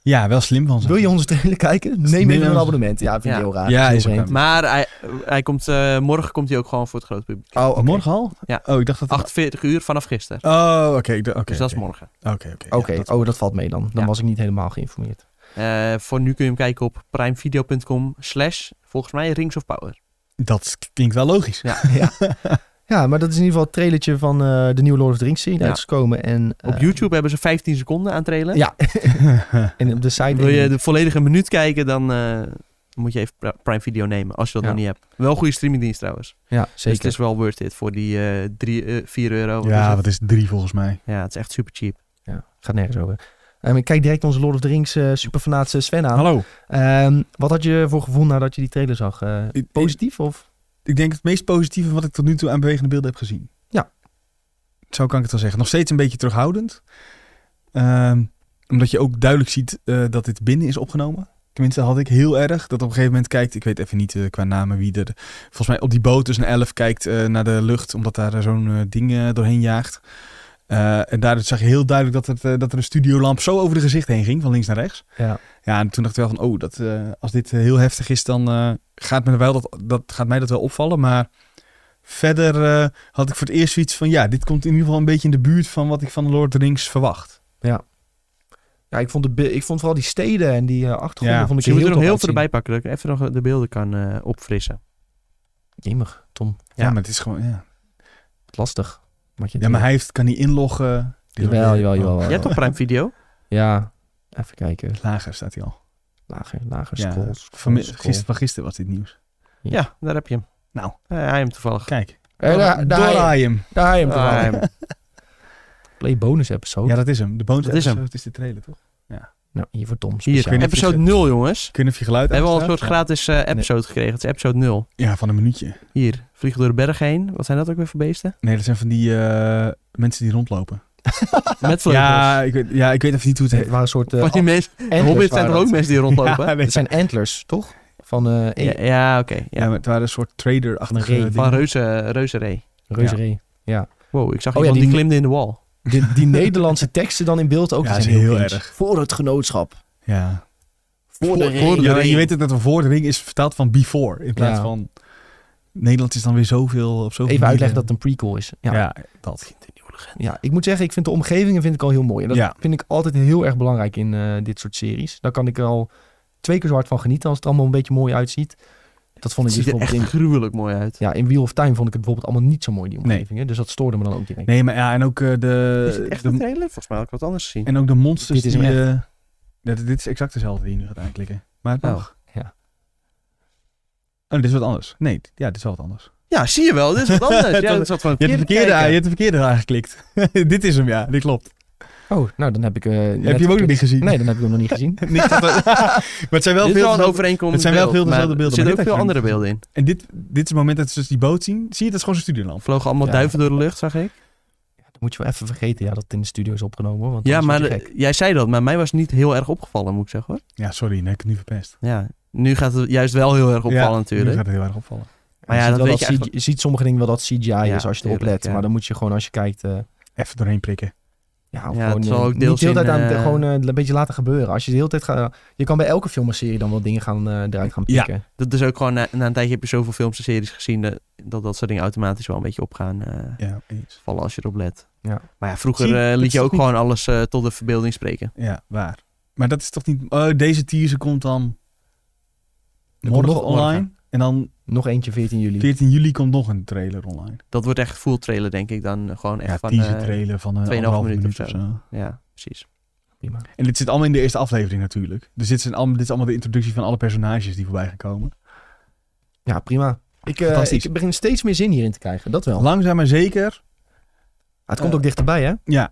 Speaker 2: Ja, wel slim van ze.
Speaker 1: Wil je onze trailer kijken? Neem
Speaker 2: Neem
Speaker 1: even een
Speaker 2: ons-
Speaker 1: abonnement. Ja, dat vind ik
Speaker 3: Ja.
Speaker 1: heel raar.
Speaker 2: Ja,
Speaker 1: Heel
Speaker 2: is ook
Speaker 1: vreemd.
Speaker 3: Maar hij, hij komt, eh, morgen komt hij ook gewoon voor het grote publiek.
Speaker 1: Oh, oké.
Speaker 2: Morgen al?
Speaker 3: Ja.
Speaker 2: Oh, ik dacht dat...
Speaker 3: 48 uur vanaf gisteren.
Speaker 2: Oh, oké. ik dacht- oké,
Speaker 3: dus dat is
Speaker 2: oké.
Speaker 3: morgen.
Speaker 2: Oké, oké.
Speaker 1: Oké,
Speaker 2: ja, dat-
Speaker 1: oh, dat valt mee dan. Dan
Speaker 3: Ja.
Speaker 1: was ik niet helemaal geïnformeerd.
Speaker 3: Eh, voor nu kun je hem kijken op primevideo.com slash, volgens mij, Rings of Power.
Speaker 2: dat klinkt wel logisch.
Speaker 1: Ja, maar dat is in ieder geval het trailertje van eh, de nieuwe Lord of the Rings serie die
Speaker 3: Ja.
Speaker 1: uit is gekomen. En, eh,
Speaker 3: Op YouTube hebben ze 15 seconden aan trailer.
Speaker 1: Ja. en op de site...
Speaker 3: Wil je de volledige minuut kijken, dan eh, moet je even Pri- Prime Video nemen, als je dat
Speaker 1: Ja.
Speaker 3: nog niet hebt. Wel een goede streamingdienst trouwens.
Speaker 1: Ja,
Speaker 3: Dus
Speaker 1: zeker.
Speaker 3: het is wel worth it voor die eh, drie, eh, 4 euro. Wat is
Speaker 2: ja,
Speaker 3: het?
Speaker 2: wat is het? drie volgens mij.
Speaker 3: ja, het is echt super cheap.
Speaker 1: Ja, gaat nergens over. Ehm, ik kijk direct onze Lord of the Rings eh superfanaat eh, Sven aan.
Speaker 2: Hallo.
Speaker 1: Ehm, wat had je voor gevoel nadat je die trailer zag? Eh,
Speaker 2: Ik-
Speaker 1: positief of?
Speaker 2: Ik denk het meest positieve wat ik tot nu toe aan bewegende beelden heb gezien.
Speaker 1: Ja.
Speaker 2: Zo kan ik het wel zeggen. Nog steeds een beetje terughoudend. Ehm, omdat je ook duidelijk ziet eh, dat dit binnen is opgenomen. Tenminste had ik heel erg dat op een gegeven moment kijkt... Ik weet even niet eh, qua namen wie er... Volgens mij op die boot dus een elf kijkt eh, naar de lucht... omdat daar eh, zo'n eh, ding eh, doorheen jaagt. Eh, en daardoor zag je heel duidelijk dat, het, eh, dat er een studiolamp zo over de gezicht heen ging... van links naar rechts.
Speaker 1: Ja.
Speaker 2: Ja, en toen dacht ik wel van, oh, dat, eh, als dit eh, heel heftig is, dan eh, gaat, me wel dat, dat, gaat mij dat wel opvallen. Maar verder eh, had ik voor het eerst zoiets van, ja, dit komt in ieder geval een beetje in de buurt van wat ik van Lord of the Rings verwacht.
Speaker 1: ja ik, vond de, be- ik vond vooral die steden en die eh, achtergronden
Speaker 2: Ja,
Speaker 1: vond ik
Speaker 3: Misschien moeten we
Speaker 1: heel
Speaker 3: Dus er nog heel
Speaker 1: tof
Speaker 3: veel erbij pakken, dat ik even nog de beelden kan eh, opfrissen.
Speaker 1: uitzien. Jemig, Tom.
Speaker 2: Ja,
Speaker 3: Ja.
Speaker 2: maar het is gewoon, ja.
Speaker 1: Wat lastig. Wat je
Speaker 2: Ja, maar hij heeft, kan niet inloggen. Dit
Speaker 1: Jawel,
Speaker 2: wordt-
Speaker 1: jawel,
Speaker 2: oh,
Speaker 1: jawel.
Speaker 3: Jij hebt toch Prime Video?
Speaker 1: Ja, even kijken.
Speaker 2: Lager staat hij al.
Speaker 1: Lager, lager,
Speaker 2: Ja,
Speaker 1: scroll,
Speaker 2: Van,
Speaker 1: scroll, scroll.
Speaker 2: gisteren, van gisteren was dit nieuws.
Speaker 1: Ja.
Speaker 3: Ja, daar heb je hem.
Speaker 2: Nou.
Speaker 3: Eh, hij hem toevallig.
Speaker 2: Kijk,
Speaker 1: Eh, daar- daar
Speaker 2: Dora-
Speaker 1: hij-
Speaker 2: Dorayem.
Speaker 1: daar hij hem
Speaker 3: Ah,
Speaker 1: toevallig.
Speaker 3: hem.
Speaker 1: Play bonus episode.
Speaker 2: Ja, dat is hem. De bonus
Speaker 3: Dat is hem.
Speaker 2: episode is de trailer, toch?
Speaker 1: Nou, hier voor Tom
Speaker 3: Hier,
Speaker 1: speciaal.
Speaker 2: weet niet of je
Speaker 3: episode
Speaker 2: het-
Speaker 3: 0, jongens.
Speaker 2: Kun je even je geluid
Speaker 3: We hebben al een
Speaker 2: aanstaan?
Speaker 3: soort gratis eh, episode gekregen. Het is episode 0.
Speaker 2: Ja, van een minuutje.
Speaker 3: Hier, vliegen door de berg heen. Wat zijn dat ook weer voor beesten?
Speaker 2: Nee, dat zijn van die eh, mensen die rondlopen.
Speaker 3: Met vleugels.
Speaker 2: Ja oh, ik, weet, ja, ik weet even niet hoe het heet.
Speaker 1: Het waren een soort... eh,
Speaker 3: Want die mensen,
Speaker 1: antlers
Speaker 3: hobbits zijn
Speaker 1: waren
Speaker 3: toch ook
Speaker 1: dat.
Speaker 3: mensen die rondlopen?
Speaker 2: nee.
Speaker 1: Het zijn antlers, toch? Van eh
Speaker 3: Ja, ja, oké.
Speaker 2: Ja,
Speaker 3: ja.
Speaker 2: maar het waren een soort trader achter
Speaker 1: Van een ree.
Speaker 3: Van reuze, reuzenree.
Speaker 1: reuzenree.
Speaker 3: Wow, ik zag
Speaker 1: Oh ja, die-
Speaker 2: Oh,
Speaker 3: iemand die, klimde in de wal.
Speaker 1: de, die Nederlandse teksten dan in beeld ook.
Speaker 2: Ja,
Speaker 1: die
Speaker 2: is
Speaker 1: zijn
Speaker 2: heel
Speaker 1: cringe.
Speaker 2: erg.
Speaker 1: Voor het genootschap.
Speaker 2: Ja.
Speaker 1: Voor, de ring.
Speaker 2: Ja, je weet het net al, voor de ring is vertaald van before. In plaats
Speaker 1: Ja.
Speaker 2: van... Nederlands is dan weer zoveel... Op zoveel
Speaker 1: Even uitleggen dat
Speaker 2: manieren.
Speaker 1: het een prequel is. Ja. Ja.
Speaker 2: Ja, dat.
Speaker 1: ik moet zeggen, ik vind de omgevingen vind ik al heel mooi. En dat
Speaker 2: Ja.
Speaker 1: vind ik altijd heel erg belangrijk in eh, dit soort series. Daar kan ik er al twee keer zo hard van genieten als het allemaal een beetje mooi uitziet. Dat vond
Speaker 3: Het
Speaker 1: ik dus
Speaker 3: ziet er echt
Speaker 1: bijvoorbeeld in,
Speaker 3: gruwelijk mooi uit.
Speaker 1: ja, in Wheel of Time vond ik het bijvoorbeeld allemaal niet zo mooi, die omgevingen. Dus dat stoorde me dan ook direct.
Speaker 2: Nee, maar ja, en ook eh,
Speaker 3: Is het
Speaker 2: de...
Speaker 3: echt een
Speaker 2: de
Speaker 3: trailer? Volgens mij had ik wat anders gezien.
Speaker 2: en ook de monsters
Speaker 1: Dit is
Speaker 2: die...
Speaker 1: hem
Speaker 2: eh, ja, dit dit is exact dezelfde die je nu gaat aanklikken. Maar het
Speaker 3: Oh.
Speaker 2: mag.
Speaker 1: Ja.
Speaker 2: Oh, dit is wat anders. Nee, ja, dit is wel wat anders.
Speaker 3: Ja, zie je wel. Dit is wat anders. ja, dat zat van
Speaker 2: Je hebt, de verkeerde, aan- je hebt de verkeerde aangeklikt. dit is hem, ja. Dit klopt.
Speaker 1: Oh, nou dan heb ik... eh, net
Speaker 2: heb je hem ook nog
Speaker 1: geklikt.
Speaker 2: niet gezien?
Speaker 1: Nee, dan heb ik hem nog niet gezien.
Speaker 2: Niet dat we- maar het zijn wel veel...
Speaker 3: Dit is wel een
Speaker 2: dezelfde-
Speaker 3: overeenkomst.
Speaker 2: het zijn wel veel dezelfde beelden,
Speaker 3: Er
Speaker 2: maar
Speaker 3: zitten ook
Speaker 2: dit
Speaker 3: veel
Speaker 2: had je
Speaker 3: andere beelden in.
Speaker 2: En dit, dit is het moment dat ze dus die boot zien. Zie je, dat is gewoon zijn studielamp.
Speaker 3: Er vlogen allemaal
Speaker 1: Ja.
Speaker 3: duiven door de lucht, zag ik.
Speaker 1: Dat moet je wel even vergeten, ja, dat het in de studio is opgenomen. hoor, Want
Speaker 3: Ja,
Speaker 1: anders
Speaker 3: maar
Speaker 1: word je
Speaker 3: de- jij zei dat, maar mij was het niet heel erg opgevallen, moet ik zeggen hoor.
Speaker 2: Ja, sorry, nee, ik heb het nu verpest.
Speaker 3: Ja, nu gaat het juist wel heel erg opvallen
Speaker 2: Ja, Nu
Speaker 3: natuurlijk.
Speaker 2: gaat het heel erg opvallen.
Speaker 3: Maar ja,
Speaker 1: Je
Speaker 3: dat
Speaker 1: ziet, wel
Speaker 3: weet je
Speaker 1: dat CG
Speaker 3: eigenlijk...
Speaker 1: je ziet sommige dingen wel dat CGI is als je erop
Speaker 3: tuurlijk,
Speaker 1: let.
Speaker 3: ja.
Speaker 1: Maar dan moet je gewoon als je kijkt... eh,
Speaker 2: Even doorheen prikken.
Speaker 1: ja, of
Speaker 3: Ja,
Speaker 1: gewoon,
Speaker 3: het zal
Speaker 1: eh,
Speaker 3: ook
Speaker 1: niet
Speaker 3: deels
Speaker 1: de hele tijd
Speaker 3: in,
Speaker 1: aan het-
Speaker 3: eh,
Speaker 1: gewoon eh, een beetje laten gebeuren. Als je de hele tijd gaat... Je kan bij elke film of serie dan wel dingen gaan, eh, eruit gaan
Speaker 2: Ja.
Speaker 1: pikken.
Speaker 3: Dat is ook gewoon, na, na een tijdje heb je zoveel films en series gezien... dat dat, dat soort dingen automatisch wel een beetje op gaan eh,
Speaker 2: Ja, eens.
Speaker 3: vallen als je erop let.
Speaker 1: Ja.
Speaker 3: Maar ja, vroeger
Speaker 2: Zie,
Speaker 3: eh,
Speaker 2: dat
Speaker 3: liet je
Speaker 2: is
Speaker 3: ook
Speaker 2: niet-
Speaker 3: gewoon alles eh, tot de verbeelding spreken.
Speaker 2: Ja, waar. Maar dat is toch niet... Oh, deze teaser komt dan
Speaker 1: komt
Speaker 2: morgen
Speaker 1: nog
Speaker 2: online.
Speaker 1: morgen.
Speaker 2: En dan
Speaker 1: Nog eentje 14 juli.
Speaker 2: 14 juli komt nog een trailer online.
Speaker 3: Dat wordt echt full trailer, denk ik. Dan eh, gewoon echt
Speaker 2: ja,
Speaker 3: van... eh,
Speaker 2: teaser trailer van een
Speaker 3: 2,5
Speaker 2: anderhalve
Speaker 3: minuut
Speaker 2: minuut
Speaker 3: of
Speaker 2: of zo.
Speaker 3: ja, precies.
Speaker 1: Prima.
Speaker 2: En dit zit allemaal in de eerste aflevering natuurlijk. Dus dit, zijn allemaal, dit is allemaal de introductie van alle personages die voorbij gaan komen.
Speaker 1: Ja, prima. Ik, eh,
Speaker 2: Fantastisch.
Speaker 1: ik begin steeds meer zin hierin te krijgen, dat wel. Ah,
Speaker 2: Langzaam maar zeker.
Speaker 1: het komt ook dichterbij, hè?
Speaker 2: Ja.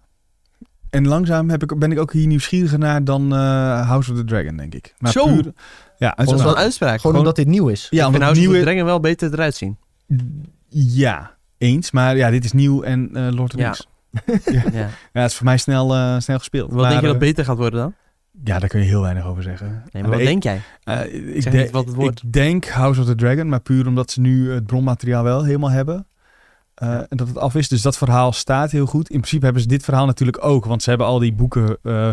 Speaker 2: En langzaam heb ik, ben ik ook hier nieuwsgieriger naar dan eh, House of the Dragon, denk ik. Maar
Speaker 3: Zo.
Speaker 2: ja,
Speaker 3: Dat is
Speaker 1: Omdat-
Speaker 3: wel een uitspraak.
Speaker 1: Gewoon omdat dit nieuw is.
Speaker 2: ja,
Speaker 3: Ik vind
Speaker 2: omdat
Speaker 3: House of
Speaker 2: nieuwe,
Speaker 3: the Dragon wel beter eruit zien.
Speaker 2: Ja, eens. Maar ja, dit is nieuw en eh, Lord of the
Speaker 3: Ja.
Speaker 2: Rings.
Speaker 3: Ja.
Speaker 2: Ja, het is voor mij snel, eh, snel gespeeld.
Speaker 3: Wat
Speaker 2: Maar,
Speaker 3: denk je dat
Speaker 2: eh,
Speaker 3: beter gaat worden dan?
Speaker 2: Ja, daar kun je heel weinig over zeggen.
Speaker 3: Nee, maar wat
Speaker 2: ik,
Speaker 3: denk jij?
Speaker 2: eh, ik,
Speaker 3: zeg
Speaker 2: de-
Speaker 3: niet wat het wordt.
Speaker 2: ik denk House of the Dragon, maar puur omdat ze nu het bronmateriaal wel helemaal hebben. Eh, En dat het af is. Dus dat verhaal staat heel goed. In principe hebben ze dit verhaal natuurlijk ook. Want ze hebben al die boeken eh,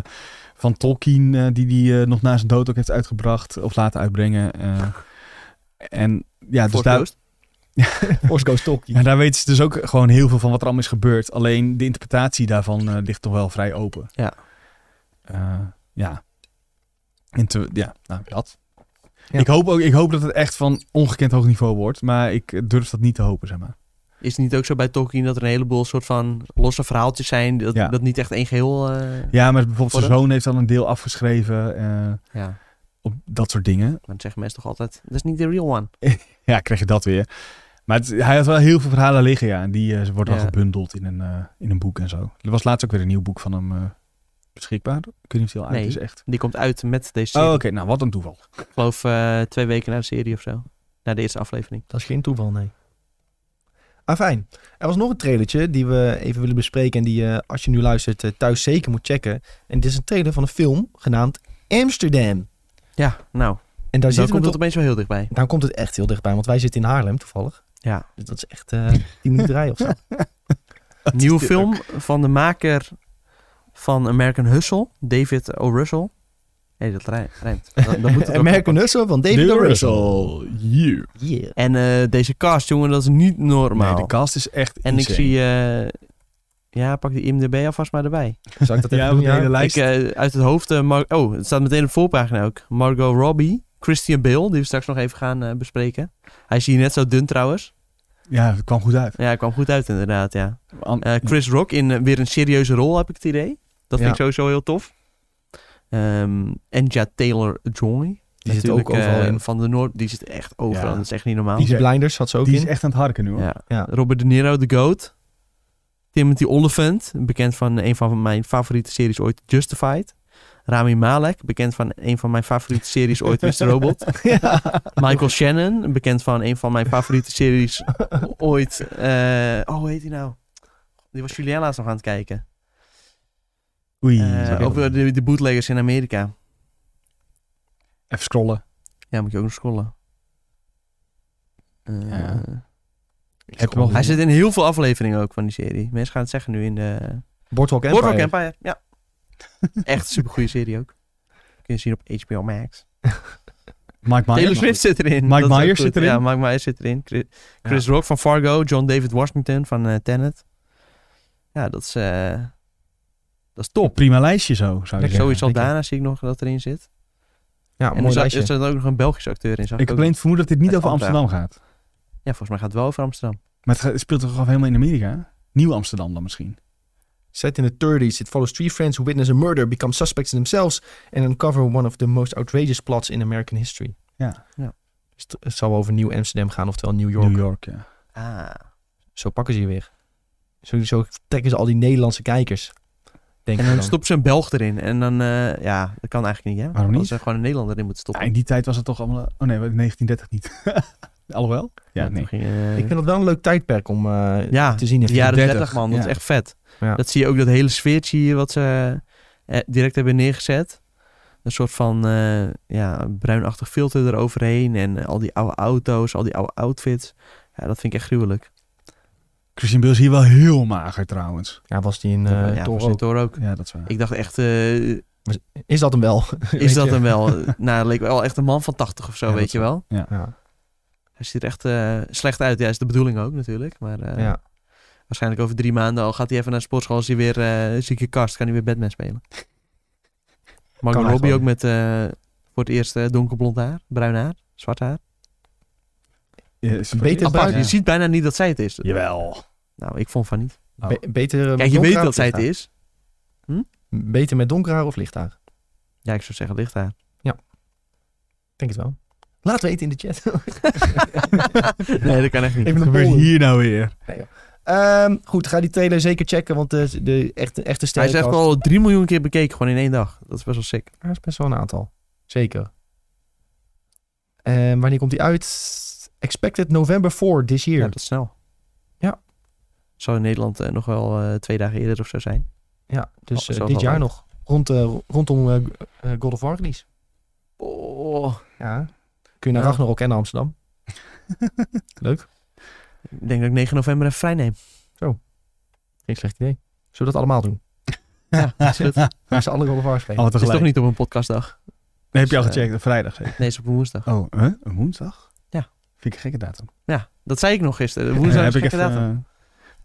Speaker 2: van Tolkien, eh, die hij nog na zijn dood ook heeft uitgebracht of laten uitbrengen. eh. en ja, dus
Speaker 3: Voor
Speaker 2: daar,
Speaker 3: Ghost?
Speaker 1: Osco Stokje.
Speaker 2: en daar weten ze dus ook gewoon heel veel van wat er allemaal is gebeurd. Alleen de interpretatie daarvan eh, ligt toch wel vrij open.
Speaker 3: Ja.
Speaker 2: Eh, ja. En te, ja, nou, dat.
Speaker 1: Ja.
Speaker 2: Ik, hoop ook, ik hoop dat het echt van ongekend hoog niveau wordt. Maar ik durf dat niet te hopen, zeg maar.
Speaker 3: Is het niet ook zo bij Tolkien dat er een heleboel soort van losse verhaaltjes zijn... dat,
Speaker 2: Ja.
Speaker 3: dat niet echt één geheel... eh,
Speaker 2: Ja, maar bijvoorbeeld zijn
Speaker 3: Worden?
Speaker 2: zoon heeft al een deel afgeschreven. eh,
Speaker 3: ja.
Speaker 2: op dat soort dingen.
Speaker 3: Maar dan zeggen mensen toch altijd, dat is niet de real one.
Speaker 2: Ja, krijg je dat weer. Maar het- hij had wel heel veel verhalen liggen, ja. En die eh, ze worden
Speaker 3: Ja.
Speaker 2: dan gebundeld in een, eh, in een boek en zo. Er was laatst ook weer een nieuw boek van hem eh, beschikbaar. Ik weet niet of die al uit
Speaker 3: Nee.
Speaker 2: is, echt.
Speaker 3: Die komt uit met deze
Speaker 2: Oh,
Speaker 3: serie.
Speaker 2: oké. Nou, wat een toeval.
Speaker 3: Ik geloof eh, twee weken na de serie of zo. Na de eerste aflevering.
Speaker 1: Dat is geen toeval, nee. Ah, fijn. Er was nog een trailertje die we even willen bespreken... en die je, als je nu luistert, eh, thuis zeker moet checken. En dit is een trailer van een film genaamd Amsterdam.
Speaker 3: Ja, nou.
Speaker 1: En daar
Speaker 3: dan
Speaker 1: zitten we
Speaker 3: komt
Speaker 1: toch-
Speaker 3: het opeens wel heel dichtbij.
Speaker 1: Daar komt het echt heel dichtbij, want wij zitten in Haarlem toevallig.
Speaker 3: Ja.
Speaker 1: Dus dat is echt eh 10 minuten rijden of zo.
Speaker 3: Nieuwe film van de maker van American Hustle. David O. Russell. Hé, dat rij- rijmt. Dan, dan moet het ook
Speaker 1: American Hustle van David
Speaker 2: The
Speaker 1: O. Russell.
Speaker 2: Russell. You.
Speaker 1: Yeah.
Speaker 3: En eh, deze cast, jongen, dat is niet normaal.
Speaker 2: Nee, de cast is echt
Speaker 3: en ik
Speaker 2: insane.
Speaker 3: zie... eh, ja, pak die IMDB alvast maar erbij.
Speaker 1: Zal ik dat even
Speaker 2: ja,
Speaker 1: doen?
Speaker 2: de hele
Speaker 1: Ja.
Speaker 2: lijst.
Speaker 3: Ik, eh, uit het hoofd... eh, Mar- oh, het staat meteen op de voorpagina ook. Margot Robbie. Christian Bale, die we straks nog even gaan eh, bespreken. Hij is hier net zo dun trouwens.
Speaker 2: Ja, het kwam goed uit.
Speaker 3: Ja, hij kwam goed uit inderdaad, ja.
Speaker 2: An-
Speaker 3: Eh, Chris Rock in eh, weer een serieuze rol, heb ik het idee.
Speaker 1: Ja.
Speaker 3: Dat vind ik sowieso heel tof. Ehm Anja Taylor-Joy.
Speaker 1: Die zit ook
Speaker 3: Natuurlijk,
Speaker 1: overal
Speaker 3: eh,
Speaker 1: in.
Speaker 3: Van de Noord, die zit echt overal.
Speaker 2: Ja.
Speaker 3: Dat is echt niet normaal.
Speaker 1: Die Blinders zat ze ook
Speaker 2: die is
Speaker 1: in.
Speaker 2: echt aan het harken nu, hoor.
Speaker 3: Ja.
Speaker 1: Ja.
Speaker 3: Robert De Niro, The Goat. Timothy Olyphant, bekend van een van mijn favoriete series ooit, Justified. Rami Malek, bekend van een van mijn favoriete series ooit, Mr. Robot. Michael Shannon, bekend van een van mijn favoriete series ooit. eh, oh, hoe heet hij nou? Die was Julien laatst nog aan het kijken.
Speaker 2: Oei.
Speaker 3: Eh,
Speaker 2: zo.
Speaker 3: over de, de bootleggers in Amerika.
Speaker 2: Even scrollen.
Speaker 3: Ja, moet je ook nog scrollen. Eh,
Speaker 2: Ja.
Speaker 1: Ik
Speaker 2: Heb je wel
Speaker 1: scroll.
Speaker 3: Hij zit in heel veel afleveringen ook van die serie. Mensen gaan het zeggen nu in de
Speaker 1: Boardwalk Empire.
Speaker 3: Boardwalk Empire, ja. Echt een supergoeie serie ook. Kun je zien op HBO Max.
Speaker 2: Mike
Speaker 3: Taylor
Speaker 2: Myers.
Speaker 3: Swift zit erin.
Speaker 2: Mike
Speaker 3: Dat is ook
Speaker 2: Myers
Speaker 3: goed.
Speaker 2: zit erin?
Speaker 3: Ja, Mike Myers zit erin. Chris, Chris Rock van Fargo. John David Washington van eh, Tenet. Ja, dat is... eh, dat is top.
Speaker 2: Oh, Prima lijstje zo, zou je zeggen.
Speaker 3: Zoiets al
Speaker 1: zeker.
Speaker 3: daarna zie ik nog dat erin zit.
Speaker 1: Ja,
Speaker 3: en
Speaker 1: mooi
Speaker 3: er zat-
Speaker 1: lijstje.
Speaker 3: er zat ook nog een Belgische acteur in.
Speaker 2: Ik
Speaker 3: Zag ik
Speaker 2: heb
Speaker 3: ook.
Speaker 2: alleen het vermoeden dat dit niet
Speaker 3: Met
Speaker 2: over Amsterdam gaat.
Speaker 3: Ja, volgens mij gaat het wel over Amsterdam.
Speaker 2: Maar het gaat- het speelt toch gewoon helemaal in Amerika? hè? Nieuw Amsterdam dan misschien.
Speaker 1: Set in the 30s, it follows three friends who witness a murder, become suspects themselves and uncover one of the most outrageous plots in American history.
Speaker 2: Ja.
Speaker 3: Ja.
Speaker 1: Dus het- het zal over Nieuw Amsterdam gaan, oftewel New York.
Speaker 2: New York, ja.
Speaker 3: Ah.
Speaker 1: Zo pakken ze je weer. Zo, zo trekken ze al die Nederlandse kijkers. Denk
Speaker 3: En
Speaker 1: ik
Speaker 3: dan
Speaker 1: dan.
Speaker 3: stopt ze een Belg erin. En dan, eh, ja, dat kan eigenlijk niet, hè?
Speaker 2: Waarom niet?
Speaker 3: Als ze gewoon een Nederlander in moeten
Speaker 2: Ja,
Speaker 3: stoppen.
Speaker 2: in die tijd was het toch allemaal... Oh nee, 1930 niet. Alhoewel? Ja,
Speaker 3: toen
Speaker 2: nee.
Speaker 3: ging, eh,
Speaker 1: Ik vind dat wel een leuk tijdperk om eh,
Speaker 3: ja,
Speaker 1: te zien. in
Speaker 3: de jaren
Speaker 2: 30,
Speaker 3: 30, man. Dat
Speaker 2: ja.
Speaker 3: is echt vet.
Speaker 1: Ja.
Speaker 3: Dat zie je ook, dat hele sfeertje hier wat ze eh, direct hebben neergezet. Een soort van eh, ja, bruinachtig filter eroverheen. En eh, al die oude auto's, al die oude outfits. Ja, dat vind ik echt gruwelijk.
Speaker 2: Christian Bale is hier wel heel mager trouwens.
Speaker 1: Ja, was die in
Speaker 3: ja,
Speaker 1: eh
Speaker 3: voor
Speaker 1: Thor
Speaker 3: zijn
Speaker 1: ook.
Speaker 3: Thor ook.
Speaker 2: Ja, dat is waar.
Speaker 3: Ik dacht echt, eh,
Speaker 1: Is dat hem wel?
Speaker 3: is dat
Speaker 1: je?
Speaker 3: hem wel? nou, het leek wel echt een man van 80 of zo,
Speaker 2: Ja,
Speaker 3: weet
Speaker 2: dat
Speaker 3: je wel.
Speaker 1: Ja.
Speaker 3: Hij ziet er echt eh, slecht uit. Ja, is de bedoeling ook natuurlijk. Maar eh,
Speaker 1: ja.
Speaker 3: waarschijnlijk over drie maanden al gaat hij even naar de sportschool. Is hij weer eh, zieke kast. Kan hij weer Batman spelen. Margot
Speaker 1: eigenlijk
Speaker 3: Robbie
Speaker 1: wel.
Speaker 3: ook met eh, voor het eerst eh, donkerblond haar. Bruin haar. Zwart haar.
Speaker 2: Ja, is-
Speaker 1: Beter
Speaker 3: Apart,
Speaker 1: bruin,
Speaker 2: ja.
Speaker 3: je ziet bijna niet dat zij het is.
Speaker 2: Jawel.
Speaker 3: Nou, ik vond van niet.
Speaker 2: Oh.
Speaker 1: Be- beter, eh,
Speaker 3: Kijk,
Speaker 1: met
Speaker 3: je weet
Speaker 1: donker
Speaker 3: dat zij
Speaker 1: haar
Speaker 3: het
Speaker 1: of licht
Speaker 3: is.
Speaker 1: haar? Beter met donker haar of licht haar?
Speaker 3: Ja, ik zou zeggen licht haar.
Speaker 1: Ik denk het wel. Laat weten in de chat.
Speaker 3: nee, dat kan echt niet.
Speaker 1: Even
Speaker 2: Wat
Speaker 1: een
Speaker 2: gebeurt
Speaker 1: poll.
Speaker 2: hier nou weer?
Speaker 1: Ehm, goed, ga die trailer zeker checken, want de, de echte, echte
Speaker 3: Hij is echt
Speaker 1: sterrenkast-
Speaker 3: al drie miljoen keer bekeken. Gewoon in één dag. Dat is best wel sick.
Speaker 1: Ja, is best wel een aantal. Zeker. En wanneer komt die uit? Expected November 4 this year.
Speaker 3: Ja, dat is snel.
Speaker 1: Ja.
Speaker 3: Zou in Nederland eh, nog wel eh, twee dagen eerder of zo zijn.
Speaker 1: Ja,
Speaker 3: Oh,
Speaker 1: dus eh,
Speaker 3: zo
Speaker 1: dit
Speaker 3: wel
Speaker 1: jaar
Speaker 3: leuk.
Speaker 1: nog. Rond, eh, rondom eh, eh, God of War release.
Speaker 3: Oh,
Speaker 1: Ja. Kun je naar
Speaker 3: Ja.
Speaker 1: Ragnarok en naar Amsterdam. Leuk.
Speaker 3: ik denk dat ik 9 november even vrij neem.
Speaker 1: Geen slecht idee. Zullen we dat allemaal doen?
Speaker 3: Ja, is goed.
Speaker 1: Met z'n allen God of War spelen.
Speaker 2: Allemaal
Speaker 3: Het is
Speaker 2: tegelijk.
Speaker 3: toch niet op een podcastdag.
Speaker 2: Nee, heb je al
Speaker 3: Dus, eh,
Speaker 2: gecheckt? Vrijdag zeker?
Speaker 3: Nee, het is op een woensdag.
Speaker 2: Oh, hè? een woensdag?
Speaker 3: Ja.
Speaker 2: Vind ik een gekke datum.
Speaker 3: Ja, dat zei ik nog gisteren. Woensdag
Speaker 2: Eh,
Speaker 3: is een gekke
Speaker 2: even,
Speaker 3: datum.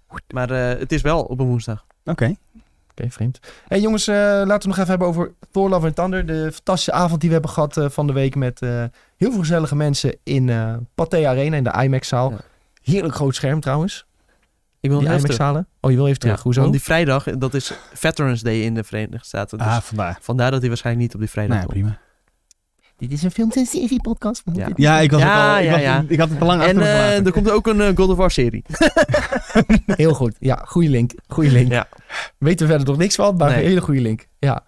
Speaker 2: eh,
Speaker 3: Maar eh, het is wel op een woensdag.
Speaker 2: Oké.
Speaker 1: Oké, vreemd. hey, jongens, eh, laten we het nog even hebben over Thor Love and Thunder. De fantastische avond die we hebben gehad eh, van de week met eh, heel veel gezellige mensen in eh Pathé Arena in de IMAX-zaal.
Speaker 3: Ja.
Speaker 1: Heerlijk groot scherm trouwens,
Speaker 3: Ik wil
Speaker 1: die
Speaker 3: nog even terug.
Speaker 1: IMAX-zalen. Oh, je wil even terug,
Speaker 3: Ja,
Speaker 1: hoezo?
Speaker 3: Want die vrijdag, dat is Veterans Day in de Verenigde Staten. Dus
Speaker 2: Ah, vandaar.
Speaker 3: vandaar dat hij waarschijnlijk niet op die vrijdag
Speaker 2: Nou ja,
Speaker 3: komt.
Speaker 2: prima.
Speaker 1: Dit is een film en serie podcast.
Speaker 3: Ja.
Speaker 1: Ja.
Speaker 2: Ja, ik was
Speaker 3: Ja,
Speaker 2: ook al... Ik,
Speaker 3: ja,
Speaker 2: was-
Speaker 3: ja.
Speaker 2: ik had het te lang
Speaker 3: En
Speaker 2: achter me
Speaker 3: eh,
Speaker 2: gelaten.
Speaker 3: er komt ook een eh, God of War serie.
Speaker 1: Heel goed. Ja, goede link. Goede link.
Speaker 3: Ja.
Speaker 1: Weten we verder nog niks van, maar
Speaker 3: Nee.
Speaker 1: een hele goede link. Ja.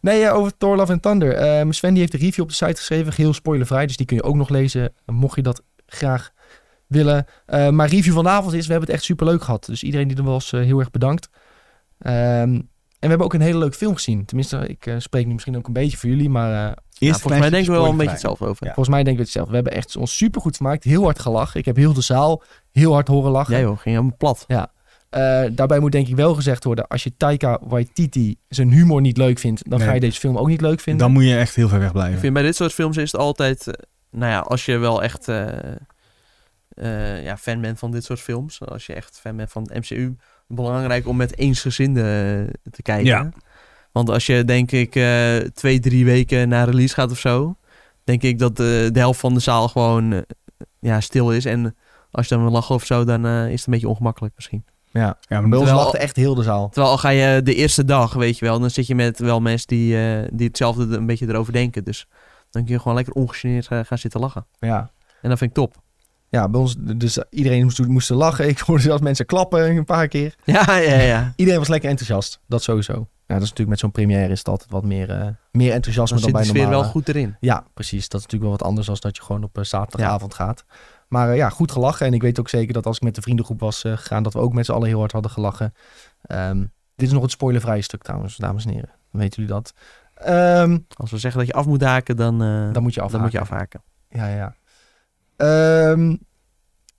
Speaker 1: Nee, eh, over Thor Love and Thunder. Ehm, Sven die heeft een review op de site geschreven, geheel spoilervrij. Dus die kun je ook nog lezen, mocht je dat graag willen. Eh, maar review vanavond is, we hebben het echt superleuk gehad. Dus iedereen die er was, eh, heel erg bedankt. Ehm, en we hebben ook een hele leuke film gezien. Tenminste, ik eh, spreek nu misschien ook een beetje voor jullie, maar eh,
Speaker 3: Nou,
Speaker 2: Eerst
Speaker 3: volgens mij denken we wel een beetje
Speaker 2: spoilervrij.
Speaker 3: hetzelfde over.
Speaker 2: Ja.
Speaker 1: volgens mij denken we het zelf. We hebben echt ons supergoed vermaakt, heel hard gelachen. Ik heb heel de zaal heel hard horen lachen.
Speaker 3: Jij hoor, ging helemaal plat.
Speaker 1: Eh, daarbij moet denk ik wel gezegd worden, als je Taika Waititi zijn humor niet leuk vindt, dan
Speaker 2: Nee.
Speaker 1: ga je deze film ook niet leuk vinden.
Speaker 2: Dan moet je echt heel ver weg
Speaker 3: Ik
Speaker 2: blijven.
Speaker 3: vind bij dit soort films is het altijd... eh, nou ja, als je wel echt eh, eh, ja, fan bent van dit soort films. Als je echt fan bent van het MCU. Belangrijk om met eensgezinden eh, te kijken.
Speaker 2: Ja.
Speaker 3: Want als je denk ik eh, twee, drie weken na release gaat of zo. Denk ik dat de, de helft van de zaal gewoon eh, ja, stil is. En als je dan wil lachen of zo, dan eh, is het een beetje ongemakkelijk misschien.
Speaker 1: Ja,
Speaker 2: Ja, maar
Speaker 1: bij ons
Speaker 3: Terwijl-
Speaker 1: lachte echt heel de zaal.
Speaker 3: Terwijl al ga je de eerste dag, weet je wel. Dan zit je met wel mensen die, eh, die hetzelfde er een beetje erover denken. Dus dan kun je gewoon lekker ongegeneerd eh, gaan zitten lachen.
Speaker 1: Ja,
Speaker 3: En dat vind ik top.
Speaker 1: ja bij ons, dus iedereen moest, moest lachen. Ik hoorde zelfs mensen klappen een paar keer.
Speaker 3: Ja, ja, ja.
Speaker 1: Iedereen was lekker enthousiast, dat sowieso. Ja, dat is natuurlijk met zo'n première is het altijd wat meer, eh, meer enthousiasme dan,
Speaker 3: Dan zit de
Speaker 1: bij
Speaker 3: sfeer
Speaker 1: normale...
Speaker 3: wel goed erin.
Speaker 1: Ja, precies. Dat is natuurlijk wel wat anders dan dat je gewoon op eh, zaterdagavond gaat. Maar eh, ja, goed gelachen. En ik weet ook zeker dat als ik met de vriendengroep was eh, gegaan, dat we ook met z'n allen heel hard hadden gelachen. Ehm, dit is nog het spoilervrije stuk trouwens, dames en heren. Dan weten jullie dat. Ehm,
Speaker 3: Als we zeggen dat je af moet haken, dan, eh,
Speaker 1: dan moet je afhaken.
Speaker 3: dan moet je afhaken.
Speaker 1: Ja, ja. Ehm,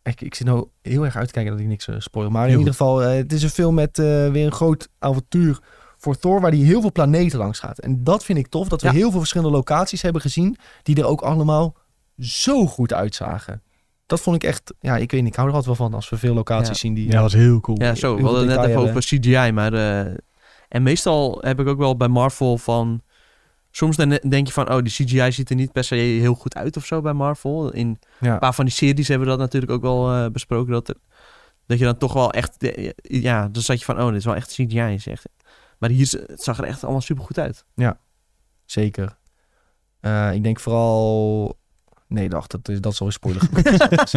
Speaker 1: Ik, ik zit nou heel erg uit te kijken dat ik niks eh, spoil. Maar in
Speaker 2: Heel
Speaker 1: ieder geval, eh, het is een film met eh, weer een groot avontuur voor Thor... waar hij heel veel planeten langs gaat. En dat vind ik tof, dat we
Speaker 3: Ja.
Speaker 1: heel veel verschillende locaties hebben gezien... die er ook allemaal zo goed uitzagen. Dat vond ik echt... Ja, ik weet niet, ik hou er altijd wel van als we veel locaties
Speaker 3: Ja.
Speaker 1: zien die...
Speaker 2: Ja, dat was heel cool.
Speaker 3: Ja, zo. We
Speaker 1: hoeveel
Speaker 3: hadden het net even
Speaker 1: detail
Speaker 3: over CGI, maar... eh, en meestal heb ik ook wel bij Marvel van... Soms dan denk je van, oh, die CGI ziet er niet per se heel goed uit of zo bij Marvel. In
Speaker 1: Ja.
Speaker 3: een paar van die series hebben we dat natuurlijk ook wel eh, besproken. Dat, er, dat je dan toch wel echt... de- ja, dan zat je van, oh, dit is wel echt CGI. Is echt. Maar hier z- het zag er echt allemaal super goed uit.
Speaker 1: Zeker. Eh, ik denk vooral... Nee, dacht, dat is, dat is al een spoiler geweest.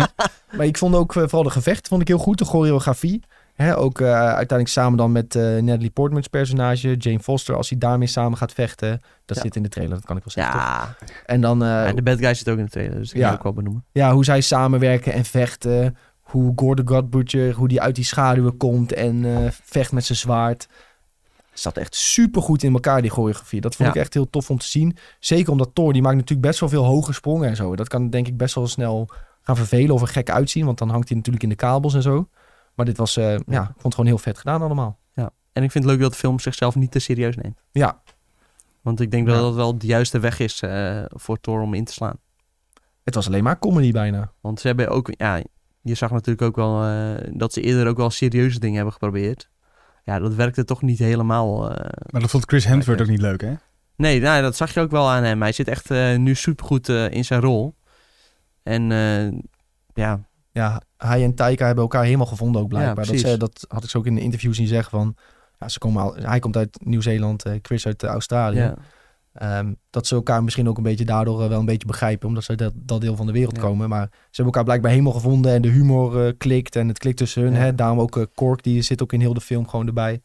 Speaker 1: maar ik vond ook eh, vooral de gevecht vond ik heel goed. De choreografie. Hè, ook eh, uiteindelijk samen dan met eh Natalie Portman's personage. Jane Foster, als hij daarmee samen gaat vechten. Dat
Speaker 3: Ja.
Speaker 1: zit in de trailer, dat kan ik wel zeggen. toch?
Speaker 3: Ja,
Speaker 1: En dan eh,
Speaker 3: en de bad guy zit ook in de trailer, dus dat
Speaker 1: Ja.
Speaker 3: kan je ook wel benoemen.
Speaker 1: ja, hoe zij samenwerken en vechten. Hoe Gore the God Butcher, hoe die uit die schaduwen komt en eh, vecht met zijn zwaard. Zat echt supergoed in elkaar, die choreografie. Dat vond
Speaker 3: Ja.
Speaker 1: ik echt heel tof om te zien. Zeker omdat Thor, die maakt natuurlijk best wel veel hoge sprongen en zo. Dat kan denk ik best wel snel gaan vervelen of er gek uitzien. Want dan hangt hij natuurlijk in de kabels en zo. Maar dit was, eh, ja, ik vond het gewoon heel vet gedaan allemaal.
Speaker 3: En ik vind het leuk dat de film zichzelf niet te serieus neemt.
Speaker 1: Ja.
Speaker 3: Want ik denk
Speaker 1: Ja.
Speaker 3: dat dat wel de juiste weg is eh, voor Thor om in te slaan.
Speaker 1: Het was alleen maar comedy bijna.
Speaker 3: Want ze hebben ook, ja, je zag natuurlijk ook wel eh, dat ze eerder ook wel serieuze dingen hebben geprobeerd. Ja, dat werkte toch niet helemaal. eh.
Speaker 2: Maar dat vond Chris Hemsworth ook niet leuk, hè?
Speaker 3: Nee, nou, dat zag je ook wel aan hem. Hij zit echt eh, nu supergoed eh, in zijn rol. En eh, ja,
Speaker 1: Ja, hij en Taika hebben elkaar helemaal gevonden ook blijkbaar. dat,
Speaker 3: precies.
Speaker 1: ze, dat had ik ze ook in de interview zien zeggen van... Ja, ze komen al, hij komt uit Nieuw-Zeeland, eh, Chris uit eh, Australië.
Speaker 3: ja.
Speaker 1: Ehm, dat ze elkaar misschien ook een beetje daardoor eh, wel een beetje begrijpen. Omdat ze uit dat, dat deel van de wereld
Speaker 3: Ja.
Speaker 1: komen. Maar ze hebben elkaar blijkbaar helemaal gevonden. En de humor eh, klikt en het klikt tussen hun.
Speaker 3: Ja.
Speaker 1: Hè? Daarom ook eh, Cork, die zit ook in heel de film gewoon erbij.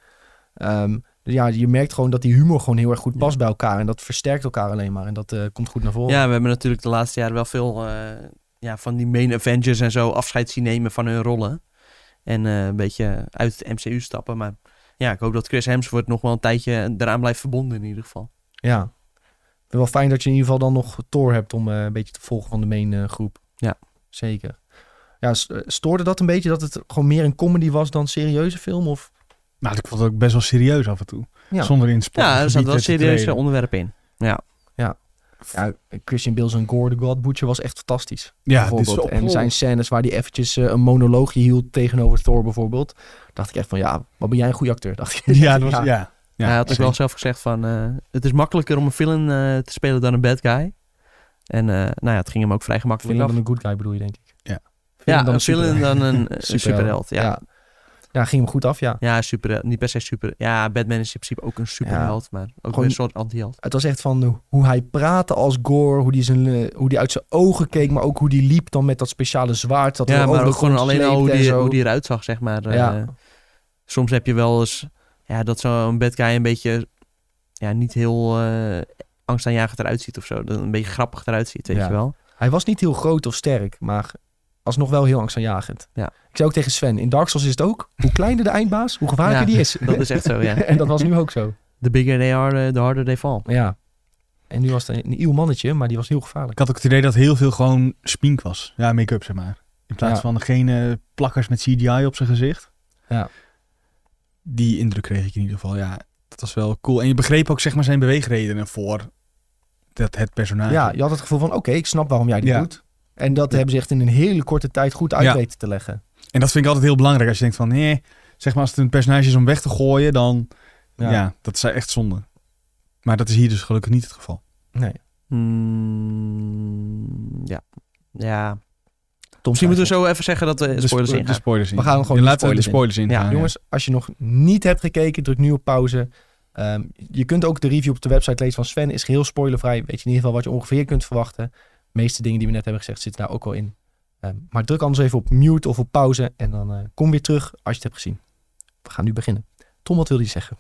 Speaker 1: Ehm, dus ja, je merkt gewoon dat die humor gewoon heel erg goed past bij elkaar. En dat versterkt elkaar alleen maar. En dat eh, komt goed naar voren.
Speaker 3: ja, we hebben natuurlijk de laatste jaren wel veel eh, ja, van die main Avengers en zo afscheid zien nemen van hun rollen. En eh, een beetje uit het MCU stappen. Maar ja, ik hoop dat Chris Hemsworth nog wel een tijdje eraan blijft verbonden in ieder geval.
Speaker 1: Ja. Ik vind wel fijn dat je in ieder geval dan nog Thor hebt om eh, een beetje te volgen van de main eh, groep.
Speaker 3: Ja.
Speaker 1: Zeker. Ja, s- eh, stoorde dat een beetje dat het gewoon meer een comedy was dan een serieuze film? Of...
Speaker 2: Nou, ik vond het ook best wel serieus af en toe.
Speaker 1: Ja.
Speaker 2: Zonder in sport.
Speaker 3: Ja, er zat wel serieuze onderwerpen in.
Speaker 1: Ja, eh, Christian Bale's en Gore the God Butcher was echt fantastisch.
Speaker 2: Ja, dit is
Speaker 1: bijvoorbeeld.
Speaker 2: wel
Speaker 1: en zijn scènes waar hij eventjes eh, een monoloogje hield tegenover Thor bijvoorbeeld. Dacht ik echt van, ja, wat ben jij een goede acteur? Dacht ik.
Speaker 2: Ja, dat was, ja. ja.
Speaker 3: hij had ook
Speaker 2: zeker.
Speaker 3: wel zelf gezegd van... eh, het is makkelijker om een villain eh, te spelen dan een bad guy. En eh, nou ja, het ging hem ook vrij gemakkelijk
Speaker 1: Film
Speaker 3: af.
Speaker 1: dan een good guy bedoel je, denk ik.
Speaker 2: Ja.
Speaker 1: Villain
Speaker 3: ja,
Speaker 1: dan
Speaker 3: een villain dan een eh,
Speaker 1: superheld.
Speaker 3: superheld. Ja, ja.
Speaker 1: Ja. ja, ging hem goed af, ja.
Speaker 3: superheld. Niet per se super... Ja, Batman is in principe ook een superheld. Maar ook
Speaker 1: Gewoon-
Speaker 3: weer een soort antiheld.
Speaker 1: Het was echt van eh, hoe hij praatte als Gore, hoe die, zijn, eh, hoe die uit zijn ogen keek, maar ook hoe die liep dan met dat speciale zwaard. Dat
Speaker 3: Ja,
Speaker 1: er
Speaker 3: maar
Speaker 1: over
Speaker 3: ook
Speaker 1: de
Speaker 3: gewoon
Speaker 1: grond
Speaker 3: alleen al
Speaker 1: sleepte
Speaker 3: hoe
Speaker 1: en
Speaker 3: die,
Speaker 1: zo.
Speaker 3: hoe die eruit zag, zeg maar. eh,
Speaker 1: Ja.
Speaker 3: soms heb je wel eens... Ja, dat zo'n bad guy een beetje... Ja, niet heel eh angstaanjagend eruit ziet of zo. Dat een beetje grappig eruit ziet, weet
Speaker 1: Ja.
Speaker 3: je wel.
Speaker 1: Hij was niet heel groot of sterk, maar alsnog wel heel angstaanjagend.
Speaker 3: Ja.
Speaker 1: Ik zei ook tegen Sven, in Dark Souls is het ook, hoe kleiner de eindbaas, hoe gevaarlijker
Speaker 3: Ja,
Speaker 1: die is.
Speaker 3: Dat is echt zo, ja.
Speaker 1: en dat was nu ook zo.
Speaker 3: The bigger they are, eh, the harder they fall.
Speaker 1: Ja. En nu was het een nieuw mannetje, maar die was heel gevaarlijk.
Speaker 2: Ik had ook het idee dat heel veel gewoon spink was. Ja, make-up zeg maar. In plaats
Speaker 1: Ja.
Speaker 2: van geen eh, plakkers met CGI op zijn gezicht.
Speaker 1: Ja.
Speaker 2: Die indruk kreeg ik in ieder geval. Ja, dat was wel cool. En je begreep ook zeg maar zijn beweegredenen voor dat, het personage.
Speaker 1: Ja, je had het gevoel van, oké, ik snap waarom jij dit
Speaker 2: Ja.
Speaker 1: doet. En dat hebben ze echt in een hele korte tijd goed uit
Speaker 2: Ja.
Speaker 1: weten te leggen.
Speaker 2: En dat vind ik altijd heel belangrijk. Als je denkt van, nee, zeg maar als het een personage is om weg te gooien, dan... Ja, dat is echt zonde. Maar dat is hier dus gelukkig niet het geval.
Speaker 1: Nee.
Speaker 3: Mm, ja. Ja.
Speaker 1: Tom
Speaker 3: Misschien moeten
Speaker 1: Stijfel.
Speaker 3: we zo even zeggen dat de spoilers
Speaker 2: spo-
Speaker 3: in
Speaker 2: de spoilers in.
Speaker 1: We gaan gewoon
Speaker 2: Je
Speaker 1: de
Speaker 2: laat
Speaker 1: spoilers
Speaker 2: de spoilers in.
Speaker 3: Ja,
Speaker 2: gaan,
Speaker 1: Jongens, als je nog niet hebt gekeken, druk nu op pauze. Ehm, je kunt ook de review op de website lezen van Sven. Is geheel spoilervrij. Weet je in ieder geval wat je ongeveer kunt verwachten. De meeste dingen die we net hebben gezegd zitten daar ook wel in. Ehm, maar druk anders even op mute of op pauze. En dan eh, kom weer terug als je het hebt gezien. We gaan nu beginnen. Tom, wat wilde je zeggen?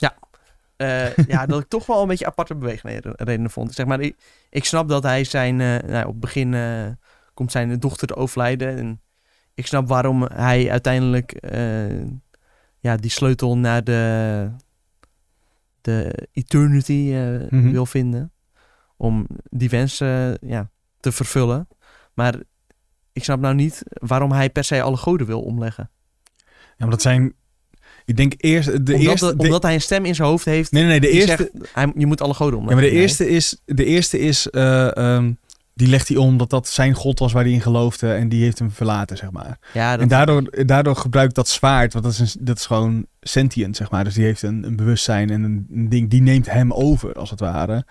Speaker 3: Eh, ja, dat ik toch wel een beetje aparte beweegredenen vond. Zeg maar, ik, ik snap dat hij zijn... eh, nou, op het begin eh, komt zijn dochter te overlijden. En ik snap waarom hij uiteindelijk eh, ja, die sleutel naar de, de eternity eh,
Speaker 2: Mhm.
Speaker 3: wil vinden. Om die wens eh, ja, te vervullen. Maar ik snap nou niet waarom hij per se alle goden wil omleggen.
Speaker 2: Ja, maar dat zijn... Ik denk eerst... De
Speaker 3: omdat,
Speaker 2: eerste,
Speaker 3: de-
Speaker 2: de-
Speaker 3: omdat hij een stem in zijn hoofd heeft.
Speaker 2: nee, nee, nee. De
Speaker 3: die
Speaker 2: eerste,
Speaker 3: zegt, hij, je moet alle goden
Speaker 2: ja, maar
Speaker 3: omleggen.
Speaker 2: de eerste is... De eerste is eh, ehm, die legt hij om dat dat zijn god was waar hij in geloofde. En die heeft hem verlaten, zeg maar.
Speaker 3: Nee. Ja, dat-
Speaker 2: En daardoor, daardoor gebruikt dat zwaard, want dat is, een- dat is gewoon sentient, zeg maar. Dus die heeft een, een bewustzijn en een, een ding, die neemt hem over, als het ware.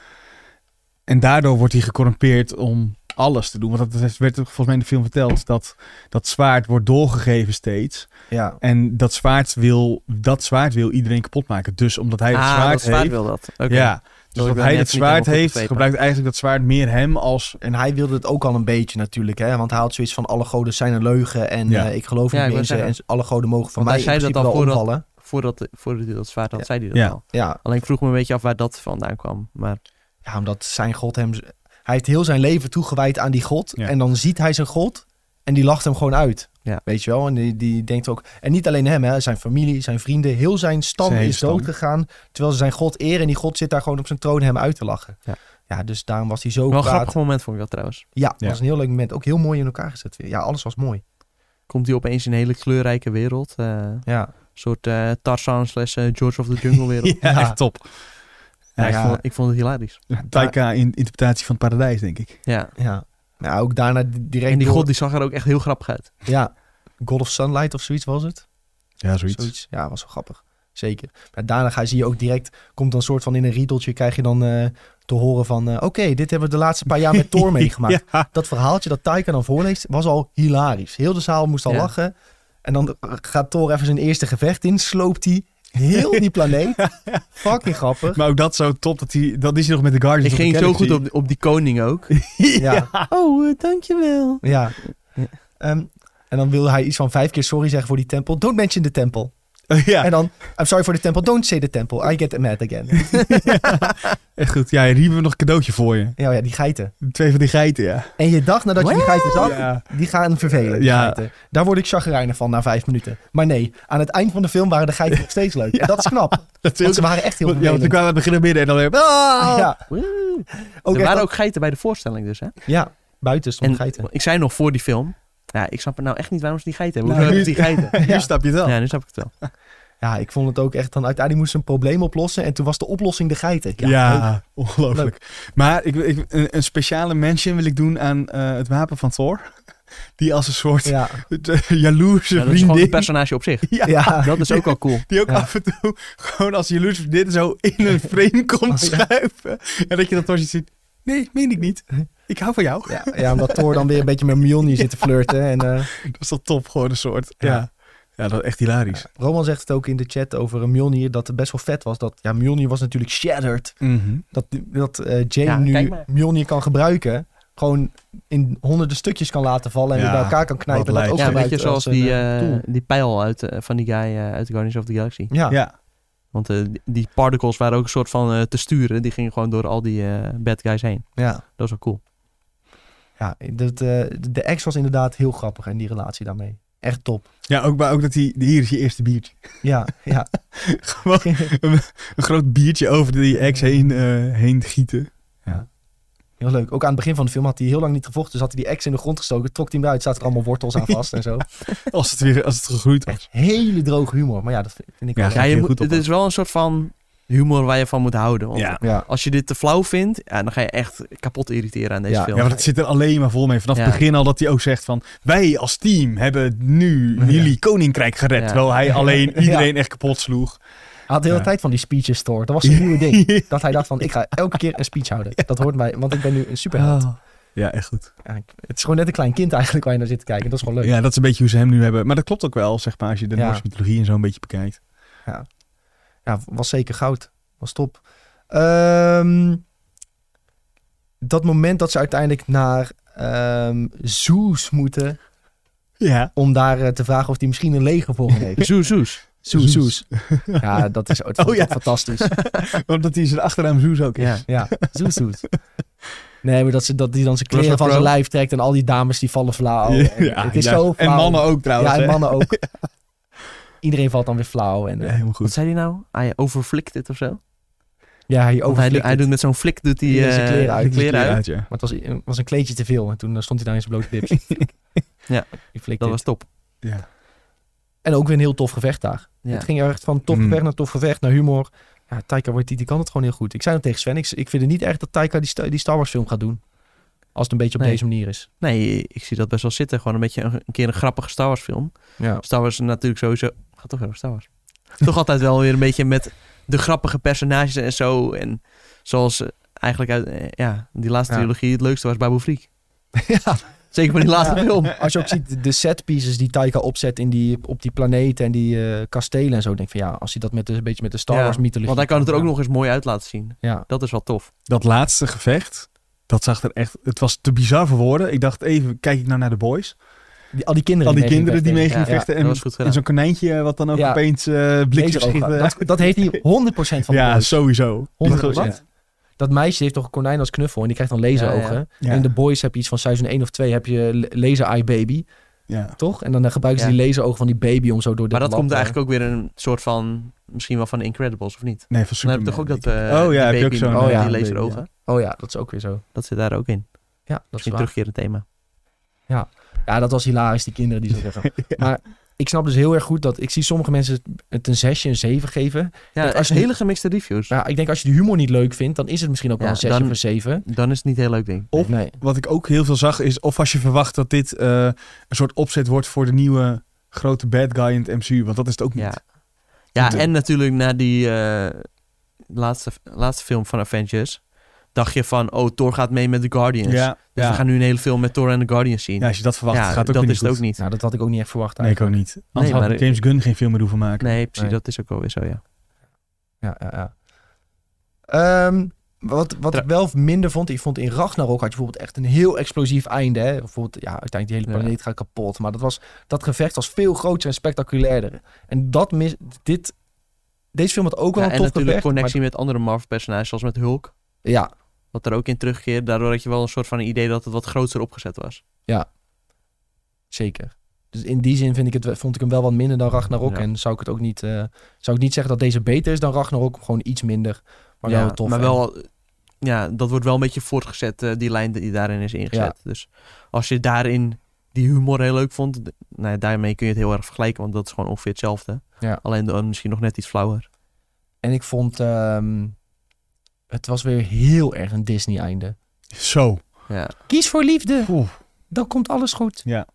Speaker 2: En daardoor wordt hij gecorrumpeerd om alles te doen. Want dat is- werd ook volgens mij in de film verteld, dat dat zwaard wordt doorgegeven steeds.
Speaker 1: Ja.
Speaker 2: En dat zwaard wil, dat zwaard wil iedereen kapot maken. Dus omdat hij dat
Speaker 3: Ah,
Speaker 2: zwaard,
Speaker 3: dat zwaard
Speaker 2: heeft...
Speaker 3: wil dat. Oké.
Speaker 2: Ja, dus
Speaker 3: ik
Speaker 2: omdat
Speaker 3: ben
Speaker 2: hij
Speaker 3: net
Speaker 2: dat
Speaker 3: niet helemaal
Speaker 2: zwaard
Speaker 3: goed
Speaker 2: heeft,
Speaker 3: begrepen.
Speaker 2: gebruikt eigenlijk dat zwaard meer hem als...
Speaker 1: En hij wilde het ook al een beetje natuurlijk, hè? want hij had zoiets van alle goden zijn een leugen en
Speaker 2: Ja.
Speaker 1: eh, ik geloof
Speaker 3: Ja, ik
Speaker 1: niet
Speaker 3: wou
Speaker 1: in ze en
Speaker 3: zeggen.
Speaker 1: alle goden mogen van
Speaker 3: Want
Speaker 1: mij
Speaker 3: hij
Speaker 1: in
Speaker 3: zei dat
Speaker 1: principe
Speaker 3: al
Speaker 1: wel
Speaker 3: voordat-
Speaker 1: omvallen.
Speaker 3: Voordat, voordat hij dat zwaard had,
Speaker 1: Ja.
Speaker 3: zei hij dat
Speaker 2: Ja.
Speaker 3: al.
Speaker 1: Ja.
Speaker 3: Alleen ik vroeg me een beetje af waar dat vandaan kwam. Maar
Speaker 1: ja, omdat zijn god hem... Hij heeft heel zijn leven toegewijd aan die god
Speaker 2: Ja.
Speaker 1: en dan ziet hij zijn god en die lacht hem gewoon uit.
Speaker 3: Ja.
Speaker 1: Weet je wel? En die, die denkt ook... En niet alleen hem, hè? zijn familie, zijn vrienden, heel zijn stam
Speaker 2: Zijn hele
Speaker 1: is
Speaker 2: stam.
Speaker 1: dood gegaan. Terwijl ze zijn god eren en die god zit daar gewoon op zijn troon hem uit te lachen.
Speaker 3: Ja.
Speaker 1: ja dus daarom was hij zo
Speaker 3: wel een
Speaker 1: kwaad.
Speaker 3: grappig moment vond ik dat trouwens.
Speaker 1: Ja,
Speaker 2: Ja.
Speaker 1: was een heel leuk moment. Ook heel mooi in elkaar gezet weer. Ja, alles was mooi.
Speaker 3: Komt hij opeens in een hele kleurrijke wereld. eh, Een
Speaker 1: Ja.
Speaker 3: soort eh, Tarzan slash eh, George of the Jungle wereld.
Speaker 2: Ja,
Speaker 1: Ja.
Speaker 2: echt top. Ja,
Speaker 1: Nou
Speaker 2: ik
Speaker 1: ja,
Speaker 2: vond-
Speaker 3: Ik vond het hilarisch.
Speaker 2: Taika in interpretatie van het paradijs, denk ik.
Speaker 3: Ja.
Speaker 1: Ja. Nou, ook daarna di- direct
Speaker 3: En die
Speaker 1: door-
Speaker 3: god die zag er ook echt heel grappig uit.
Speaker 1: Ja, God of Sunlight of zoiets was het.
Speaker 2: Ja,
Speaker 1: Zoiets. Ja, was wel grappig. Zeker. Maar daarna ga, zie je ook direct, komt dan soort van in een riedeltje, krijg je dan eh, te horen van... eh, Oké, dit hebben we de laatste paar jaar met Thor meegemaakt.
Speaker 2: Ja.
Speaker 1: Dat verhaaltje dat Taika dan voorleest, was al hilarisch. Heel de zaal moest al
Speaker 3: Ja.
Speaker 1: lachen. En dan eh, gaat Thor even zijn eerste gevecht in, sloopt hij heel die planeet. Fucking grappig.
Speaker 2: Maar ook dat zo top, dat, hij, dat is hij nog met de Guardians
Speaker 3: Ik
Speaker 2: of the
Speaker 3: ging zo
Speaker 2: Galaxy.
Speaker 3: goed op, op die koning ook.
Speaker 1: Ja.
Speaker 3: Oh, eh, dankjewel.
Speaker 1: Ja.
Speaker 3: Ja.
Speaker 1: Ehm, en dan wil hij iets van vijf keer sorry zeggen voor die tempel. Don't mention the temple.
Speaker 2: ja,
Speaker 1: En dan, I'm sorry for the temple. Don't say the temple. I get mad again.
Speaker 2: echt goed. Ja, hier hebben we nog een cadeautje voor je.
Speaker 1: ja, ja, die geiten.
Speaker 2: Twee van die geiten, ja.
Speaker 1: En je dacht nadat je die geiten zag,
Speaker 2: Ja,
Speaker 1: die gaan vervelen. die
Speaker 2: Ja.
Speaker 1: geiten. Daar word ik chagrijnig van na vijf minuten. Maar nee, aan het eind van de film waren de geiten nog steeds leuk.
Speaker 2: Ja.
Speaker 1: Dat is knap.
Speaker 2: dat is
Speaker 1: Want ze
Speaker 2: heel
Speaker 1: waren echt heel
Speaker 2: Ja, want ik
Speaker 1: vervelend.
Speaker 2: kwam aan het begin en midden en dan weer... Ah!
Speaker 1: Ja,
Speaker 3: Woe.
Speaker 1: ook
Speaker 3: er
Speaker 1: echt
Speaker 3: Oh. waren
Speaker 1: dat-
Speaker 3: ook geiten bij de voorstelling dus, hè?
Speaker 1: ja, buiten stonden
Speaker 3: En
Speaker 1: geiten.
Speaker 3: ik zei nog voor die film... Ja, ik snap het nou echt niet waarom ze die geiten hebben.
Speaker 2: Nou,
Speaker 3: Hoezo
Speaker 2: nu-
Speaker 3: hebben ze die geiten?
Speaker 2: Nu
Speaker 1: Ja.
Speaker 2: snap je het wel.
Speaker 3: Ja, nu snap ik het wel.
Speaker 1: Ja, ik vond het ook echt. Dan uiteindelijk moest ze een probleem oplossen. En toen was de oplossing de geiten.
Speaker 2: Ja,
Speaker 1: leuk.
Speaker 2: ongelooflijk. Maar ik, ik, een, een speciale mention wil ik doen aan eh, het wapen van Thor. Die als een soort
Speaker 1: Ja,
Speaker 2: eh, jaloerse
Speaker 3: Ja, dat is gewoon
Speaker 2: vriendin...
Speaker 3: een personage op zich.
Speaker 2: ja,
Speaker 1: ja.
Speaker 3: Dat is ook al cool.
Speaker 2: Die ook
Speaker 1: Ja.
Speaker 2: af en toe gewoon als jaloers vriendin zo in een frame komt
Speaker 1: Oh, ja.
Speaker 2: schuiven. En dat je dat Thor ziet... Nee, meen ik niet. Ik hou van jou.
Speaker 1: Ja, ja, omdat Thor dan weer een beetje met Mjolnir zit te flirten. En, eh,
Speaker 2: Dat is toch top, gewoon een soort.
Speaker 1: Ja.
Speaker 2: Ja, ja. dat is echt hilarisch.
Speaker 1: Roman zegt het ook in de chat over Mjolnir dat het best wel vet was. Dat, ja, Mjolnir was natuurlijk shattered. Dat, dat eh, Jane
Speaker 3: Ja, kijk
Speaker 1: nu
Speaker 3: maar.
Speaker 1: Mjolnir kan gebruiken. Gewoon in honderden stukjes kan laten vallen en
Speaker 2: Ja,
Speaker 1: weer bij elkaar kan knijpen. En
Speaker 2: wat
Speaker 1: dat ook
Speaker 2: lijkt.
Speaker 3: Ja, een
Speaker 1: gebruikt
Speaker 3: beetje zoals
Speaker 1: als een,
Speaker 3: die,
Speaker 1: eh,
Speaker 3: eh,
Speaker 1: tool. Hm.
Speaker 3: die pijl uit, eh, van die guy eh, uit Guardians of the Galaxy.
Speaker 1: Ja, ja.
Speaker 2: Ja. ja.
Speaker 3: Want eh, die- die particles waren ook een soort van eh, te sturen. Die gingen gewoon door al die eh, bad guys heen.
Speaker 1: ja.
Speaker 3: Dat is wel cool.
Speaker 1: dat, eh, de ex was inderdaad heel grappig en die relatie daarmee. Echt top.
Speaker 2: ook, maar ook dat hij. Hier is je eerste biertje.
Speaker 1: Ja, ja.
Speaker 2: Gewoon een, een groot biertje over die ex heen, eh, heen gieten.
Speaker 1: heel leuk. Ook aan het begin van de film had hij heel lang niet gevochten. Dus had hij die ex in de grond gestoken, trok hij hem eruit, zaten er allemaal wortels aan vast en zo.
Speaker 2: Als het weer als het gegroeid was.
Speaker 1: Echt hele droge humor. Maar ja, dat vind- vind ik
Speaker 2: Ja,
Speaker 1: wel
Speaker 2: ga
Speaker 3: Ja,
Speaker 1: leuk.
Speaker 2: je
Speaker 3: je
Speaker 2: heel
Speaker 3: moet-
Speaker 2: goed op,
Speaker 3: het is wel een soort van humor waar je van moet houden. Want
Speaker 2: Ja.
Speaker 1: Ja.
Speaker 3: als je dit te flauw vindt, ja, dan ga je echt kapot irriteren aan deze
Speaker 1: Ja,
Speaker 3: film.
Speaker 2: ja, maar dat zit er alleen maar vol mee. Vanaf
Speaker 3: Ja.
Speaker 2: het begin al dat hij ook zegt van... Wij als team hebben nu
Speaker 1: Ja.
Speaker 2: jullie koninkrijk gered.
Speaker 3: Ja.
Speaker 2: Terwijl hij alleen
Speaker 1: Ja.
Speaker 2: iedereen echt kapot sloeg.
Speaker 1: Hij had de hele
Speaker 2: Ja.
Speaker 1: tijd van die speeches door. Dat was een nieuwe ding. Dat hij dacht van, ik ga elke keer een speech houden. Dat hoort mij, want ik ben nu een superheld.
Speaker 3: Oh.
Speaker 2: Ja, echt goed.
Speaker 1: Ja, ik- het is gewoon net een klein kind eigenlijk waar je naar zit te kijken. Dat is gewoon leuk.
Speaker 2: Ja, dat is een beetje hoe ze hem nu hebben. Maar dat klopt ook wel, zeg maar, als je de
Speaker 1: Ja.
Speaker 2: Noorse mythologie en zo een beetje bekijkt.
Speaker 1: Ja, was zeker goud. Was top. Ehm, dat moment dat ze uiteindelijk naar ehm Zeus moeten...
Speaker 2: Ja.
Speaker 1: om daar eh, te vragen of hij misschien een leger voor hem heeft.
Speaker 3: Zoes, zoes.
Speaker 1: Zeus,
Speaker 2: Zeus.
Speaker 1: Zeus. Ja, dat is dat
Speaker 2: Oh ja.
Speaker 1: fantastisch.
Speaker 2: Omdat hij zijn achternaam Zeus ook is.
Speaker 3: Ja.
Speaker 1: Ja, Zeus, Zeus. Nee, maar dat, ze, dat die dan zijn
Speaker 3: Russell
Speaker 1: kleren van zijn
Speaker 3: Crowe.
Speaker 1: lijf trekt... en al die dames die vallen flauw.
Speaker 2: Ja,
Speaker 1: En het is
Speaker 2: juist.
Speaker 1: zo
Speaker 2: en
Speaker 1: flauw.
Speaker 2: mannen ook trouwens.
Speaker 1: Ja,
Speaker 2: hè?
Speaker 1: en mannen ook. Iedereen valt dan weer flauw. En, eh,
Speaker 2: Ja, helemaal
Speaker 3: Wat
Speaker 2: goed.
Speaker 3: zei hij nou? Hij overflikt dit of zo? Want
Speaker 1: ja, hij
Speaker 3: hij,
Speaker 1: overflikt
Speaker 3: doet- hij
Speaker 1: het.
Speaker 3: doet met zo'n flik doet hij
Speaker 1: Iedereen zijn
Speaker 3: eh,
Speaker 1: kleren uit.
Speaker 3: de kleren uit.
Speaker 2: ja.
Speaker 1: eh, Maar het was, was een kleedje te veel. En toen eh, stond hij daar in zijn blote dips. Die flikt dit.
Speaker 3: Dat was top.
Speaker 2: Ja.
Speaker 1: En ook weer een heel tof gevecht daar.
Speaker 3: Ja.
Speaker 1: Het ging echt van tof
Speaker 2: Mm.
Speaker 1: gevecht naar tof gevecht, naar humor. Ja, Taika Waititi kan het gewoon heel goed. Ik zei het tegen Sven, ik, ik vind het niet echt dat Taika die, sta- die Star Wars film gaat doen. Als het een beetje op
Speaker 3: Nee.
Speaker 1: deze manier is.
Speaker 3: Nee, ik zie dat best wel zitten. Gewoon een beetje een, een keer een grappige Star Wars film.
Speaker 1: Ja.
Speaker 3: Star Wars natuurlijk sowieso... Gaat toch weer over Star Wars. toch altijd wel weer een beetje met de grappige personages en zo. En zoals eh, eigenlijk uit... eh, ja, die laatste
Speaker 1: Ja.
Speaker 3: trilogie het leukste was Babu Freak.
Speaker 1: ja.
Speaker 3: Zeker van die laatste film.
Speaker 1: Als je ook ziet de set pieces die Taika opzet in die, op die planeten en die eh, kastelen en zo. Denk ik van ja, als hij dat met, de- een beetje met de Star
Speaker 3: Ja,
Speaker 1: Wars mythologie...
Speaker 3: Want hij kan het er ook
Speaker 1: ja.
Speaker 3: nog eens mooi uit laten zien.
Speaker 1: Ja,
Speaker 3: Dat is wel tof.
Speaker 2: Dat laatste gevecht, dat zag er echt... Het was te bizar voor woorden. Ik dacht even, kijk ik nou naar de boys?
Speaker 1: die, al die kinderen
Speaker 2: Al die
Speaker 1: mee gingen
Speaker 2: kinderen die mee
Speaker 1: vechten.
Speaker 2: gingen
Speaker 1: Ja, ja.
Speaker 2: vechten.
Speaker 3: dat was
Speaker 2: En,
Speaker 3: goed
Speaker 2: en
Speaker 3: gedaan.
Speaker 2: zo'n konijntje eh, wat dan ook
Speaker 1: Ja.
Speaker 2: opeens eh blikjes
Speaker 1: Laserogen.
Speaker 2: schiet.
Speaker 1: dat, dat heeft hij 100% van de
Speaker 2: Ja,
Speaker 1: boys.
Speaker 2: sowieso.
Speaker 1: 100%.
Speaker 2: Wat?
Speaker 1: Dat meisje heeft toch een konijn als knuffel en die krijgt dan laserogen.
Speaker 3: Ja, ja.
Speaker 2: Ja.
Speaker 1: En in de boys heb je iets van seizoen 1 of 2 heb je le- laser eye baby,
Speaker 2: Ja.
Speaker 1: toch? En dan eh, gebruiken ze
Speaker 3: Ja.
Speaker 1: die laserogen van die baby om zo door de
Speaker 3: Maar dat komt eigenlijk ook weer een soort van... Misschien wel van de Incredibles, of niet?
Speaker 2: Nee, van
Speaker 3: Dan
Speaker 2: Superman.
Speaker 3: heb je toch ook dat...
Speaker 2: denk ik.
Speaker 3: eh,
Speaker 2: oh
Speaker 3: die
Speaker 2: ja, heb
Speaker 3: baby
Speaker 2: je ook zo'n...
Speaker 1: met- oh
Speaker 2: eh,
Speaker 1: ja.
Speaker 3: die
Speaker 2: baby,
Speaker 3: laserogen.
Speaker 1: Oh ja, dat is ook weer zo.
Speaker 3: Dat zit daar ook in.
Speaker 1: Ja, dat is
Speaker 3: Misschien
Speaker 1: waar.
Speaker 3: terugkerend thema.
Speaker 1: Ja. ja, dat was hilarisch, die kinderen die zo zeggen. Maar ik snap dus heel erg goed dat... Ik zie sommige mensen het een 6, een 7 geven.
Speaker 3: Ja,
Speaker 1: Dat
Speaker 3: echt
Speaker 1: als je-
Speaker 3: hele gemixte reviews.
Speaker 1: Nou, ik denk als je de humor niet leuk vindt, dan is het misschien ook wel
Speaker 3: Ja,
Speaker 1: een 6
Speaker 3: dan-
Speaker 1: of een 7.
Speaker 3: Dan is het niet heel leuk ding.
Speaker 2: Of-
Speaker 1: Nee.
Speaker 2: Wat ik ook heel veel zag is, of als je verwacht dat dit eh, een soort opzet wordt voor de nieuwe grote bad guy in het MCU, want dat is het ook niet.
Speaker 3: Ja. Ja,
Speaker 2: Ja.
Speaker 3: en natuurlijk na die eh, laatste, laatste film van Avengers... dacht je van, oh, Thor gaat mee met The Guardians.
Speaker 2: ja,
Speaker 3: Dus
Speaker 2: ja.
Speaker 3: we gaan nu een hele film met Thor en The Guardians zien.
Speaker 2: Ja, als je dat verwacht,
Speaker 3: Ja,
Speaker 2: gaat het ook
Speaker 3: dat
Speaker 2: weer niet
Speaker 3: is het
Speaker 2: goed.
Speaker 3: ook niet.
Speaker 1: Nou, dat had ik ook niet echt verwacht
Speaker 2: Nee, ik
Speaker 1: eigenlijk.
Speaker 2: ook niet. Anders
Speaker 3: maar-
Speaker 2: had James Gunn geen film meer hoeven maken.
Speaker 3: Nee, precies,
Speaker 1: Nee.
Speaker 3: dat is ook alweer zo, ja.
Speaker 1: Ja, ja, ja. Ehm, wat wat ik
Speaker 3: Tra-
Speaker 1: wel minder vond, ik vond in Ragnarok had je bijvoorbeeld echt een heel explosief einde. Hè? Bijvoorbeeld, ja, uiteindelijk die hele
Speaker 3: Ja.
Speaker 1: planeet gaat kapot. Maar dat, was, dat gevecht was veel groter en spectaculairder. En dat mis, dit, deze film had ook wel
Speaker 3: Ja,
Speaker 1: een
Speaker 3: en
Speaker 1: tof
Speaker 3: natuurlijk
Speaker 1: gevecht.
Speaker 3: connectie met andere Marvel-personages, zoals met Hulk.
Speaker 1: maar- ja,
Speaker 3: Wat er ook in terugkeert. Daardoor had je wel een soort van idee dat het wat groter opgezet was.
Speaker 1: zeker. Dus in die zin vind ik het, wel- vond ik hem wel wat minder dan Ragnarok.
Speaker 3: Ja.
Speaker 1: En zou ik het ook niet, eh, zou ik niet zeggen dat deze beter is dan Ragnarok. Gewoon iets minder, maar
Speaker 3: ja,
Speaker 1: wel tof.
Speaker 3: Maar
Speaker 1: En-
Speaker 3: wel, eh, ja, dat wordt wel een beetje voortgezet, eh, die lijn die daarin is ingezet. Dus als je daarin die humor heel leuk vond, d- nou, ja, daarmee kun je het heel erg vergelijken, want dat is gewoon ongeveer hetzelfde.
Speaker 1: Ja.
Speaker 3: Alleen dan misschien nog net iets flauwer.
Speaker 1: En ik vond, ehm, het was weer heel erg een Disney-einde.
Speaker 2: Zo.
Speaker 3: Ja,
Speaker 1: Kies voor liefde.
Speaker 2: Oeh.
Speaker 1: dan komt alles goed.
Speaker 2: Ja.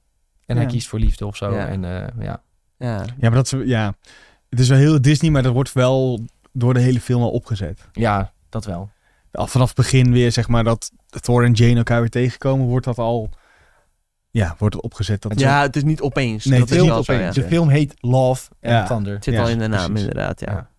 Speaker 1: En hij
Speaker 2: Ja.
Speaker 1: kiest voor liefde of zo.
Speaker 3: Ja.
Speaker 1: En eh, ja.
Speaker 3: ja.
Speaker 2: Ja, maar dat is, ja. Het is wel heel Disney, maar dat wordt wel door de hele film al opgezet.
Speaker 1: ja, dat wel.
Speaker 2: Al vanaf het begin weer, zeg maar, dat Thor en Jane elkaar weer tegenkomen, wordt dat al... Ja, wordt het opgezet. Dat
Speaker 3: ja het is niet opeens.
Speaker 2: Nee,
Speaker 3: dat
Speaker 2: het
Speaker 3: is
Speaker 2: is
Speaker 3: wel
Speaker 2: niet
Speaker 3: zo,
Speaker 2: opeens.
Speaker 3: ja.
Speaker 1: De film heet Love and
Speaker 2: Ja.
Speaker 1: Thunder.
Speaker 3: Het zit
Speaker 2: Ja,
Speaker 3: al in de naam,
Speaker 2: precies.
Speaker 3: inderdaad. Ja.
Speaker 1: Ja.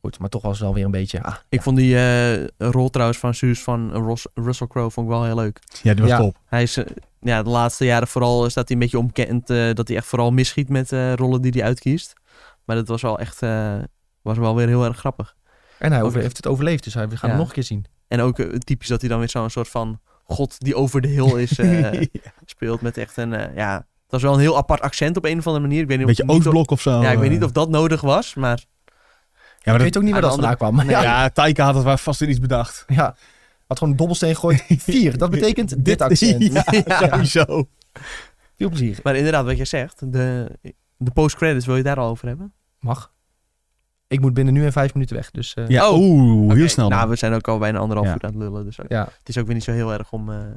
Speaker 1: Goed, maar toch was het wel weer een beetje... Ah,
Speaker 3: Ik vond die eh, rol trouwens van Suus van Ros- Russell Crowe vond ik wel heel leuk.
Speaker 2: Ja, die was
Speaker 1: Ja.
Speaker 2: top.
Speaker 3: Hij is, eh, ja, de laatste jaren vooral eh, staat hij een beetje omkend eh, dat hij echt vooral misschiet met eh, rollen die hij uitkiest. Maar dat was wel echt, eh, was wel weer heel erg grappig.
Speaker 1: en hij
Speaker 3: Ook-
Speaker 1: over- heeft het overleefd, dus hij, we gaan
Speaker 3: Ja.
Speaker 1: hem nog een keer zien.
Speaker 3: En ook eh, typisch dat hij dan weer zo'n soort van god die over de heel is eh, speelt met echt een, eh, ja, het was wel een heel apart accent op een of andere manier. Ik weet niet
Speaker 2: Een beetje
Speaker 3: of, niet of,
Speaker 2: Oostblok of zo.
Speaker 3: ja, ik weet
Speaker 2: eh.
Speaker 3: niet of dat nodig was, maar
Speaker 2: Ja, maar
Speaker 1: ik
Speaker 2: dat-
Speaker 1: weet ook niet waar
Speaker 3: aan
Speaker 1: dat
Speaker 3: de
Speaker 1: vandaan kwam. maar ja.
Speaker 2: ja, Taika had het wel vast in iets bedacht.
Speaker 1: ja. Had gewoon een dobbelsteen gegooid. Vier, dat betekent dit accent.
Speaker 2: Ja, sowieso.
Speaker 1: Veel plezier.
Speaker 3: Maar inderdaad, wat jij zegt, de, de post-credits, wil je het daar al over hebben?
Speaker 1: Mag. Ik moet binnen nu en vijf minuten weg, dus... eh,
Speaker 2: Ja, oeh, heel
Speaker 3: Oh. Oké,
Speaker 2: snel.
Speaker 3: Nou,
Speaker 2: man.
Speaker 3: we zijn ook al bijna anderhalf
Speaker 2: Ja.
Speaker 3: uur aan het lullen, dus ook-
Speaker 1: Ja,
Speaker 3: het is ook weer niet zo heel erg om... eh, nou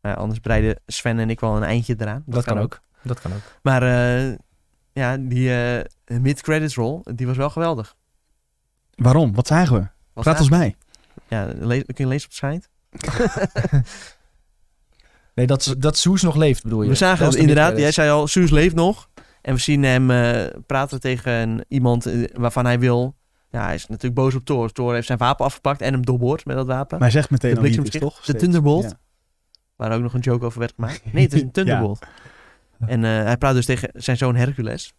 Speaker 3: ja, anders breiden Sven en ik wel een eindje eraan.
Speaker 1: dat, kan ook. Dat kan ook.
Speaker 3: Maar eh, ja, die eh, mid-credits roll, die was wel geweldig.
Speaker 2: Waarom? Wat zagen we?
Speaker 3: Was
Speaker 2: Praat ons bij.
Speaker 3: Ja, le- kun je lezen op de site?
Speaker 1: Nee, dat, dat Soes nog leeft, bedoel je?
Speaker 3: We zagen
Speaker 1: Dat
Speaker 3: het
Speaker 1: is de
Speaker 3: inderdaad, jij
Speaker 1: mid-credits.
Speaker 3: zei al, Suus leeft nog. En we zien hem eh, praten tegen iemand eh, waarvan hij wil... Ja, hij is natuurlijk boos op Thor. Thor heeft zijn wapen afgepakt en hem doorboord met dat wapen.
Speaker 2: Maar hij zegt meteen
Speaker 3: De
Speaker 2: al wie het is,
Speaker 3: bliksemschicht?
Speaker 2: toch?
Speaker 3: De
Speaker 2: Steeds.
Speaker 3: Thunderbolt?
Speaker 2: Ja.
Speaker 3: Waar ook nog een joke over werd gemaakt. Nee, het is een Thunderbolt. En eh, hij praat dus tegen zijn zoon Hercules.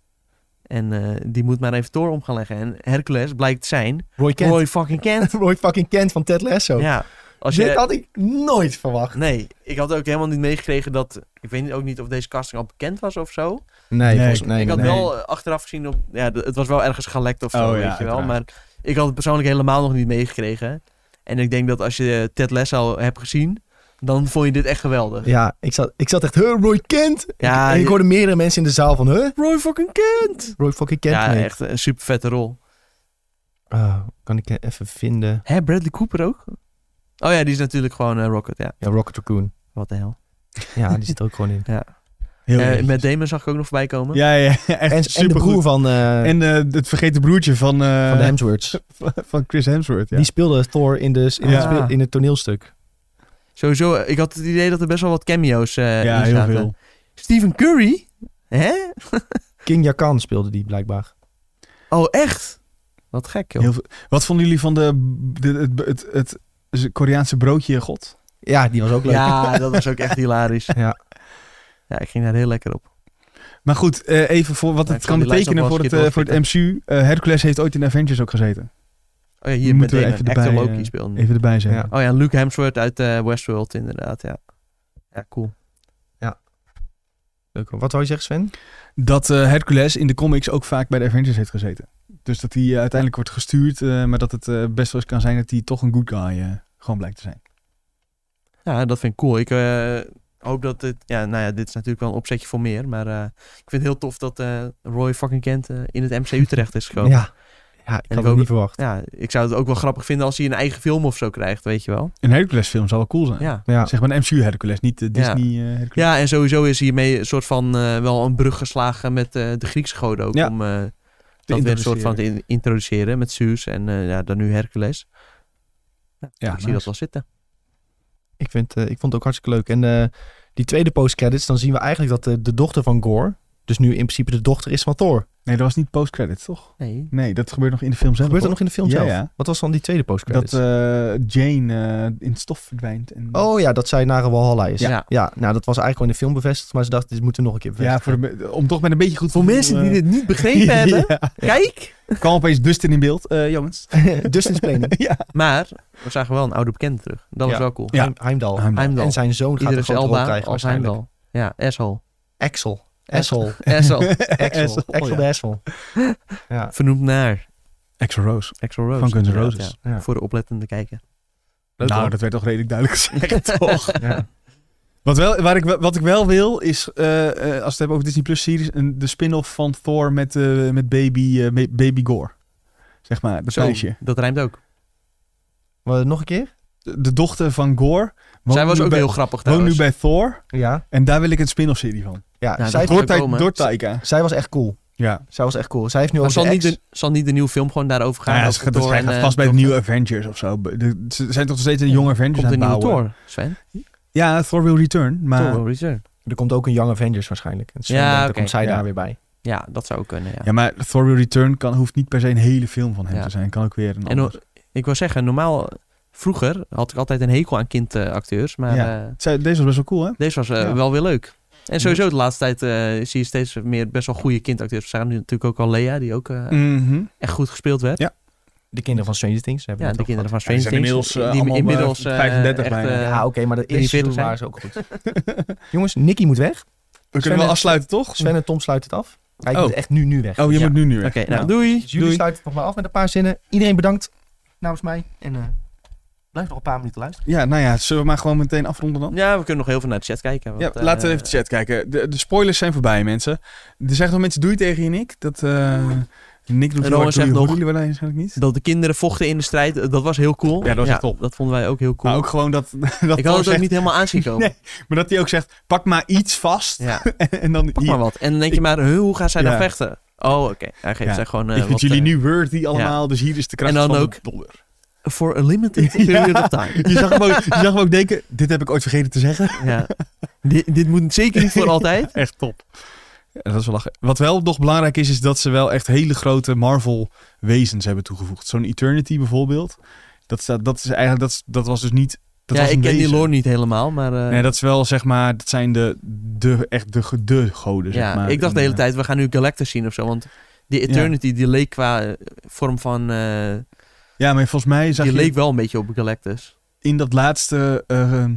Speaker 3: En eh, die moet maar even Thor om gaan leggen. En Hercules blijkt zijn
Speaker 1: Roy Kent. Roy,
Speaker 3: Roy fucking Kent.
Speaker 1: fucking Kent van Ted Lasso.
Speaker 3: Ja, als
Speaker 1: Dit
Speaker 3: je...
Speaker 1: had ik nooit verwacht.
Speaker 3: Nee, ik had ook helemaal niet meegekregen dat... Ik weet ook niet of deze casting al bekend was of zo.
Speaker 1: Nee,
Speaker 2: Nee.
Speaker 1: volgens- nee,
Speaker 3: ik had
Speaker 1: nee.
Speaker 3: wel eh, achteraf gezien op... Ja, d- het was wel ergens gelekt of zo,
Speaker 2: Oh,
Speaker 3: weet
Speaker 2: ja,
Speaker 3: je wel. Maar
Speaker 2: uiteraard.
Speaker 3: ik had het persoonlijk helemaal nog niet meegekregen. En ik denk dat als je Ted eh, Lasso hebt gezien... dan vond je dit echt geweldig.
Speaker 1: Ja, ik zat, ik zat echt, huh, Roy Kent?
Speaker 3: Ja,
Speaker 1: en ik
Speaker 3: je-
Speaker 1: hoorde meerdere mensen in de zaal van, huh,
Speaker 3: Roy fucking Kent!
Speaker 1: Roy fucking Kent?
Speaker 3: Ja,
Speaker 1: nee.
Speaker 3: echt een super vette rol.
Speaker 1: Oh, kan ik even vinden?
Speaker 3: Hè, Bradley Cooper ook? Oh ja, die is natuurlijk gewoon eh, Rocket, ja.
Speaker 1: Ja, Rocket Raccoon.
Speaker 3: Wat de hel.
Speaker 1: Ja, die zit er ook gewoon in.
Speaker 2: Heel
Speaker 3: Eh,
Speaker 2: erg.
Speaker 3: met Damon zag ik ook nog voorbij komen.
Speaker 2: Ja, ja, echt
Speaker 1: En, en de
Speaker 2: supergoed.
Speaker 1: broer van, eh,
Speaker 2: En eh, het vergeten broertje van, eh,
Speaker 1: van de Hemsworths.
Speaker 2: van Chris Hemsworth. Ja.
Speaker 1: Die speelde Thor in, de, in,
Speaker 3: Ja.
Speaker 1: het, speel- in het toneelstuk.
Speaker 3: Sowieso, eh, ik had het idee dat er best wel wat cameo's eh
Speaker 2: ja,
Speaker 3: in
Speaker 2: heel
Speaker 3: zaten.
Speaker 2: veel.
Speaker 3: Stephen Curry? Hè?
Speaker 1: King Jakan speelde die blijkbaar.
Speaker 3: Oh, echt? Wat gek, joh.
Speaker 2: Heel veel. Wat vonden jullie van de, de- het, het, het, het Koreaanse broodje god?
Speaker 1: Ja, die was ook leuk.
Speaker 3: Ja, dat was ook echt hilarisch.
Speaker 1: Ja.
Speaker 3: Ja, ik ging daar heel lekker op.
Speaker 2: Maar goed, eh, even voor wat
Speaker 3: Ja, ik
Speaker 2: het
Speaker 3: zal
Speaker 2: kan
Speaker 3: die lijst
Speaker 2: betekenen
Speaker 3: nog
Speaker 2: voor
Speaker 3: wel
Speaker 2: het,
Speaker 3: eens
Speaker 2: eh, voor het MCU. Eh, Hercules heeft ooit in Avengers ook gezeten.
Speaker 3: Oh ja,
Speaker 2: Die
Speaker 3: hier met
Speaker 2: moeten we
Speaker 3: Damon.
Speaker 2: even
Speaker 3: Actor
Speaker 2: erbij,
Speaker 3: Loki
Speaker 2: eh,
Speaker 3: speelde nu.
Speaker 2: Even erbij zeggen.
Speaker 1: Ja.
Speaker 3: Oh ja, Luke Hemsworth uit eh, Westworld inderdaad, ja. Ja, cool.
Speaker 1: Leuk. hoor. Wat wou je zeggen, Sven?
Speaker 2: Dat eh, Hercules in de comics ook vaak bij de Avengers heeft gezeten. Dus dat hij eh, uiteindelijk wordt gestuurd, eh, maar dat het eh, best wel eens kan zijn dat hij toch een good guy eh, gewoon blijkt te zijn.
Speaker 3: Ja, dat vind ik cool. Ik eh, hoop dat dit... Ja, nou ja, dit is natuurlijk wel een opzetje voor meer. Maar eh, ik vind het heel tof dat eh, Roy fucking Kent eh, in het MCU terecht is gekomen. Ja.
Speaker 1: Ja. Ja, ik
Speaker 3: En
Speaker 1: had
Speaker 3: ik
Speaker 1: het
Speaker 3: ook-
Speaker 1: niet verwacht.
Speaker 3: ik zou het ook wel grappig vinden als hij een eigen film of zo krijgt, weet je wel.
Speaker 2: Een Hercules film zou wel cool zijn.
Speaker 3: Ja.
Speaker 1: Ja.
Speaker 2: Zeg maar een MCU Hercules, niet de
Speaker 3: Ja.
Speaker 2: Disney eh, Hercules.
Speaker 3: Ja, en sowieso is hiermee een soort van eh, wel een brug geslagen met eh, de Griekse goden ook.
Speaker 2: Ja.
Speaker 3: Om eh, dat weer een soort van te in- introduceren met Zeus en eh, ja, dan nu Hercules. Ja, ik
Speaker 2: Ja,
Speaker 3: zie dat
Speaker 2: nice.
Speaker 3: wel zitten.
Speaker 1: Ik, vind, eh, ik vond het ook hartstikke leuk. En eh, die tweede post-credits, dan zien we eigenlijk dat eh, de, de dochter van Gore... dus nu in principe de dochter is van Thor.
Speaker 2: Nee, dat was niet post-credits, toch?
Speaker 3: Nee.
Speaker 2: Nee, dat gebeurt nog in de film zelf.
Speaker 1: Gebeurt dat
Speaker 2: hoor.
Speaker 1: nog in de film
Speaker 2: Oh, Ja,
Speaker 1: zelf?
Speaker 2: ja.
Speaker 1: Wat was dan die tweede post-credits?
Speaker 2: Dat eh, Jane eh, in stof verdwijnt. En...
Speaker 1: Oh ja, dat zij naar een Walhalla is.
Speaker 3: Ja.
Speaker 1: nou dat was eigenlijk al in de film bevestigd, maar ze dachten, dit moeten we nog een keer
Speaker 2: Ja,
Speaker 1: bevestigen.
Speaker 2: voor de- om toch met een beetje goed eh,
Speaker 3: Voor mensen die dit niet begrepen hebben, kijk!
Speaker 2: Kan opeens Dustin in beeld, eh, jongens.
Speaker 1: Ja, Dustin's Planen,
Speaker 2: ja.
Speaker 3: Maar we zagen wel een oude bekende terug. Dat was
Speaker 1: Ja.
Speaker 3: wel cool.
Speaker 2: Ja.
Speaker 1: Heim- Heimdall.
Speaker 2: Heimdall.
Speaker 3: Heimdall.
Speaker 1: En zijn zoon gaat
Speaker 3: Idris
Speaker 1: een grote rol
Speaker 3: Elba
Speaker 1: krijgen
Speaker 3: als
Speaker 1: waarschijnlijk.
Speaker 3: Heimdall. Ja, Essel.
Speaker 1: Axel. Axel.
Speaker 3: Essel,
Speaker 1: Axel.
Speaker 3: Oh,
Speaker 1: Axel
Speaker 2: oh ja.
Speaker 1: de Axel. Ja.
Speaker 3: vernoemd naar
Speaker 2: Axl Rose.
Speaker 3: Axel Rose.
Speaker 2: Van Guns N'
Speaker 3: inderdaad,
Speaker 2: Roses.
Speaker 3: ja.
Speaker 1: Ja.
Speaker 3: Voor de oplettende kijker.
Speaker 1: Leuk
Speaker 2: nou,
Speaker 1: hoor.
Speaker 2: dat werd toch redelijk duidelijk gezegd, toch?
Speaker 1: Ja.
Speaker 2: Wat, wel, waar ik, wel- wat ik wel wil is, eh, eh, als we het hebben over Disney Plus series, een, de spin-off van Thor met, eh, met baby, eh, ba- baby Gore. Zeg maar, dat
Speaker 3: Zo,
Speaker 2: meisje.
Speaker 3: dat rijmt ook.
Speaker 1: Maar nog een keer?
Speaker 2: De, de dochter van Gore. woont
Speaker 3: Zij was
Speaker 2: nu
Speaker 3: ook
Speaker 2: bij-
Speaker 3: heel grappig
Speaker 2: Woont
Speaker 3: trouwens.
Speaker 2: nu bij Thor.
Speaker 1: Ja.
Speaker 2: En daar wil ik een spin-off serie van.
Speaker 1: ja,
Speaker 3: dat
Speaker 1: zij,
Speaker 3: wordt-
Speaker 2: Door,
Speaker 3: gaat
Speaker 2: Ty-
Speaker 3: komen.
Speaker 2: door Taika.
Speaker 1: zij was echt cool.
Speaker 2: Ja.
Speaker 1: Zij was echt cool. Zij heeft nu ook
Speaker 3: Maar zal
Speaker 1: een
Speaker 3: niet,
Speaker 1: ex.
Speaker 3: de, zal niet de nieuwe film gewoon daarover gaan?
Speaker 2: Nou ja,
Speaker 3: Over
Speaker 2: ze gaat, dat
Speaker 3: Thor
Speaker 2: gaat
Speaker 3: en, eh,
Speaker 2: vast bij de
Speaker 3: Thor-
Speaker 2: nieuwe Avengers of zo. Be- de- Ze zijn toch nog steeds een
Speaker 3: Ja,
Speaker 2: jonge Avengers
Speaker 3: Komt
Speaker 2: aan
Speaker 3: een
Speaker 2: het
Speaker 3: nieuwe
Speaker 2: bouwen.
Speaker 3: Thor, Sven.
Speaker 2: Ja, Thor will return. Maar,
Speaker 3: Thor Return.
Speaker 1: Er komt ook een Young Avengers waarschijnlijk. En Sven,
Speaker 3: Ja,
Speaker 1: dan
Speaker 3: oké.
Speaker 1: komt zij
Speaker 2: Ja.
Speaker 1: daar weer bij.
Speaker 3: Ja, dat zou kunnen, ja.
Speaker 2: ja, maar Thor will return kan, hoeft niet per se een hele film van hem
Speaker 3: Ja.
Speaker 2: te zijn. Kan ook weer een
Speaker 3: En
Speaker 2: ander.
Speaker 3: Ik wil zeggen, normaal... Vroeger had ik altijd een hekel aan kindacteurs, maar...
Speaker 2: Ja.
Speaker 3: eh,
Speaker 2: Zij- Deze was best wel cool, hè?
Speaker 3: Deze was eh,
Speaker 2: Ja.
Speaker 3: wel weer leuk. En sowieso de laatste tijd eh, zie je steeds meer best wel goede kindacteurs. We zagen nu natuurlijk ook al Lea, die ook eh,
Speaker 2: Mhm.
Speaker 3: echt goed gespeeld werd.
Speaker 2: Ja,
Speaker 1: De kinderen van Stranger Things. hebben
Speaker 3: Ja,
Speaker 1: we
Speaker 3: de
Speaker 1: net
Speaker 3: kinderen
Speaker 1: over
Speaker 3: van
Speaker 2: Ja, die zijn
Speaker 3: Stranger Things.
Speaker 2: inmiddels, eh,
Speaker 3: die
Speaker 2: allemaal, eh,
Speaker 3: inmiddels eh,
Speaker 2: 35
Speaker 3: echt,
Speaker 2: bijna.
Speaker 3: eh,
Speaker 1: gehad. Ja, oké, maar dat eerste seizoen
Speaker 3: 43 zijn.
Speaker 1: waren ze ook goed. Jongens, Nicky moet weg.
Speaker 2: We
Speaker 1: Sven
Speaker 2: kunnen wel
Speaker 1: en-
Speaker 2: afsluiten, toch?
Speaker 1: Sven en Tom sluiten het af. Hij
Speaker 2: Oh.
Speaker 1: moet echt nu, nu weg.
Speaker 2: Oh, je
Speaker 3: Ja.
Speaker 2: moet nu nu. weg.
Speaker 3: Oké, nou
Speaker 2: Nou.
Speaker 3: doei.
Speaker 1: Dus jullie
Speaker 2: Doei.
Speaker 1: sluiten het nog maar af met een paar zinnen. Iedereen bedankt namens mij. En eh, blijf nog een paar minuten luisteren.
Speaker 2: Ja, nou ja, zullen we maar gewoon meteen afronden dan?
Speaker 3: Ja, we kunnen nog heel veel naar de chat kijken.
Speaker 2: Ja,
Speaker 3: want, eh,
Speaker 2: laten we even de chat kijken. De, de spoilers zijn voorbij, mensen. Er zeggen nog mensen, doei tegen je Nick. Dat, eh Nick doet
Speaker 3: En Rowan
Speaker 2: heel hard,
Speaker 3: zegt
Speaker 2: doei.
Speaker 3: nog-
Speaker 2: Horen jullie waarschijnlijk niet.
Speaker 3: Dat de kinderen vochten in de strijd, eh, dat was heel cool.
Speaker 2: Ja, dat was echt top.
Speaker 3: Dat vonden wij ook heel cool.
Speaker 2: Maar ook gewoon dat, dat Thor
Speaker 3: ik had het ook
Speaker 2: zegt-
Speaker 3: niet helemaal aanzien komen.
Speaker 2: Maar dat hij ook zegt, pak maar iets vast.
Speaker 3: Ja,
Speaker 2: en dan
Speaker 3: pak
Speaker 2: hier.
Speaker 3: maar wat. En dan denk je maar, huh, hoe gaan zij
Speaker 2: Ja.
Speaker 3: dan vechten? Oh, oké. Hij geeft
Speaker 2: Ja.
Speaker 3: zij gewoon eh,
Speaker 2: Ik vind
Speaker 3: wat,
Speaker 2: jullie nu
Speaker 3: eh,
Speaker 2: worthy allemaal, dus hier is de kracht
Speaker 3: En dan
Speaker 2: van
Speaker 3: ook-
Speaker 2: de dollar.
Speaker 3: For a limited
Speaker 2: Ja.
Speaker 3: period of time.
Speaker 2: Je zag, hem ook, je zag hem ook denken, dit heb ik ooit vergeten te zeggen.
Speaker 3: Ja. dit, dit moet zeker niet voor altijd.
Speaker 2: Echt top. Ja, dat is wel lachen. Wat wel nog belangrijk is, is dat ze wel echt hele grote Marvel-wezens hebben toegevoegd. Zo'n Eternity bijvoorbeeld. Dat, staat, dat, is eigenlijk, dat, is- dat was dus niet... Dat
Speaker 3: ja,
Speaker 2: was
Speaker 3: ik
Speaker 2: een
Speaker 3: ken die
Speaker 2: wezen.
Speaker 3: lore niet helemaal, maar... eh,
Speaker 2: Nee, dat is wel zeg maar, dat zijn de, de, echt de, ge- de goden.
Speaker 3: ja,
Speaker 2: zeg maar.
Speaker 3: ik dacht de
Speaker 2: En,
Speaker 3: hele
Speaker 2: eh,
Speaker 3: tijd, we gaan nu Galactus zien of zo. Want die
Speaker 2: Ja.
Speaker 3: Eternity, die leek qua eh, vorm van... eh,
Speaker 2: Ja, maar volgens mij zag
Speaker 3: die
Speaker 2: je
Speaker 3: leek wel een beetje op Galactus.
Speaker 2: in dat laatste, eh, eh,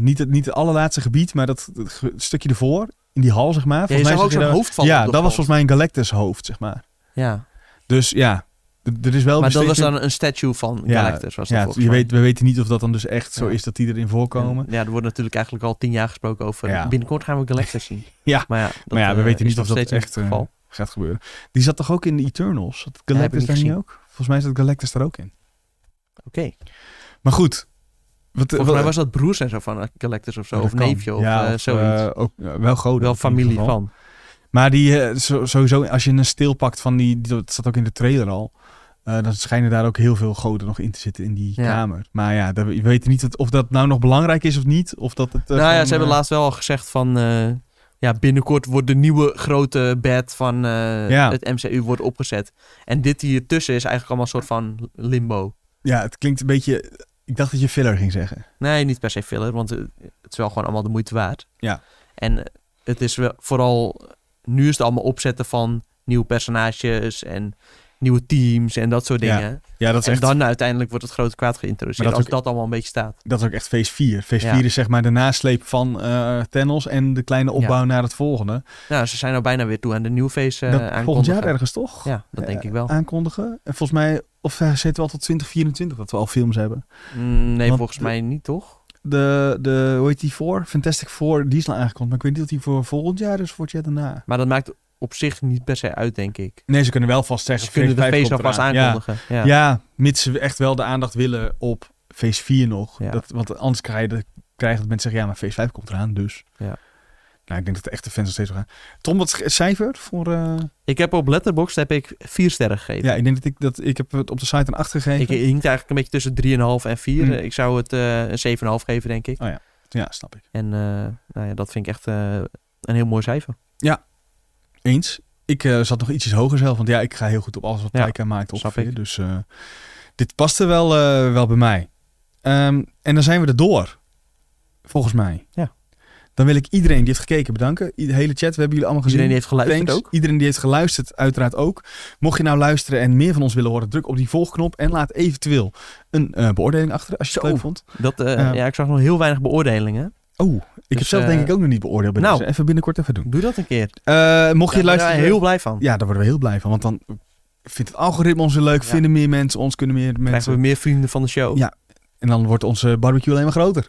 Speaker 2: niet, het, niet het allerlaatste gebied, maar dat, dat ge- stukje ervoor, in die hal zeg maar.
Speaker 3: Ja, je
Speaker 2: mij
Speaker 3: zag ook
Speaker 2: zag je
Speaker 3: zo'n
Speaker 2: daar-
Speaker 3: hoofd vallen
Speaker 2: Ja,
Speaker 3: op de
Speaker 2: dat was
Speaker 3: grond.
Speaker 2: volgens mij een Galactus hoofd zeg maar.
Speaker 3: Ja,
Speaker 2: Dus ja, d- er is wel
Speaker 3: Maar dat
Speaker 2: besteed-
Speaker 3: was dan een statue van
Speaker 2: Ja,
Speaker 3: Galactus. Was dat
Speaker 2: Ja,
Speaker 3: volgens
Speaker 2: je
Speaker 3: mij.
Speaker 2: weet, we weten niet of dat dan dus echt zo
Speaker 3: Ja.
Speaker 2: is dat die erin voorkomen.
Speaker 3: En, Ja, er wordt natuurlijk eigenlijk al tien jaar gesproken over.
Speaker 2: Ja.
Speaker 3: Binnenkort gaan we Galactus zien.
Speaker 2: Ja.
Speaker 3: maar ja, dat,
Speaker 2: Maar ja, we
Speaker 3: eh,
Speaker 2: weten
Speaker 3: is
Speaker 2: niet
Speaker 3: nog
Speaker 2: of dat
Speaker 3: steeds niet
Speaker 2: echt,
Speaker 3: het
Speaker 2: eh,
Speaker 3: geval.
Speaker 2: Gaat gebeuren. Die zat toch ook in de Eternals? Zat Galactus
Speaker 3: niet
Speaker 2: daar niet
Speaker 3: gezien.
Speaker 2: ook? Volgens mij zat Galactus daar ook in.
Speaker 3: Oké.
Speaker 2: Maar goed. Wat,
Speaker 3: Volgens mij
Speaker 2: wat-
Speaker 3: was dat broers en zo van Galactus of zo.
Speaker 2: Ja,
Speaker 3: of
Speaker 2: dat kan.
Speaker 3: neefje of
Speaker 2: Ja,
Speaker 3: eh, zoiets.
Speaker 2: eh, ook, eh, wel goden.
Speaker 3: Wel
Speaker 2: in
Speaker 3: familie
Speaker 2: ieder geval.
Speaker 3: van.
Speaker 2: Maar die, eh, zo- sowieso, als je een steel pakt van die, die- dat staat ook in de trailer al. eh, dan schijnen daar ook heel veel goden nog in te zitten in die
Speaker 3: Ja.
Speaker 2: kamer. Maar ja, dat, we weten niet wat- of dat nou nog belangrijk is of niet. Of dat het, eh,
Speaker 3: nou ja,
Speaker 2: van,
Speaker 3: ze hebben
Speaker 2: eh,
Speaker 3: laatst wel al gezegd van... eh, ja, binnenkort wordt de nieuwe grote bed van eh,
Speaker 2: Ja.
Speaker 3: het MCU wordt opgezet. En dit hier tussen is eigenlijk allemaal een soort van limbo.
Speaker 2: Ja, het klinkt een beetje... Ik dacht dat je filler ging zeggen.
Speaker 3: Nee, niet per se filler, want eh, het is wel gewoon allemaal de moeite waard.
Speaker 2: Ja.
Speaker 3: En eh, het is wel vooral... Nu is het allemaal opzetten van nieuwe personages en nieuwe teams en dat soort
Speaker 2: Ja,
Speaker 3: dingen.
Speaker 2: Ja, dat is
Speaker 3: en
Speaker 2: echt...
Speaker 3: dan uiteindelijk wordt het grote kwaad geïntroduceerd.
Speaker 2: Maar dat
Speaker 3: Als
Speaker 2: ook-
Speaker 3: dat allemaal een beetje staat.
Speaker 2: Dat is ook echt phase 4. Phase
Speaker 3: Ja.
Speaker 2: 4 is zeg maar de nasleep van eh Thanos en de kleine opbouw naar het volgende.
Speaker 3: Nou, ze zijn nou bijna weer toe aan de nieuwe face eh
Speaker 2: Dat-
Speaker 3: aankondigen.
Speaker 2: volgend jaar ergens toch?
Speaker 3: Ja, dat denk
Speaker 2: Eh,
Speaker 3: ik wel.
Speaker 2: Aankondigen. En volgens mij, of eh, zitten we al tot 2024 dat we al films hebben.
Speaker 3: Mm, nee,
Speaker 2: Want
Speaker 3: volgens
Speaker 2: de-
Speaker 3: mij niet, toch?
Speaker 2: De, de hoe heet die voor? Fantastic Four, die is al aangekondigd. Maar ik weet niet of die voor volgend jaar is of voor het jaar daarna.
Speaker 3: Maar dat maakt op zich niet per se uit, denk ik.
Speaker 2: Nee, ze kunnen wel vast
Speaker 3: Ze
Speaker 2: zeggen.
Speaker 3: kunnen de
Speaker 2: phase
Speaker 3: face
Speaker 2: vijf
Speaker 3: nog
Speaker 2: komt
Speaker 3: vast
Speaker 2: eraan. Ja.
Speaker 3: aankondigen. Ja.
Speaker 2: Ja. mits ze echt wel de aandacht willen op phase 4 nog.
Speaker 3: Ja.
Speaker 2: Dat, want anders krijg je, de- krijg je dat mensen zeggen, ja, maar phase 5 komt eraan, dus.
Speaker 3: Ja.
Speaker 2: Nou, ik denk dat de echte fans nog steeds wel gaan. Tom, wat is het cijfer voor... eh,
Speaker 3: Ik heb op Letterboxd heb ik vier sterren gegeven.
Speaker 2: Ja, ik denk dat ik dat ik heb het op de site een 8 gegeven.
Speaker 3: ik hinkt eigenlijk een beetje tussen 3,5 en 4.
Speaker 2: Hmm.
Speaker 3: Ik zou het eh, een 7,5 geven, denk ik.
Speaker 2: Oh Ja, snap ik.
Speaker 3: En eh, nou ja, dat vind ik echt eh, een heel mooi cijfer.
Speaker 2: Eens. Ik eh, zat nog ietsjes hoger zelf, want ja, ik ga heel goed op alles wat
Speaker 3: Ja,
Speaker 2: Taika maakt
Speaker 3: snap
Speaker 2: ongeveer.
Speaker 3: ik.
Speaker 2: Dus eh, dit paste wel, eh, wel bij mij. Ehm, en dan zijn we er door. Volgens mij.
Speaker 3: Ja.
Speaker 2: Dan wil ik iedereen die heeft gekeken bedanken. I- De hele chat, we hebben jullie allemaal gezien.
Speaker 3: Iedereen die heeft geluisterd
Speaker 2: Thanks.
Speaker 3: ook.
Speaker 2: Iedereen die heeft geluisterd, uiteraard ook. Mocht je nou luisteren en meer van ons willen horen, druk op die volgknop en laat eventueel een eh, beoordeling achter als je
Speaker 3: Zo.
Speaker 2: het leuk vond.
Speaker 3: Dat, eh,
Speaker 2: Ja.
Speaker 3: ja, ik zag nog heel weinig beoordelingen.
Speaker 2: Oh, ik heb zelf
Speaker 3: eh,
Speaker 2: denk ik ook nog niet beoordeeld bij
Speaker 3: nou.
Speaker 2: deze. Even binnenkort even doen.
Speaker 3: Doe dat een keer.
Speaker 2: Eh, mocht je
Speaker 3: Daar
Speaker 2: het
Speaker 3: ben ik
Speaker 2: luisteren...
Speaker 3: heel blij van.
Speaker 2: Ja, daar worden we heel blij van. Want dan vindt het algoritme ons weer leuk.
Speaker 3: Ja.
Speaker 2: Vinden meer mensen ons, kunnen meer
Speaker 3: Krijgen
Speaker 2: mensen...
Speaker 3: we meer vrienden van de show.
Speaker 2: Ja. En dan wordt onze barbecue alleen maar groter.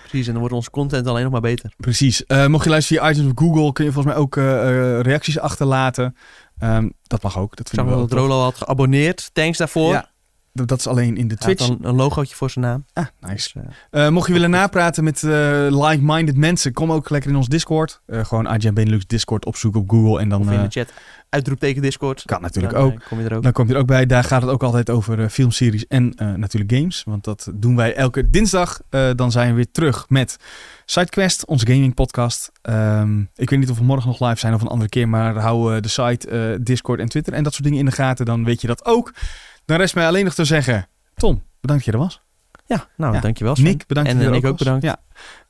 Speaker 3: Precies, en dan wordt onze content alleen nog maar beter.
Speaker 2: Precies. Eh, mocht je luisteren via iTunes of Google... kun je volgens mij ook eh, eh, reacties achterlaten. Ehm, dat mag ook. Dat
Speaker 3: Ik zag
Speaker 2: vind ik wel
Speaker 3: nog dat Rolo had geabonneerd. Thanks daarvoor.
Speaker 2: Ja, dat, dat is alleen in de
Speaker 3: Hij had
Speaker 2: Twitch.
Speaker 3: dan een logootje voor zijn naam.
Speaker 2: Ah, nice.
Speaker 3: Dus, eh,
Speaker 2: Eh, mocht je willen napraten met eh, like-minded mensen... kom ook lekker in ons Discord. Eh, gewoon AGM Benelux Discord opzoeken op Google. En dan
Speaker 3: of in
Speaker 2: eh,
Speaker 3: de chat. Uitroepteken Discord.
Speaker 2: kan natuurlijk
Speaker 3: Dan,
Speaker 2: ook. Nou,
Speaker 3: eh, kom je er ook.
Speaker 2: Dan komt je er ook bij. Daar gaat het ook altijd over eh, filmseries en eh, natuurlijk games. Want dat doen wij elke dinsdag. Eh, dan zijn we weer terug met SideQuest, onze gaming podcast. Ehm, ik weet niet of we morgen nog live zijn of een andere keer. Maar hou eh, de site, eh, Discord en Twitter en dat soort dingen in de gaten. Dan weet je dat ook. Dan rest mij alleen nog te zeggen. Tom, bedankt dat je er was.
Speaker 3: Ja, nou,
Speaker 2: Ja.
Speaker 3: dankjewel Sven.
Speaker 2: Nick, bedankt
Speaker 3: En,
Speaker 2: dat je er
Speaker 3: eh,
Speaker 2: ook
Speaker 3: Nick ook
Speaker 2: was.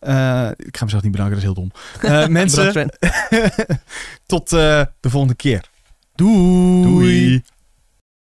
Speaker 2: Ja. Eh, ik ga mezelf niet bedanken, dat is heel dom. Eh, mensen,
Speaker 3: Bedankt, Sven.
Speaker 2: tot eh, de volgende keer.
Speaker 3: Doei.
Speaker 2: Doei.